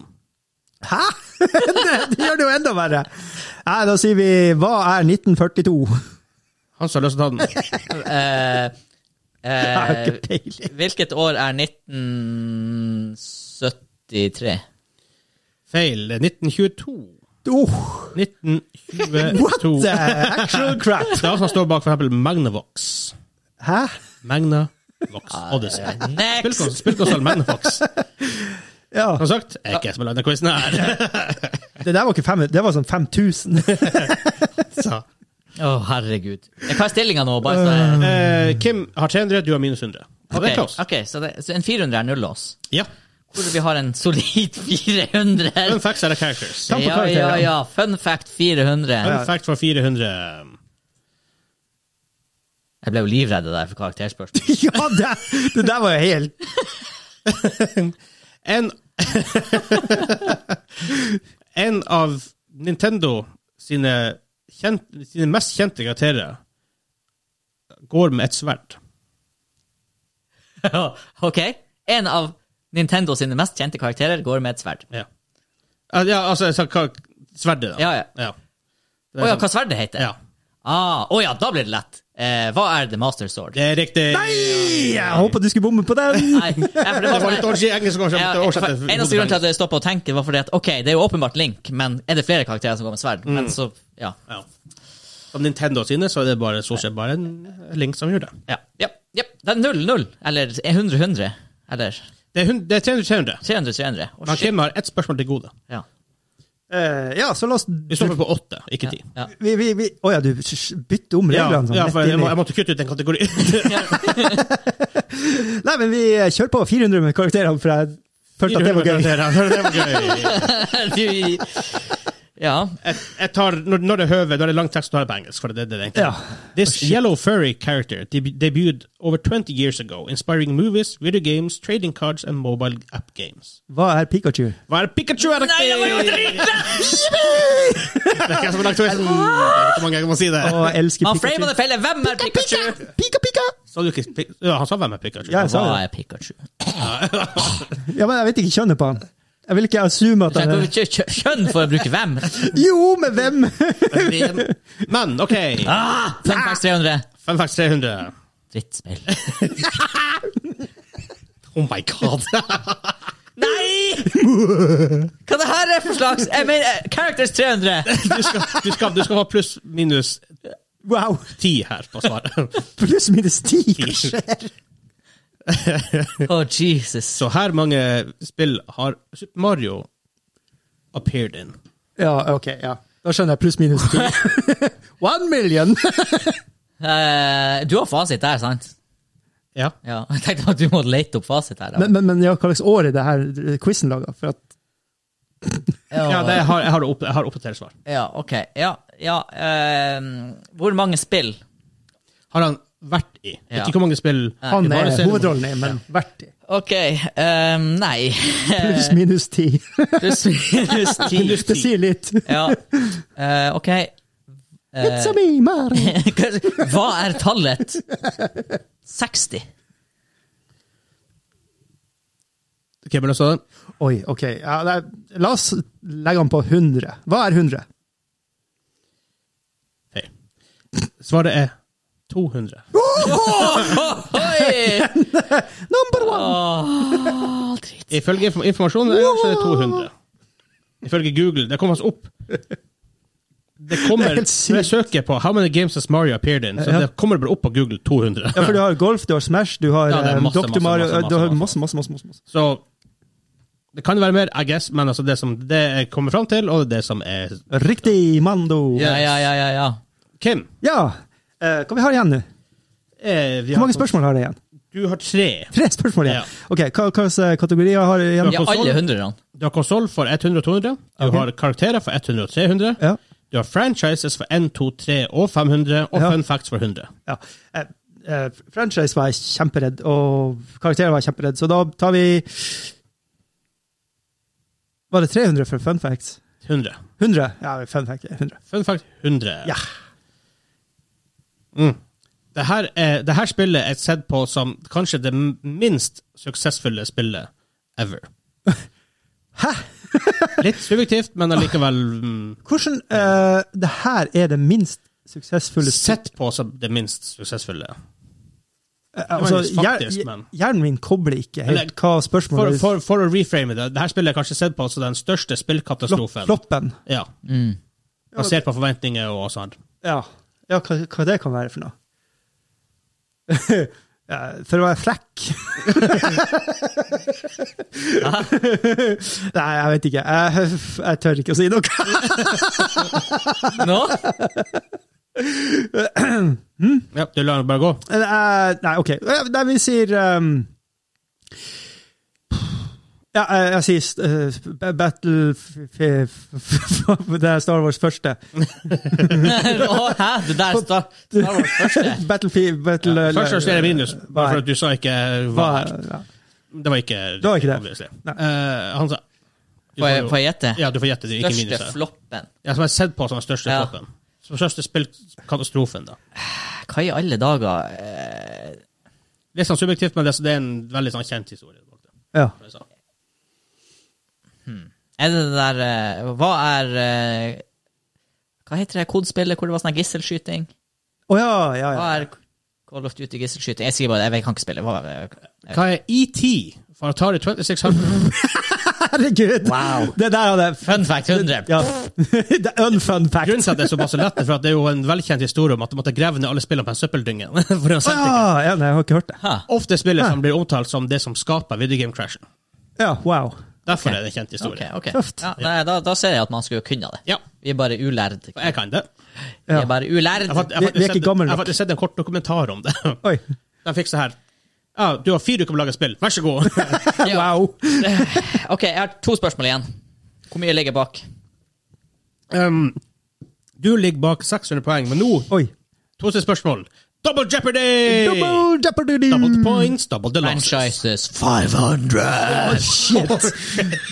[SPEAKER 5] Hæ? *laughs* Det, det gjør det jo enda verre. Nei, da sier vi hva er 1942?
[SPEAKER 2] Han som har lyst til å ta den.
[SPEAKER 3] det- eh,
[SPEAKER 5] Jeg har ikke peiling.
[SPEAKER 3] hvilket år er 1973?
[SPEAKER 2] Feil. 1922.
[SPEAKER 5] Oh,
[SPEAKER 2] 1922.
[SPEAKER 5] what the actual crap?
[SPEAKER 2] Det er han som står bak for eksempel Magnavox.
[SPEAKER 5] Hæ?
[SPEAKER 2] Magnavox
[SPEAKER 5] Ah,
[SPEAKER 2] Odyssey.
[SPEAKER 3] Next!
[SPEAKER 2] Spillkons- Spillkonsoll Magnavox.
[SPEAKER 5] Ja,
[SPEAKER 2] Som sagt, jeg er ikke som har lagd denne quizen *laughs* her.
[SPEAKER 5] det der var ikke 500, det var sånn 5000.
[SPEAKER 2] Så.
[SPEAKER 3] Å, herregud. Hva er stillinga nå? Bare så jeg...
[SPEAKER 2] Eh, Kim har 300, du har minus 100.
[SPEAKER 5] Eh,
[SPEAKER 2] Og det er
[SPEAKER 3] Ok,
[SPEAKER 2] close.
[SPEAKER 3] ok, så, det, så en 400 er nullås.
[SPEAKER 2] Ja.
[SPEAKER 3] Hvor vi har en solid 400.
[SPEAKER 2] Fun facts are the characters.
[SPEAKER 5] Ta på
[SPEAKER 3] Ja, ja,
[SPEAKER 5] karakteren.
[SPEAKER 3] ja. Fun fact 400.
[SPEAKER 2] Fun fact for 400.
[SPEAKER 3] Jeg ble jo livredd der for karakterspørsmål.
[SPEAKER 5] *laughs* Ja, det, det der var jo helt
[SPEAKER 3] *laughs*
[SPEAKER 2] En En av Nintendo sine, kjent, sine mest kjente karakterer går med et sverd.
[SPEAKER 3] *laughs* ok, en av Nintendo sine mest kjente karakterer går med et sverd.
[SPEAKER 2] Ja, Al- ja altså jeg sa hva Sverdet, da.
[SPEAKER 3] Ja, ja. Å ja, hva sverdet heter?
[SPEAKER 2] Ja.
[SPEAKER 3] Ah, å ja, da blir det lett. Eh, hva er The Master Sword?
[SPEAKER 2] Det er riktig.
[SPEAKER 5] Nei! Jeg håpa du skulle bomme på den!
[SPEAKER 3] Nei,
[SPEAKER 2] *laughs*
[SPEAKER 3] ja, for det
[SPEAKER 2] Det
[SPEAKER 3] var
[SPEAKER 2] var litt
[SPEAKER 3] sånn-
[SPEAKER 2] dårlig engelsk å
[SPEAKER 3] Ja, for-
[SPEAKER 2] oversette.
[SPEAKER 3] Eneste grunn til at jeg stoppa å tenke, var fordi at ok, det er jo åpenbart Link, men er det flere karakterer som går med
[SPEAKER 2] Mm.
[SPEAKER 3] sverd? Men så, ja.
[SPEAKER 2] ja. Av Nintendo sine så er det bare stort sett bare en link som gjør det.
[SPEAKER 3] Ja. ja, ja. Det er 0-0. Eller 100-100. Eller
[SPEAKER 2] Det er, hun- det er 300-300.
[SPEAKER 3] 300-300. Å,
[SPEAKER 2] Men
[SPEAKER 3] shit.
[SPEAKER 2] Kim har ett spørsmål til gode.
[SPEAKER 3] Ja.
[SPEAKER 5] Eh, ja, så la oss
[SPEAKER 2] Vi stopper på åtte, ikke ti.
[SPEAKER 3] Ja. *laughs*
[SPEAKER 5] vi, vi, vi, Å ja, du bytter om
[SPEAKER 2] Ja,
[SPEAKER 5] reglene sånn
[SPEAKER 2] ja,
[SPEAKER 5] rett
[SPEAKER 2] for jeg,
[SPEAKER 5] inn
[SPEAKER 2] må,
[SPEAKER 5] i-
[SPEAKER 2] jeg måtte kutte ut en
[SPEAKER 5] *laughs*
[SPEAKER 2] kategori.
[SPEAKER 5] Nei, men vi eh, kjører på 400 med karakterene, for jeg følte at det var gøy.
[SPEAKER 2] Det var gøy.
[SPEAKER 3] Du- ja.
[SPEAKER 2] Jeg, jeg tar, når, når det er høve, når det er lang tekst, tar jeg på engelsk. For det, er det det egentlig.
[SPEAKER 5] Ja.
[SPEAKER 2] This yellow furry character deb debuted over 20 years ago, inspiring movies, video games, trading cards and mobile app games.
[SPEAKER 5] Hva er Pikachu?
[SPEAKER 2] Hva er Pikachu? Er det
[SPEAKER 3] Nei, jeg var jo
[SPEAKER 2] Det er ikke jeg som har lagt quizen. Det er ikke mange som må si det.
[SPEAKER 5] Å, jeg elsker
[SPEAKER 3] Man framer
[SPEAKER 5] Pikachu.
[SPEAKER 3] det felle. Hvem er Pikachu?
[SPEAKER 5] Pika, pika!
[SPEAKER 2] Sa du ikke Pi- ja, Han sa hvem er Pikachu?
[SPEAKER 5] Ja, jeg sa
[SPEAKER 3] Hva
[SPEAKER 5] det.
[SPEAKER 3] er Pikachu?
[SPEAKER 5] Ja, men jeg vet ikke kjønnet på han. Jeg vil ikke assume at
[SPEAKER 3] Tenk
[SPEAKER 5] han
[SPEAKER 3] om
[SPEAKER 5] er
[SPEAKER 3] vi kjø- kjø- Kjønn for å bruke hvem?
[SPEAKER 5] Jo, men hvem? *laughs*
[SPEAKER 2] Men *laughs* OK,
[SPEAKER 3] Fun facts 300.
[SPEAKER 2] fun facts 300.
[SPEAKER 3] Drittspill.
[SPEAKER 2] Oh my god.
[SPEAKER 3] Nei! Hva det her er for slags Jeg mener, eh, Characters 300.
[SPEAKER 2] *laughs* Du skal, du skal, du skal ha pluss minus
[SPEAKER 5] Wow!
[SPEAKER 2] 10 her på svaret.
[SPEAKER 5] Pluss minus ti, hva skjer?
[SPEAKER 3] Oh, Jesus.
[SPEAKER 2] Så her mange spill har Super Mario appeared in.
[SPEAKER 5] Ja, ok, ja. Da skjønner jeg pluss minus ti. *laughs* One *laughs* million!
[SPEAKER 3] Eh, du har fasit der, sant?
[SPEAKER 2] Ja.
[SPEAKER 3] Ja. Jeg tenkte at du måtte lete opp fasit her. da.
[SPEAKER 5] Men, men, men ja, hva slags år er det her quizen laga? For at
[SPEAKER 2] ja det, jeg, har, jeg, har opp, jeg har oppdatert svar.
[SPEAKER 3] Ja, ok. Ja, ja ehm, Hvor mange spill?
[SPEAKER 2] Har han vært i?
[SPEAKER 3] Ja.
[SPEAKER 2] Ikke hvor mange spill
[SPEAKER 5] han
[SPEAKER 2] Bare
[SPEAKER 5] er
[SPEAKER 2] se-
[SPEAKER 5] hovedrollen i, men verdt det.
[SPEAKER 3] Ok, ehm, nei. *laughs*
[SPEAKER 5] Pluss minus ti.
[SPEAKER 3] Pluss minus ti.
[SPEAKER 5] *laughs* Det sier litt.
[SPEAKER 3] Ja. Eh, ok. *laughs*
[SPEAKER 5] It's a me, *laughs* Mario!
[SPEAKER 3] Hva er tallet? 60.
[SPEAKER 2] Ok, men altså,
[SPEAKER 5] Oi, ok. Ja, det er- la oss legge han på 100. Hva er 100?
[SPEAKER 2] hei. Svaret er 200.
[SPEAKER 3] Oi!
[SPEAKER 5] Number one!
[SPEAKER 3] Åh, dritt.
[SPEAKER 2] Ifølge inf informasjonen er det 200. Ifølge Google. Det kommer altså opp. Det
[SPEAKER 5] Det
[SPEAKER 2] kommer,
[SPEAKER 5] er helt sykt.
[SPEAKER 2] når jeg søker på 'How many games has Mario appeared in?', så
[SPEAKER 5] Ja.
[SPEAKER 2] det kommer bare opp på Google 200.
[SPEAKER 5] Ja, for du har golf, du har Smash, du har
[SPEAKER 2] Ja, det er
[SPEAKER 5] eh,
[SPEAKER 2] masse,
[SPEAKER 5] Dr.
[SPEAKER 2] masse,
[SPEAKER 5] Mario
[SPEAKER 2] masse,
[SPEAKER 5] eh, Du har
[SPEAKER 2] masse,
[SPEAKER 5] masse, masse, masse. masse.
[SPEAKER 2] Så det kan være mer, I guess, men altså det som det jeg kommer fram til, og det som er
[SPEAKER 5] Riktig, Mando!
[SPEAKER 3] *laughs* Ja, ja, ja, ja, ja.
[SPEAKER 2] Kim,
[SPEAKER 5] Ja! eh, hva vi har igjen nå?
[SPEAKER 2] eh, vi
[SPEAKER 5] Hvor
[SPEAKER 2] har
[SPEAKER 5] mange
[SPEAKER 2] fått-
[SPEAKER 5] spørsmål har det igjen?
[SPEAKER 2] Du har tre.
[SPEAKER 5] Tre spørsmål igjen.
[SPEAKER 2] Ja.
[SPEAKER 5] Ok, hva, hva slags eh, kategorier har det igjen?
[SPEAKER 2] sånn.
[SPEAKER 3] ja alle hundrene.
[SPEAKER 2] Du har konsoll for 100 og 200. Du
[SPEAKER 5] Ok.
[SPEAKER 2] har karakterer for 100 og 300.
[SPEAKER 5] Ja.
[SPEAKER 2] Du har franchises for 1, 2, 3 og 500, og
[SPEAKER 5] Ja.
[SPEAKER 2] fun facts for 100.
[SPEAKER 5] ja. Eh, eh, franchise var jeg kjemperedd, og karakterer var jeg kjemperedd, så da tar vi Var det 300 for fun facts?
[SPEAKER 2] 100.
[SPEAKER 5] 100? Ja, fun fact er 100.
[SPEAKER 2] Fun fact 100.
[SPEAKER 5] Ja.
[SPEAKER 2] Mm. Det, her er, det her spillet er sett på som kanskje det minst suksessfulle spillet ever.
[SPEAKER 5] *laughs* Hæ?
[SPEAKER 2] *laughs* Litt subjektivt, men allikevel mm,
[SPEAKER 5] Hvordan eh, Det her er det minst suksessfulle
[SPEAKER 2] sett på som det minst suksessfulle.
[SPEAKER 5] Eh, altså,
[SPEAKER 2] Det var litt faktisk,
[SPEAKER 5] hjer-
[SPEAKER 2] men-
[SPEAKER 5] Hjernen min kobler ikke
[SPEAKER 2] Eller-
[SPEAKER 5] helt hva
[SPEAKER 2] For,
[SPEAKER 5] spørsmålet
[SPEAKER 2] for, for å reframe det, det her spillet er kanskje sett på som den største
[SPEAKER 5] Flop-
[SPEAKER 2] spillkatastrofen.
[SPEAKER 5] Floppen.
[SPEAKER 2] Ja,
[SPEAKER 3] Mm.
[SPEAKER 2] Basert på forventninger og sånn.
[SPEAKER 5] Ja, ja hva, hva det kan være for noe? *laughs* ja, for å være frekk?
[SPEAKER 2] *laughs*
[SPEAKER 5] Nei, jeg vet ikke. Jeg, jeg tør ikke å si noe. *laughs*
[SPEAKER 3] Nå? *laughs*
[SPEAKER 2] Ja, du lar det bare gå.
[SPEAKER 5] Eh, nei, OK. Eh, Nei, vi sier ehm, ja, jeg, jeg sier st- eh, sp- Battle f- f- *laughs* f- Det er Star Wars første.
[SPEAKER 3] Å, Hæ? Det der sta- Star Wars første?
[SPEAKER 5] Battlefield Battle,
[SPEAKER 2] Ja, først så er det minus, bare for at du sa ikke hva
[SPEAKER 5] Eh, Hva-
[SPEAKER 2] her.
[SPEAKER 5] ja.
[SPEAKER 2] Det var ikke
[SPEAKER 5] Det var ikke det.
[SPEAKER 2] obviously.
[SPEAKER 5] Nei.
[SPEAKER 2] Eh, han sa Du får
[SPEAKER 3] Får jeg,
[SPEAKER 2] *laughs* jo-
[SPEAKER 3] får jeg gjette?
[SPEAKER 2] Ja, du får gjette. det er Ikke minus.
[SPEAKER 3] Største
[SPEAKER 2] her.
[SPEAKER 3] floppen.
[SPEAKER 2] Ja, som jeg har sett på som den største
[SPEAKER 3] Ja.
[SPEAKER 2] floppen. Som største spillkatastrofen, da.
[SPEAKER 3] Hva i alle dager eh,
[SPEAKER 2] Litt sånn subjektivt, men det, så det er en veldig sånn kjent historie. bak det,
[SPEAKER 5] Ja.
[SPEAKER 2] for å si det sånn.
[SPEAKER 3] Er det det der eh, Hva er eh, Hva heter det kodespillet hvor det var sånn her gisselskyting?
[SPEAKER 5] Å ja, ja, ja.
[SPEAKER 3] Hva er Call of Duty gisselskyting? Jeg sier bare det, jeg vet- kan ikke spille. Hva, eh,
[SPEAKER 2] Hva er ET for Atari
[SPEAKER 5] *laughs*
[SPEAKER 2] 2600?
[SPEAKER 5] Herregud!
[SPEAKER 3] Wow.
[SPEAKER 5] Det der hadde jeg-
[SPEAKER 3] fun fact 100.
[SPEAKER 5] Ja. *laughs* Det er unfun fact.
[SPEAKER 2] Grunnen til at det er såpass lett, er for at det er jo en velkjent historie om at de måtte grave ned alle spillene på en søppeldynge. *laughs* for å
[SPEAKER 5] Å
[SPEAKER 2] sette
[SPEAKER 5] Ah,
[SPEAKER 2] ikke.
[SPEAKER 5] ja, ja, nei, jeg har ikke hørt det.
[SPEAKER 3] Ha.
[SPEAKER 2] Ofte er spillet
[SPEAKER 5] Hæ?
[SPEAKER 2] som blir omtalt som det som skaper videogame-crashen.
[SPEAKER 5] Ja, wow.
[SPEAKER 2] Derfor
[SPEAKER 3] Ok.
[SPEAKER 2] er det en kjent
[SPEAKER 3] Ok,
[SPEAKER 2] historie.
[SPEAKER 3] ok.
[SPEAKER 5] Tøft.
[SPEAKER 3] Ja, nei, da, da ser jeg at man skulle kunne det.
[SPEAKER 2] Ja,
[SPEAKER 3] Vi er bare ulærd.
[SPEAKER 2] og jeg kan det.
[SPEAKER 3] Vi er bare ulærd.
[SPEAKER 2] Jeg har fakt- jeg
[SPEAKER 5] Vi- vi er
[SPEAKER 2] har faktisk
[SPEAKER 5] ikke
[SPEAKER 2] sett-
[SPEAKER 5] gammel
[SPEAKER 2] jeg har
[SPEAKER 5] nok.
[SPEAKER 2] faktisk sett en kort dokumentar om det. *laughs*
[SPEAKER 5] Oi.
[SPEAKER 2] Den fikk så her ja, Du har fire uker på å lage spill, vær så god!
[SPEAKER 5] *laughs*
[SPEAKER 3] *laughs* Ja.
[SPEAKER 5] Wow.
[SPEAKER 3] Ok, jeg har to spørsmål igjen. Hvor mye ligger bak?
[SPEAKER 2] Um, du ligger bak 600 poeng, men nå
[SPEAKER 5] Oi.
[SPEAKER 2] to til spørsmål. Double jeopardy!
[SPEAKER 5] Double jeopardy!
[SPEAKER 2] Double points, double the losses.
[SPEAKER 3] Franchises.
[SPEAKER 5] 500! shit!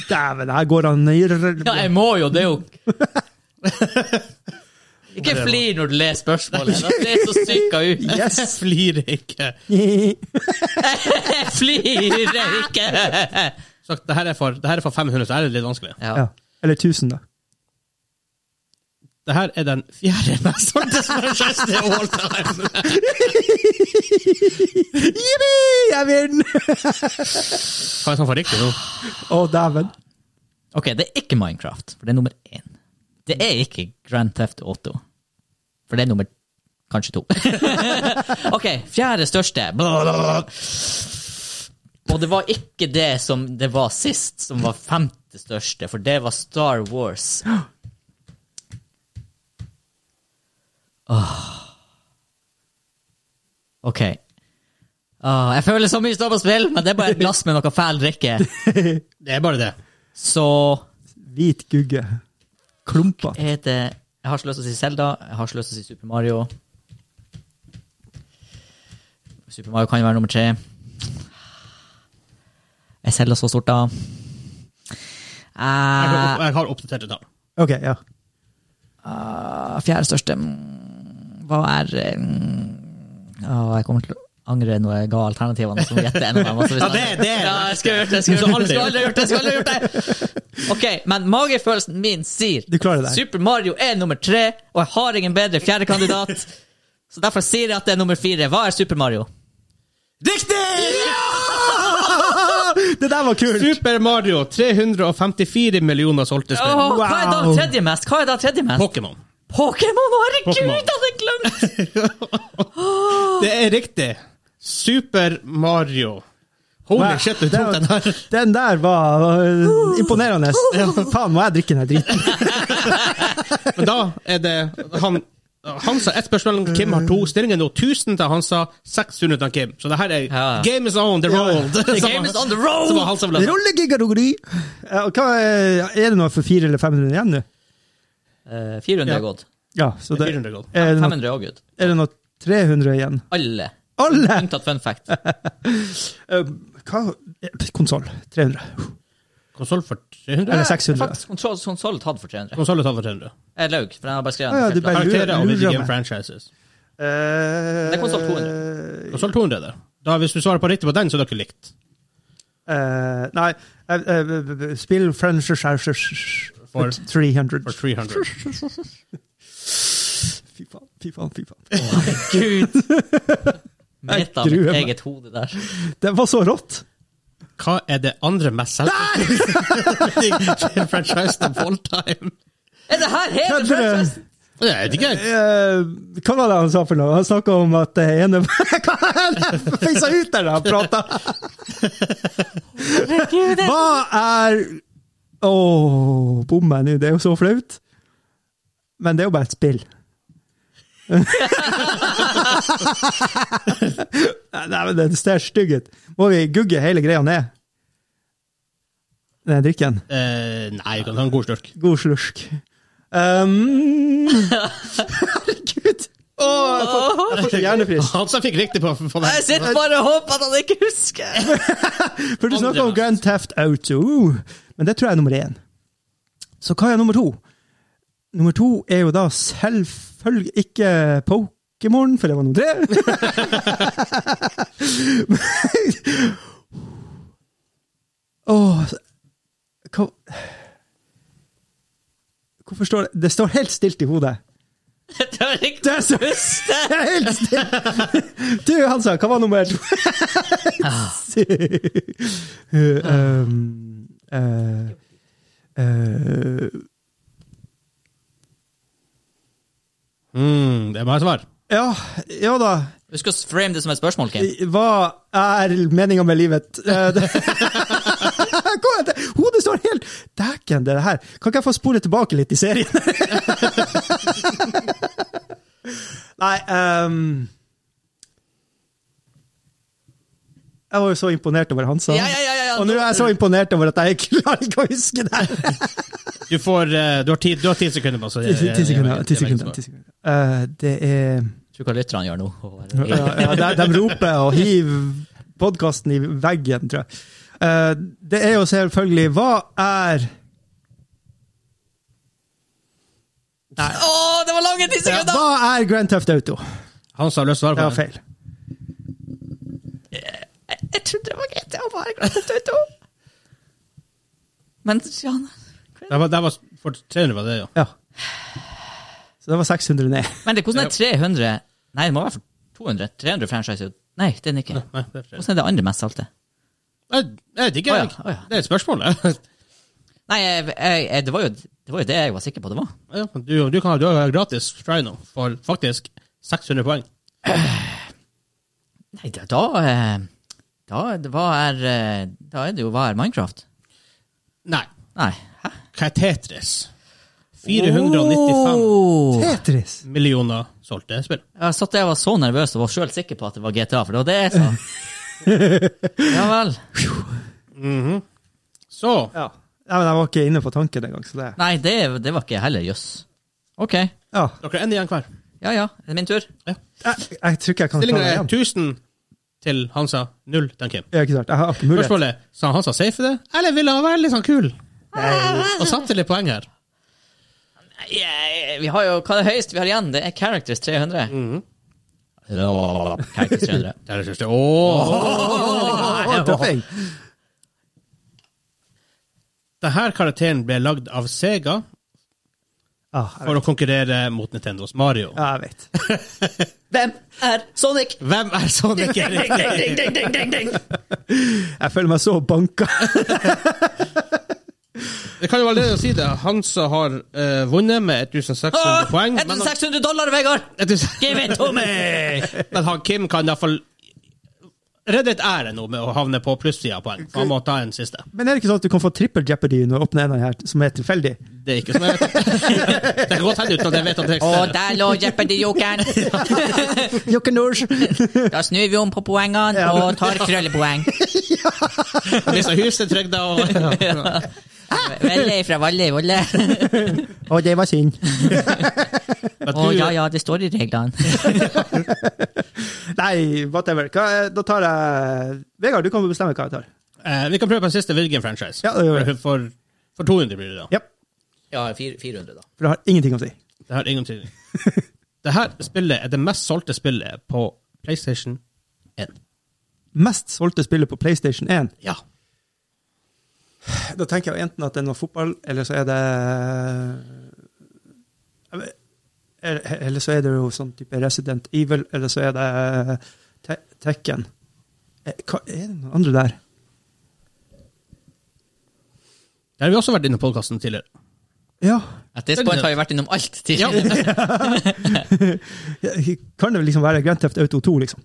[SPEAKER 5] Dæven, her går han i r-
[SPEAKER 3] Ja, jeg må jo,
[SPEAKER 5] *laughs*
[SPEAKER 3] det er jo Ikke flir når du leser spørsmålet. da. Det er så syka ut.
[SPEAKER 2] *laughs*
[SPEAKER 5] *laughs*
[SPEAKER 2] Jeg flirer ikke.
[SPEAKER 3] *laughs* Jeg flirer ikke!
[SPEAKER 2] Så det her, er for, det her er for 500, så her er det litt vanskelig.
[SPEAKER 5] Ja. Eller 1000, da.
[SPEAKER 2] Det her er den fjerde mest solgte franchisen i all time.
[SPEAKER 5] Jippi! Jeg vinner!
[SPEAKER 2] Hva er det som får riktig nå?
[SPEAKER 5] Å, dæven.
[SPEAKER 3] Ok, det er ikke Minecraft, for det er nummer én. Det er ikke Grand Theft Auto, for det er nummer kanskje to. *laughs* ok, fjerde største. Blablabla. Og det var ikke det som det var sist, som var femte største, for det var Star Wars. Åh. Ah. Ok. Åh, jeg føler så mye står på spill, men det er bare et glass med noe fæl drikke.
[SPEAKER 2] Det er bare det.
[SPEAKER 3] Så
[SPEAKER 5] Hvit gugge. Klumpa.
[SPEAKER 3] Jeg heter Jeg har ikke lyst til å si Zelda, jeg har ikke lyst til å si Super Mario. Super Mario kan jo være nummer tre. Er Zelda så stort, da?
[SPEAKER 2] Jeg har,
[SPEAKER 3] Eh,
[SPEAKER 2] jeg har oppdaterte tall.
[SPEAKER 5] OK, ja.
[SPEAKER 3] eh, fjerde største mm, Hva er mm, å, Jeg kommer til å angre når jeg ga alternativene. som gjette en av dem. Altså, hvis
[SPEAKER 2] Ja, det- det er-
[SPEAKER 3] ja, jeg skulle gjort det! Jeg skulle gjort det, jeg skulle aldri gjort det! Jeg skulle aldri gjort det. Ok, Men magefølelsen min sier
[SPEAKER 5] Du klarer det. her.
[SPEAKER 3] Super Mario er nummer tre, og jeg har ingen bedre fjerdekandidat. Så derfor sier jeg at det er nummer fire. Hva er Super Mario?
[SPEAKER 5] Det der var kult!
[SPEAKER 2] Super Mario, 354 millioner solgte spill.
[SPEAKER 3] Åh, Hva er da
[SPEAKER 5] Wow.
[SPEAKER 3] tredje mest? Hva er da tredje mest?
[SPEAKER 2] Pokémon.
[SPEAKER 3] Pokémon! Herregud,
[SPEAKER 2] Pokémon.
[SPEAKER 3] jeg hadde glemt!
[SPEAKER 2] Det er riktig. Super Mario. Holy
[SPEAKER 5] Wow.
[SPEAKER 2] shit, du tok den her. Uh.
[SPEAKER 5] Den der var øh, imponerende. Faen, må jeg drikke den her driten?
[SPEAKER 2] Men da er det han Hansa ett spørsmål, Kim har to. Stillingen er nå 1000 til Hansa, 600 til Kim. Så det her er
[SPEAKER 3] Ja.
[SPEAKER 2] Game is on the road!
[SPEAKER 3] The *laughs* game is on the road!
[SPEAKER 2] Som var Hansa ble
[SPEAKER 5] Rollekategori! Eh, og hva Er er det noe for 400 eller 500 igjen nå?
[SPEAKER 3] Eh, 400
[SPEAKER 5] Ja.
[SPEAKER 3] er gått.
[SPEAKER 5] Ja, så det,
[SPEAKER 2] 400 gold.
[SPEAKER 5] er, det noe,
[SPEAKER 3] 500 er også gått.
[SPEAKER 5] er det noe 300 igjen?
[SPEAKER 3] Alle.
[SPEAKER 5] Alle!
[SPEAKER 3] Unntatt fun fact.
[SPEAKER 5] Uh, hva Konsoll. 300.
[SPEAKER 2] Konsoll for 300?
[SPEAKER 5] Eller
[SPEAKER 3] Det er
[SPEAKER 5] 600.
[SPEAKER 3] Faktisk kontroll, kontroll tatt for 300.
[SPEAKER 2] Konsoll er tatt for 300.
[SPEAKER 3] Jeg laug, for jeg har bare skrevet
[SPEAKER 5] Ah, ja,
[SPEAKER 3] Eh, den.
[SPEAKER 5] det
[SPEAKER 3] helt klart.
[SPEAKER 5] bare-
[SPEAKER 2] Karakterer av
[SPEAKER 5] lurer
[SPEAKER 2] video game
[SPEAKER 5] meg.
[SPEAKER 2] franchises.
[SPEAKER 5] Eh,
[SPEAKER 3] Det er konsoll
[SPEAKER 2] Konsoll 200 er det. Da, hvis du svarer på riktig på den, så er dere likt.
[SPEAKER 5] eh, nei eh, eh, b- b- b- Spill French for
[SPEAKER 2] For-
[SPEAKER 5] 300.
[SPEAKER 2] For 300.
[SPEAKER 5] Fy faen, fy faen. fy faen. *laughs*
[SPEAKER 3] Gud! Mitt av
[SPEAKER 5] Jeg gruer
[SPEAKER 3] mitt
[SPEAKER 5] meg.
[SPEAKER 3] eget hode der.
[SPEAKER 5] Det var så rått!
[SPEAKER 2] Hva er det andre mest selgte *laughs* franchise of all time?
[SPEAKER 3] Er det her hele
[SPEAKER 5] 300.
[SPEAKER 3] franchisen?
[SPEAKER 2] Det vet ikke. jeg.
[SPEAKER 5] Eh, hva var det han sa for noe? Han snakka om at det ene *laughs* Hva er det? Feisa ut der da han prata! Hva er Å, bommer jeg nå? Det er jo så flaut. Men det er jo bare et spill. *laughs* Nei, men det ser stygg ut. Må vi gugge hele greia ned? Den drikken?
[SPEAKER 2] Eh, nei, vi kan ta en god slurk.
[SPEAKER 5] God slursk. Um, herregud! Å, jeg får- jeg får så hjernefrist.
[SPEAKER 2] Hansa fikk riktig på, på
[SPEAKER 3] Jeg
[SPEAKER 2] den.
[SPEAKER 3] sitter bare og håper at han ikke
[SPEAKER 5] *laughs*
[SPEAKER 3] husker.
[SPEAKER 5] For du
[SPEAKER 2] Andre
[SPEAKER 5] snakka om
[SPEAKER 2] mest.
[SPEAKER 5] Grand Theft Auto, uh, men det tror jeg er nummer én. Så hva er nummer to? Nummer to er jo da selvfølgelig ikke Pokémon, for det var nummer tre. *laughs* Åh hva, Hvorfor står det Det står helt stilt i hodet.
[SPEAKER 3] Jeg tør ikke
[SPEAKER 5] Det er så
[SPEAKER 3] huske.
[SPEAKER 5] Det er helt stilt! Du, Hansa, hva var nummer to? *laughs* um, eh, eh,
[SPEAKER 2] Mm, det må jeg svare.
[SPEAKER 5] ja, ja da.
[SPEAKER 3] Husk å frame det som et spørsmål, Kim.
[SPEAKER 5] Hva er meninga med livet? *laughs* Eh, det- Hva er det? Hodet står helt Dæken, det her. Kan ikke jeg få spole tilbake litt i serien? *laughs* Nei ehm, Jeg var jo så imponert over Hansa.
[SPEAKER 3] Ja, ja, ja, ja, ja.
[SPEAKER 5] Og nå er jeg så imponert over at jeg ikke *laughs* klarer ikke å huske det! her.
[SPEAKER 2] Du, får, eh, du, har ti, du har ti sekunder på deg.
[SPEAKER 5] Ti sekunder. ti sekunder, ti sekunder. Eh, det er
[SPEAKER 3] Tror hva lytterne gjør nå.
[SPEAKER 5] Ja, ja, de, de roper og hiver podkasten i veggen, tror jeg. Eh, det er jo selvfølgelig Hva er
[SPEAKER 3] Å, det var lange ti sekunder!
[SPEAKER 5] Hva er Grand Theft Auto?
[SPEAKER 2] Hansa har lyst til å
[SPEAKER 5] Det
[SPEAKER 2] svare
[SPEAKER 5] var
[SPEAKER 2] på den.
[SPEAKER 5] feil.
[SPEAKER 3] Jeg trodde det var greit. Jeg bare glemte det to. Men Jan,
[SPEAKER 2] Det var, det var for 300 var det, ja.
[SPEAKER 5] Ja. Så det var 600 ned.
[SPEAKER 3] men det, hvordan er 300 Nei, det må være for 200. 300 franchiser. Nei, det er den ikke.
[SPEAKER 2] Nei, det er flere.
[SPEAKER 3] Hvordan er det andre mest solgte?
[SPEAKER 2] Jeg, jeg vet ikke.
[SPEAKER 3] Å ja,
[SPEAKER 2] jeg.
[SPEAKER 3] å ja.
[SPEAKER 2] Det er et spørsmål. ja. *laughs*
[SPEAKER 3] Nei, jeg, jeg, jeg, det, var jo, det var jo det jeg var sikker på det var.
[SPEAKER 2] Ja, men Du, du kan ha du har gratis try nå for faktisk 600 poeng.
[SPEAKER 3] Nei, da Da, eh, da, det- hva er, eh, da er det jo hva er Minecraft?
[SPEAKER 2] Nei.
[SPEAKER 3] Nei. Hæ?
[SPEAKER 2] Hva er Tetris? 495
[SPEAKER 3] Oh!
[SPEAKER 5] Tetris!
[SPEAKER 2] millioner solgte spill.
[SPEAKER 3] Jeg satt der og var så nervøs og var sjøl sikker på at det var GTA, for det var det jeg sa. *laughs* ja vel.
[SPEAKER 2] Så
[SPEAKER 5] Ja. Nei, men jeg var ikke inne på tanken engang. så det...
[SPEAKER 3] Nei, det, det var ikke jeg heller. Jøss. OK.
[SPEAKER 5] Ja.
[SPEAKER 2] dere er en igjen hver.
[SPEAKER 3] Ja ja, er det min tur?
[SPEAKER 5] Jeg, jeg tror ikke jeg kan ta
[SPEAKER 2] Stillinga
[SPEAKER 5] det
[SPEAKER 2] er
[SPEAKER 5] igjen.
[SPEAKER 2] 1000 til Hansa, 0 til Kim.
[SPEAKER 5] Ja, ikke sant. Jeg har ikke mulighet.
[SPEAKER 2] Spørsmålet er, sa Hansa safe det, eller ville han være litt sånn kul? Og satte litt poeng her.
[SPEAKER 3] Yeah, vi har jo, Hva er det høyeste vi har igjen? Det er Characters 300.
[SPEAKER 2] Mm.
[SPEAKER 3] Characters
[SPEAKER 2] *laughs*
[SPEAKER 3] 300.
[SPEAKER 2] Der synes jeg, åh.
[SPEAKER 5] Å, tøffing.
[SPEAKER 2] Denne karakteren ble lagd av Sega
[SPEAKER 5] Ja, jeg
[SPEAKER 2] for å konkurrere mot Nintendos Mario.
[SPEAKER 5] ja, jeg vet.
[SPEAKER 3] Hvem er Sonic?
[SPEAKER 2] Hvem er sånn *laughs* det ikke er riktig?
[SPEAKER 5] Jeg føler meg så banka.
[SPEAKER 2] Jeg kan jo allerede si det. Hansa har eh, vunnet med 1600
[SPEAKER 3] Ah,
[SPEAKER 2] poeng. Men,
[SPEAKER 3] 1600 dollar, Vegard!
[SPEAKER 2] han-
[SPEAKER 3] Give it to me!
[SPEAKER 2] men han Kim kan iallfall Reddit er det nå med å havne på plussida på en. så Han må ta en siste.
[SPEAKER 5] Men er det ikke sånn at du kan få trippel jeopardy når du åpner en av de her, som er tilfeldig?
[SPEAKER 2] Det er ikke som jeg vet. *laughs* Det kan godt hende uten at jeg vet at det
[SPEAKER 3] Å,
[SPEAKER 2] eksisterer.
[SPEAKER 3] der lå Jeopardy-jokeren! Da snur vi om på poengene og tar krøllepoeng.
[SPEAKER 2] Hvis huset er trygda og ja.
[SPEAKER 3] Velle fra Valle i Volle.
[SPEAKER 5] Å, det var synd.
[SPEAKER 2] Men
[SPEAKER 3] Å
[SPEAKER 2] du-
[SPEAKER 3] ja, ja, det står i reglene.
[SPEAKER 5] Nei, whatever. Hva, er- da tar jeg Vegard, du kan bestemme hva jeg tar.
[SPEAKER 2] Eh, vi kan prøve på en siste Virgin-franchise.
[SPEAKER 5] Ja, det gjør vi.
[SPEAKER 2] for, for, for 200 blir det da.
[SPEAKER 5] Ja,
[SPEAKER 3] Ja, 400, da.
[SPEAKER 5] for det har ingenting å si.
[SPEAKER 2] Det har ingen betydning. det her spillet er det mest solgte spillet på PlayStation 1.
[SPEAKER 5] Mest solgte spillet på PlayStation 1.
[SPEAKER 2] Ja.
[SPEAKER 5] Da tenker jeg enten at det er noe fotball, eller så er det Jeg vet- eller- eh, Eller så er det jo sånn type Resident Evil, eller så er det eh, Te Tekken. Eh, Hva er det noen andre der?
[SPEAKER 2] Det har vi også vært inne i podkasten tidligere.
[SPEAKER 5] Ja,
[SPEAKER 3] At det spoilet har jo vært innom alt tidligere.
[SPEAKER 5] kan det vel liksom være Grand Theft Auto 2, liksom?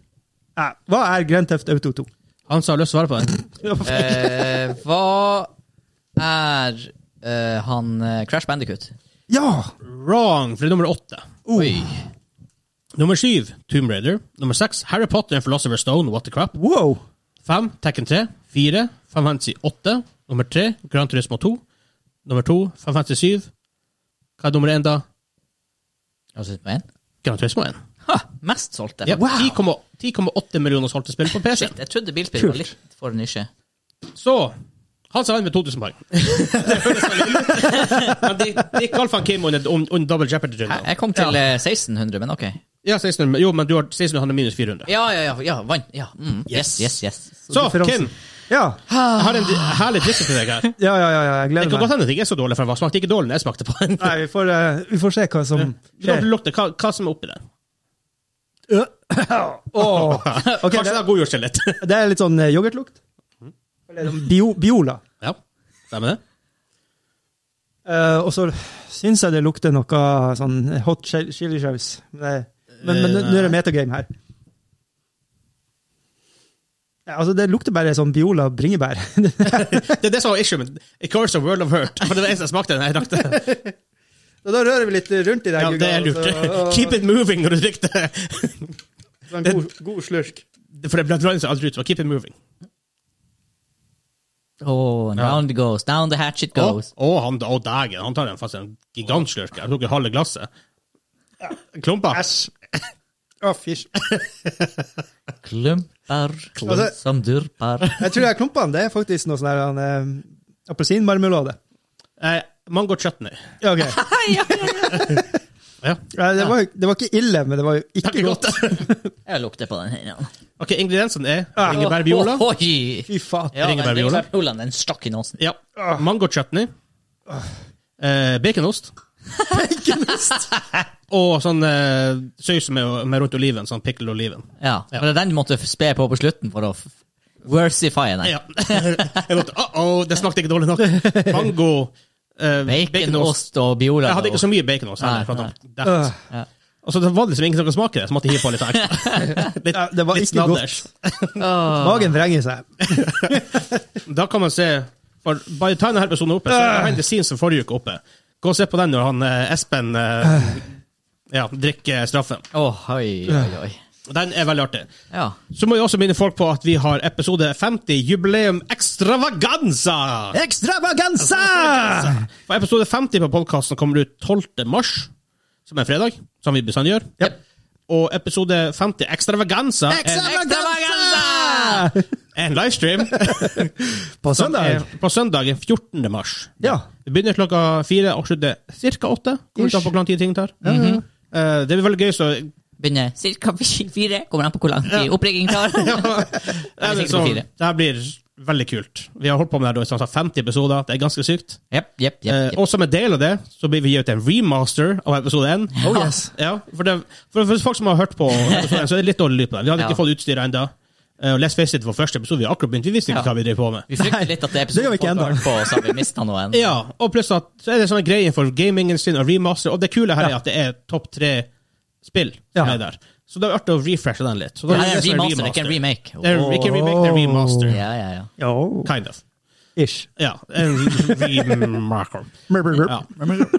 [SPEAKER 5] Eh, hva er Grand Theft Auto 2?
[SPEAKER 2] Han som har lyst til å svare på den.
[SPEAKER 3] Eh, hva er eh, han eh, Crash Bandicoot?
[SPEAKER 5] Ja!
[SPEAKER 2] Wrong, for det er nummer åtte.
[SPEAKER 3] Oi.
[SPEAKER 2] Nummer syv, Tomb Raider. Nummer seks, Harry Potter and Philosopher Stone, What the Crap.
[SPEAKER 5] Wow!
[SPEAKER 2] Fem, Tekken 3. Fire, Fem Fantasy 8. Nummer tre, Gran Turismo 2. Nummer to, Fem Fantasy 7. Hva er nummer én, da?
[SPEAKER 3] Og så på en.
[SPEAKER 2] Gran Turismo 1.
[SPEAKER 3] Ha, mest solgte.
[SPEAKER 2] Ja,
[SPEAKER 3] Wow.
[SPEAKER 2] 10,8 10,8 millioner solgte spill på PC.
[SPEAKER 3] Shit, jeg trodde bilspill var litt for nisje.
[SPEAKER 2] Så han sa han med 2000 poeng. Det høres veldig ille ut. Men de, de kalte han Kim under, under double
[SPEAKER 3] Jeg,
[SPEAKER 2] jeopardy-runden.
[SPEAKER 3] jeg kom til eh, 1600, men ok.
[SPEAKER 2] Ja, 1600, jo, men du har 1600, han er minus 400.
[SPEAKER 3] Ja, ja, ja. ja vant. Ja. Mm. Yes, yes, yes.
[SPEAKER 2] Så, Kim,
[SPEAKER 5] Ja,
[SPEAKER 2] jeg har en di- herlig drikke til deg her.
[SPEAKER 5] ja, ja, ja, jeg
[SPEAKER 2] Det
[SPEAKER 5] gleder
[SPEAKER 2] kan godt
[SPEAKER 5] meg.
[SPEAKER 2] hende at det ikke er så dårlig, for den var- smakte ikke dårlig når jeg smakte på den.
[SPEAKER 5] Nei, vi får, eh, vi får se hva som
[SPEAKER 2] Du kan
[SPEAKER 5] skjer.
[SPEAKER 2] lukte hva, hva som er oppi den.
[SPEAKER 5] Åh. *laughs* Ok,
[SPEAKER 2] Kanskje det
[SPEAKER 5] det,
[SPEAKER 2] har godgjort seg litt.
[SPEAKER 5] det er litt sånn eh, yoghurtlukt. Eller sånn bio, biola.
[SPEAKER 2] Ja, stemmer det.
[SPEAKER 5] Eh, og så syns jeg det lukter noe sånn hot chili chili sauce. Men, men, men nå
[SPEAKER 2] Eh,
[SPEAKER 5] er det metagame her. Ja, altså, det lukter bare sånn biola bringebær. *laughs*
[SPEAKER 2] Det er det som var issue med It Curse of World of Hurt. For det var det eneste jeg smakte den jeg rakk det.
[SPEAKER 5] Så da rører vi litt rundt i det.
[SPEAKER 2] Ja, det er lurt.
[SPEAKER 5] altså,
[SPEAKER 2] *laughs* Keep it moving når du drikker det.
[SPEAKER 4] En god, god slurk.
[SPEAKER 2] For det ble blandet seg aldri ut. så Keep it moving.
[SPEAKER 3] Oh, and down it goes. Down the hatchet goes.
[SPEAKER 2] Å, å, han, å dagen. Han tar en, faktisk en gigantslurk. Jeg tok jo halve glasset. Klumpa.
[SPEAKER 5] Æsj. Å, fysj.
[SPEAKER 3] Klumper
[SPEAKER 5] Altså-
[SPEAKER 3] som durper.
[SPEAKER 5] Jeg tror jeg klumpa den. Det er faktisk noe sånn her han, eh, appelsinmarmelade.
[SPEAKER 2] Eh, mango chutney.
[SPEAKER 5] Ja, ok.
[SPEAKER 3] ja, ja,
[SPEAKER 2] Ja.
[SPEAKER 5] Nei, det, var, det var ikke ille, men det var jo ikke
[SPEAKER 2] Takk
[SPEAKER 5] godt.
[SPEAKER 2] godt.
[SPEAKER 3] Jeg lukter på den her.
[SPEAKER 2] *laughs* ok, ingrediensene er ringebærbiola.
[SPEAKER 3] Oh, oi.
[SPEAKER 5] Fy faen.
[SPEAKER 3] Ja, men
[SPEAKER 2] Ringebærbiola.
[SPEAKER 3] ringebærbiola, den stakk i nåsen.
[SPEAKER 2] Ja. Mango chutney. Eh, baconost. *laughs* Og sånn eh, saus med, med rundt oliven. Sånn pickle-oliven.
[SPEAKER 3] Ja, for det er den du måtte spe på på slutten for å f- worsify den.
[SPEAKER 2] Ja. *laughs* Jeg måtte, uh -oh, det smakte ikke dårlig nok. Mango, eh,
[SPEAKER 3] Bacon,
[SPEAKER 2] baconost.
[SPEAKER 3] ost og biola.
[SPEAKER 2] Jeg hadde ikke så mye baconost.
[SPEAKER 3] Nei,
[SPEAKER 2] Heller, for at
[SPEAKER 3] nei.
[SPEAKER 2] han- det-
[SPEAKER 3] Ja.
[SPEAKER 2] Og så var det liksom ingen som kunne smake det, så måtte jeg hive på litt
[SPEAKER 3] *laughs*
[SPEAKER 2] ekstra. Litt,
[SPEAKER 5] Ja, det var
[SPEAKER 2] litt
[SPEAKER 5] ikke godt.
[SPEAKER 2] snadders.
[SPEAKER 5] Magen vrenger seg.
[SPEAKER 2] Da kan man se for By the time denne episoden er oppe, så er behind the scenes fra forrige uke oppe. Gå og se på den når han eh, Espen eh, ja, drikker straffen.
[SPEAKER 3] Å, oi, oi, oi.
[SPEAKER 2] Den er veldig artig.
[SPEAKER 3] Ja.
[SPEAKER 2] Så må jeg også minne folk på at vi har episode 50, jubileum extravaganza!
[SPEAKER 5] Extravaganza!
[SPEAKER 2] For episode 50 på podkasten kommer ut 12. mars, som er fredag, som vi bestandig gjør.
[SPEAKER 5] Yep.
[SPEAKER 2] Og episode 50, Extravaganza,
[SPEAKER 5] Extravaganza!
[SPEAKER 2] er en livestream
[SPEAKER 5] På
[SPEAKER 2] som er
[SPEAKER 5] søndag.
[SPEAKER 2] på søndagen 14. mars.
[SPEAKER 5] Ja.
[SPEAKER 2] Det begynner klokka fire og slutter ca. åtte.
[SPEAKER 5] Ish.
[SPEAKER 2] Kommer ikke an på hvor lang tid ting tar. Eh, det blir veldig gøy, så
[SPEAKER 3] Begynner cirka *laughs* fire, kommer an på hvor lang tid oppringningen tar.
[SPEAKER 2] Ja, men
[SPEAKER 3] sikkert
[SPEAKER 2] så-
[SPEAKER 3] på fire.
[SPEAKER 2] Det her blir veldig kult. Vi har holdt på med det her da i sånn 50 episoder. Det er ganske sykt.
[SPEAKER 3] Jepp, jepp, jepp.
[SPEAKER 2] Eh, og som en del av det, så blir vi gi ut en remaster av episode 1.
[SPEAKER 5] Oh yes.
[SPEAKER 2] Ja, for, det, for, for folk som har hørt på episode 1, så er det litt dårlig lyd på den. Vi hadde
[SPEAKER 3] Ja.
[SPEAKER 2] ikke fått utstyret ennå. Uh, Let's face it, vår første episode, vi har akkurat begynt. Vi visste ikke
[SPEAKER 3] Ja.
[SPEAKER 2] hva vi drev på med.
[SPEAKER 3] Vi frykter
[SPEAKER 5] Nei,
[SPEAKER 3] litt at det er
[SPEAKER 5] det gjør
[SPEAKER 3] episoden
[SPEAKER 5] vi ikke
[SPEAKER 3] folk har
[SPEAKER 5] ennå.
[SPEAKER 3] hørt på, så har vi mista noen.
[SPEAKER 2] *laughs* Ja, og pluss at så er det sånn sånne greier for gamingindustrien og remaster, og det kule her er at det er topp tre spill som
[SPEAKER 5] Ja.
[SPEAKER 2] er der. Så det er artig å refreshe den litt. Så da
[SPEAKER 3] Det er en
[SPEAKER 2] det som
[SPEAKER 3] remaster, ikke en remake.
[SPEAKER 2] Det er ikke en remake, det er remaster.
[SPEAKER 3] Ja, ja, ja.
[SPEAKER 5] Ja,
[SPEAKER 3] Oh.
[SPEAKER 2] Kind of.
[SPEAKER 5] ish.
[SPEAKER 2] Ja. En
[SPEAKER 3] *laughs*
[SPEAKER 2] remaker.
[SPEAKER 5] Brr, brr, brr.
[SPEAKER 2] Ja.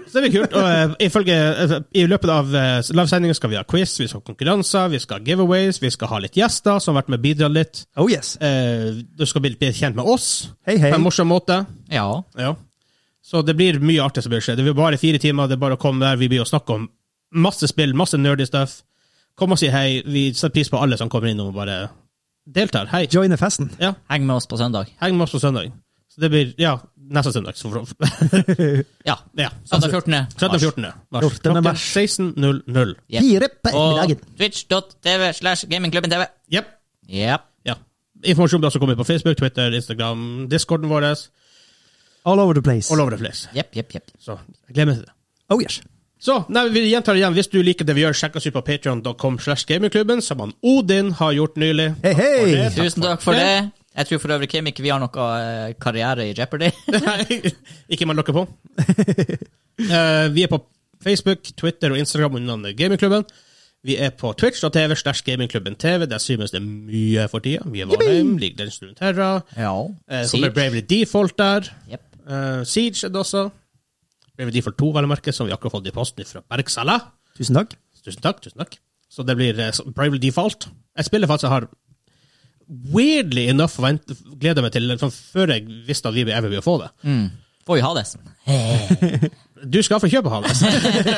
[SPEAKER 2] Så det blir kult. Og eh, ifølge, eh, I løpet av eh, livesendingen skal vi ha quiz, vi skal ha konkurranser, vi skal ha giveaways, vi skal ha litt gjester som har vært med og bidratt litt.
[SPEAKER 5] Oh yes.
[SPEAKER 2] Eh, du skal bli, bli kjent med oss
[SPEAKER 5] Hei, hei.
[SPEAKER 2] på en morsom måte.
[SPEAKER 3] ja.
[SPEAKER 2] Ja. Så det blir mye artig som blir skjedd. Det blir bare fire timer, det er bare å komme der. Vi blir å snakke om masse spill, masse nerdy stuff. Kom og si hei. Vi setter pris på alle som kommer innom og bare deltar. Hei.
[SPEAKER 5] Joine festen.
[SPEAKER 2] Ja,
[SPEAKER 3] Heng med oss på søndag.
[SPEAKER 2] heng med oss på søndag. Så det blir, ja, neste søndag. Så *laughs* for,
[SPEAKER 3] Ja.
[SPEAKER 2] ja.
[SPEAKER 3] Søndag 14.
[SPEAKER 2] 13. og 14. mars.
[SPEAKER 5] 14.
[SPEAKER 2] Klokken
[SPEAKER 5] mars.
[SPEAKER 2] 16.00.
[SPEAKER 3] Yep.
[SPEAKER 5] Fire på
[SPEAKER 3] Og
[SPEAKER 5] ettermiddagen.
[SPEAKER 3] twitch.tv slash gamingklubben TV.
[SPEAKER 2] Jep.
[SPEAKER 3] Yep.
[SPEAKER 2] Ja. Informasjon blir også kommet på Facebook, Twitter, Instagram, discorden vår.
[SPEAKER 5] All over the place.
[SPEAKER 2] All over the place.
[SPEAKER 3] Jepp, jepp, jepp.
[SPEAKER 2] Så jeg gleder meg til det.
[SPEAKER 5] Oh yes.
[SPEAKER 2] Så, nei, vi gjentar igjen, hvis du liker det vi gjør, sjekk oss ut på patreon.com slash gamingklubben, som han Odin har gjort nylig.
[SPEAKER 5] Hei, hei!
[SPEAKER 2] Takk
[SPEAKER 3] Tusen takk for det. Jeg tror for øvrig Kim ikke vi har noe eh, karriere i Jeopardy. *laughs*
[SPEAKER 2] Nei, ikke man lukker på. *laughs* Eh, vi er på Facebook, Twitter og Instagram under navnet Gamingklubben. Vi er på Twitch.tv slash Gamingklubben TV. Der synes det er mye for tida. Vi er Valheim, League of Legends Rundt Terra.
[SPEAKER 3] Ja.
[SPEAKER 2] Uh, så
[SPEAKER 3] Siege.
[SPEAKER 2] blir Bravely Default der.
[SPEAKER 3] Jepp.
[SPEAKER 2] Eh, Siege er det også. Bravely Default 2, vel å merke, som vi akkurat har fått i posten fra Bergsala.
[SPEAKER 5] Tusen takk.
[SPEAKER 2] Tusen takk, tusen takk. Så det blir uh, Bravely Default. Jeg spiller faktisk jeg har weirdly enough vent, gleder meg til sånn, før jeg visste at vi ever ville få det.
[SPEAKER 3] Får jo ha Mm. det.
[SPEAKER 2] Du skal få kjøpe Hades.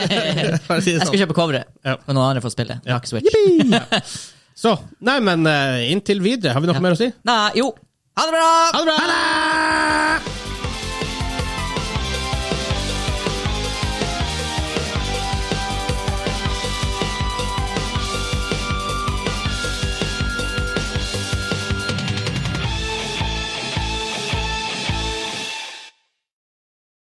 [SPEAKER 3] *laughs*
[SPEAKER 2] For å si det
[SPEAKER 3] Jeg skal
[SPEAKER 2] sånn.
[SPEAKER 3] kjøpe coveret,
[SPEAKER 2] Ja.
[SPEAKER 3] og noen andre får spille. Jeg
[SPEAKER 2] Ja.
[SPEAKER 3] har ikke Switch.
[SPEAKER 2] Så, nei, men eh, inntil videre, har vi noe mer å si?
[SPEAKER 3] Nei, jo. Ha det bra!
[SPEAKER 2] Ha det bra!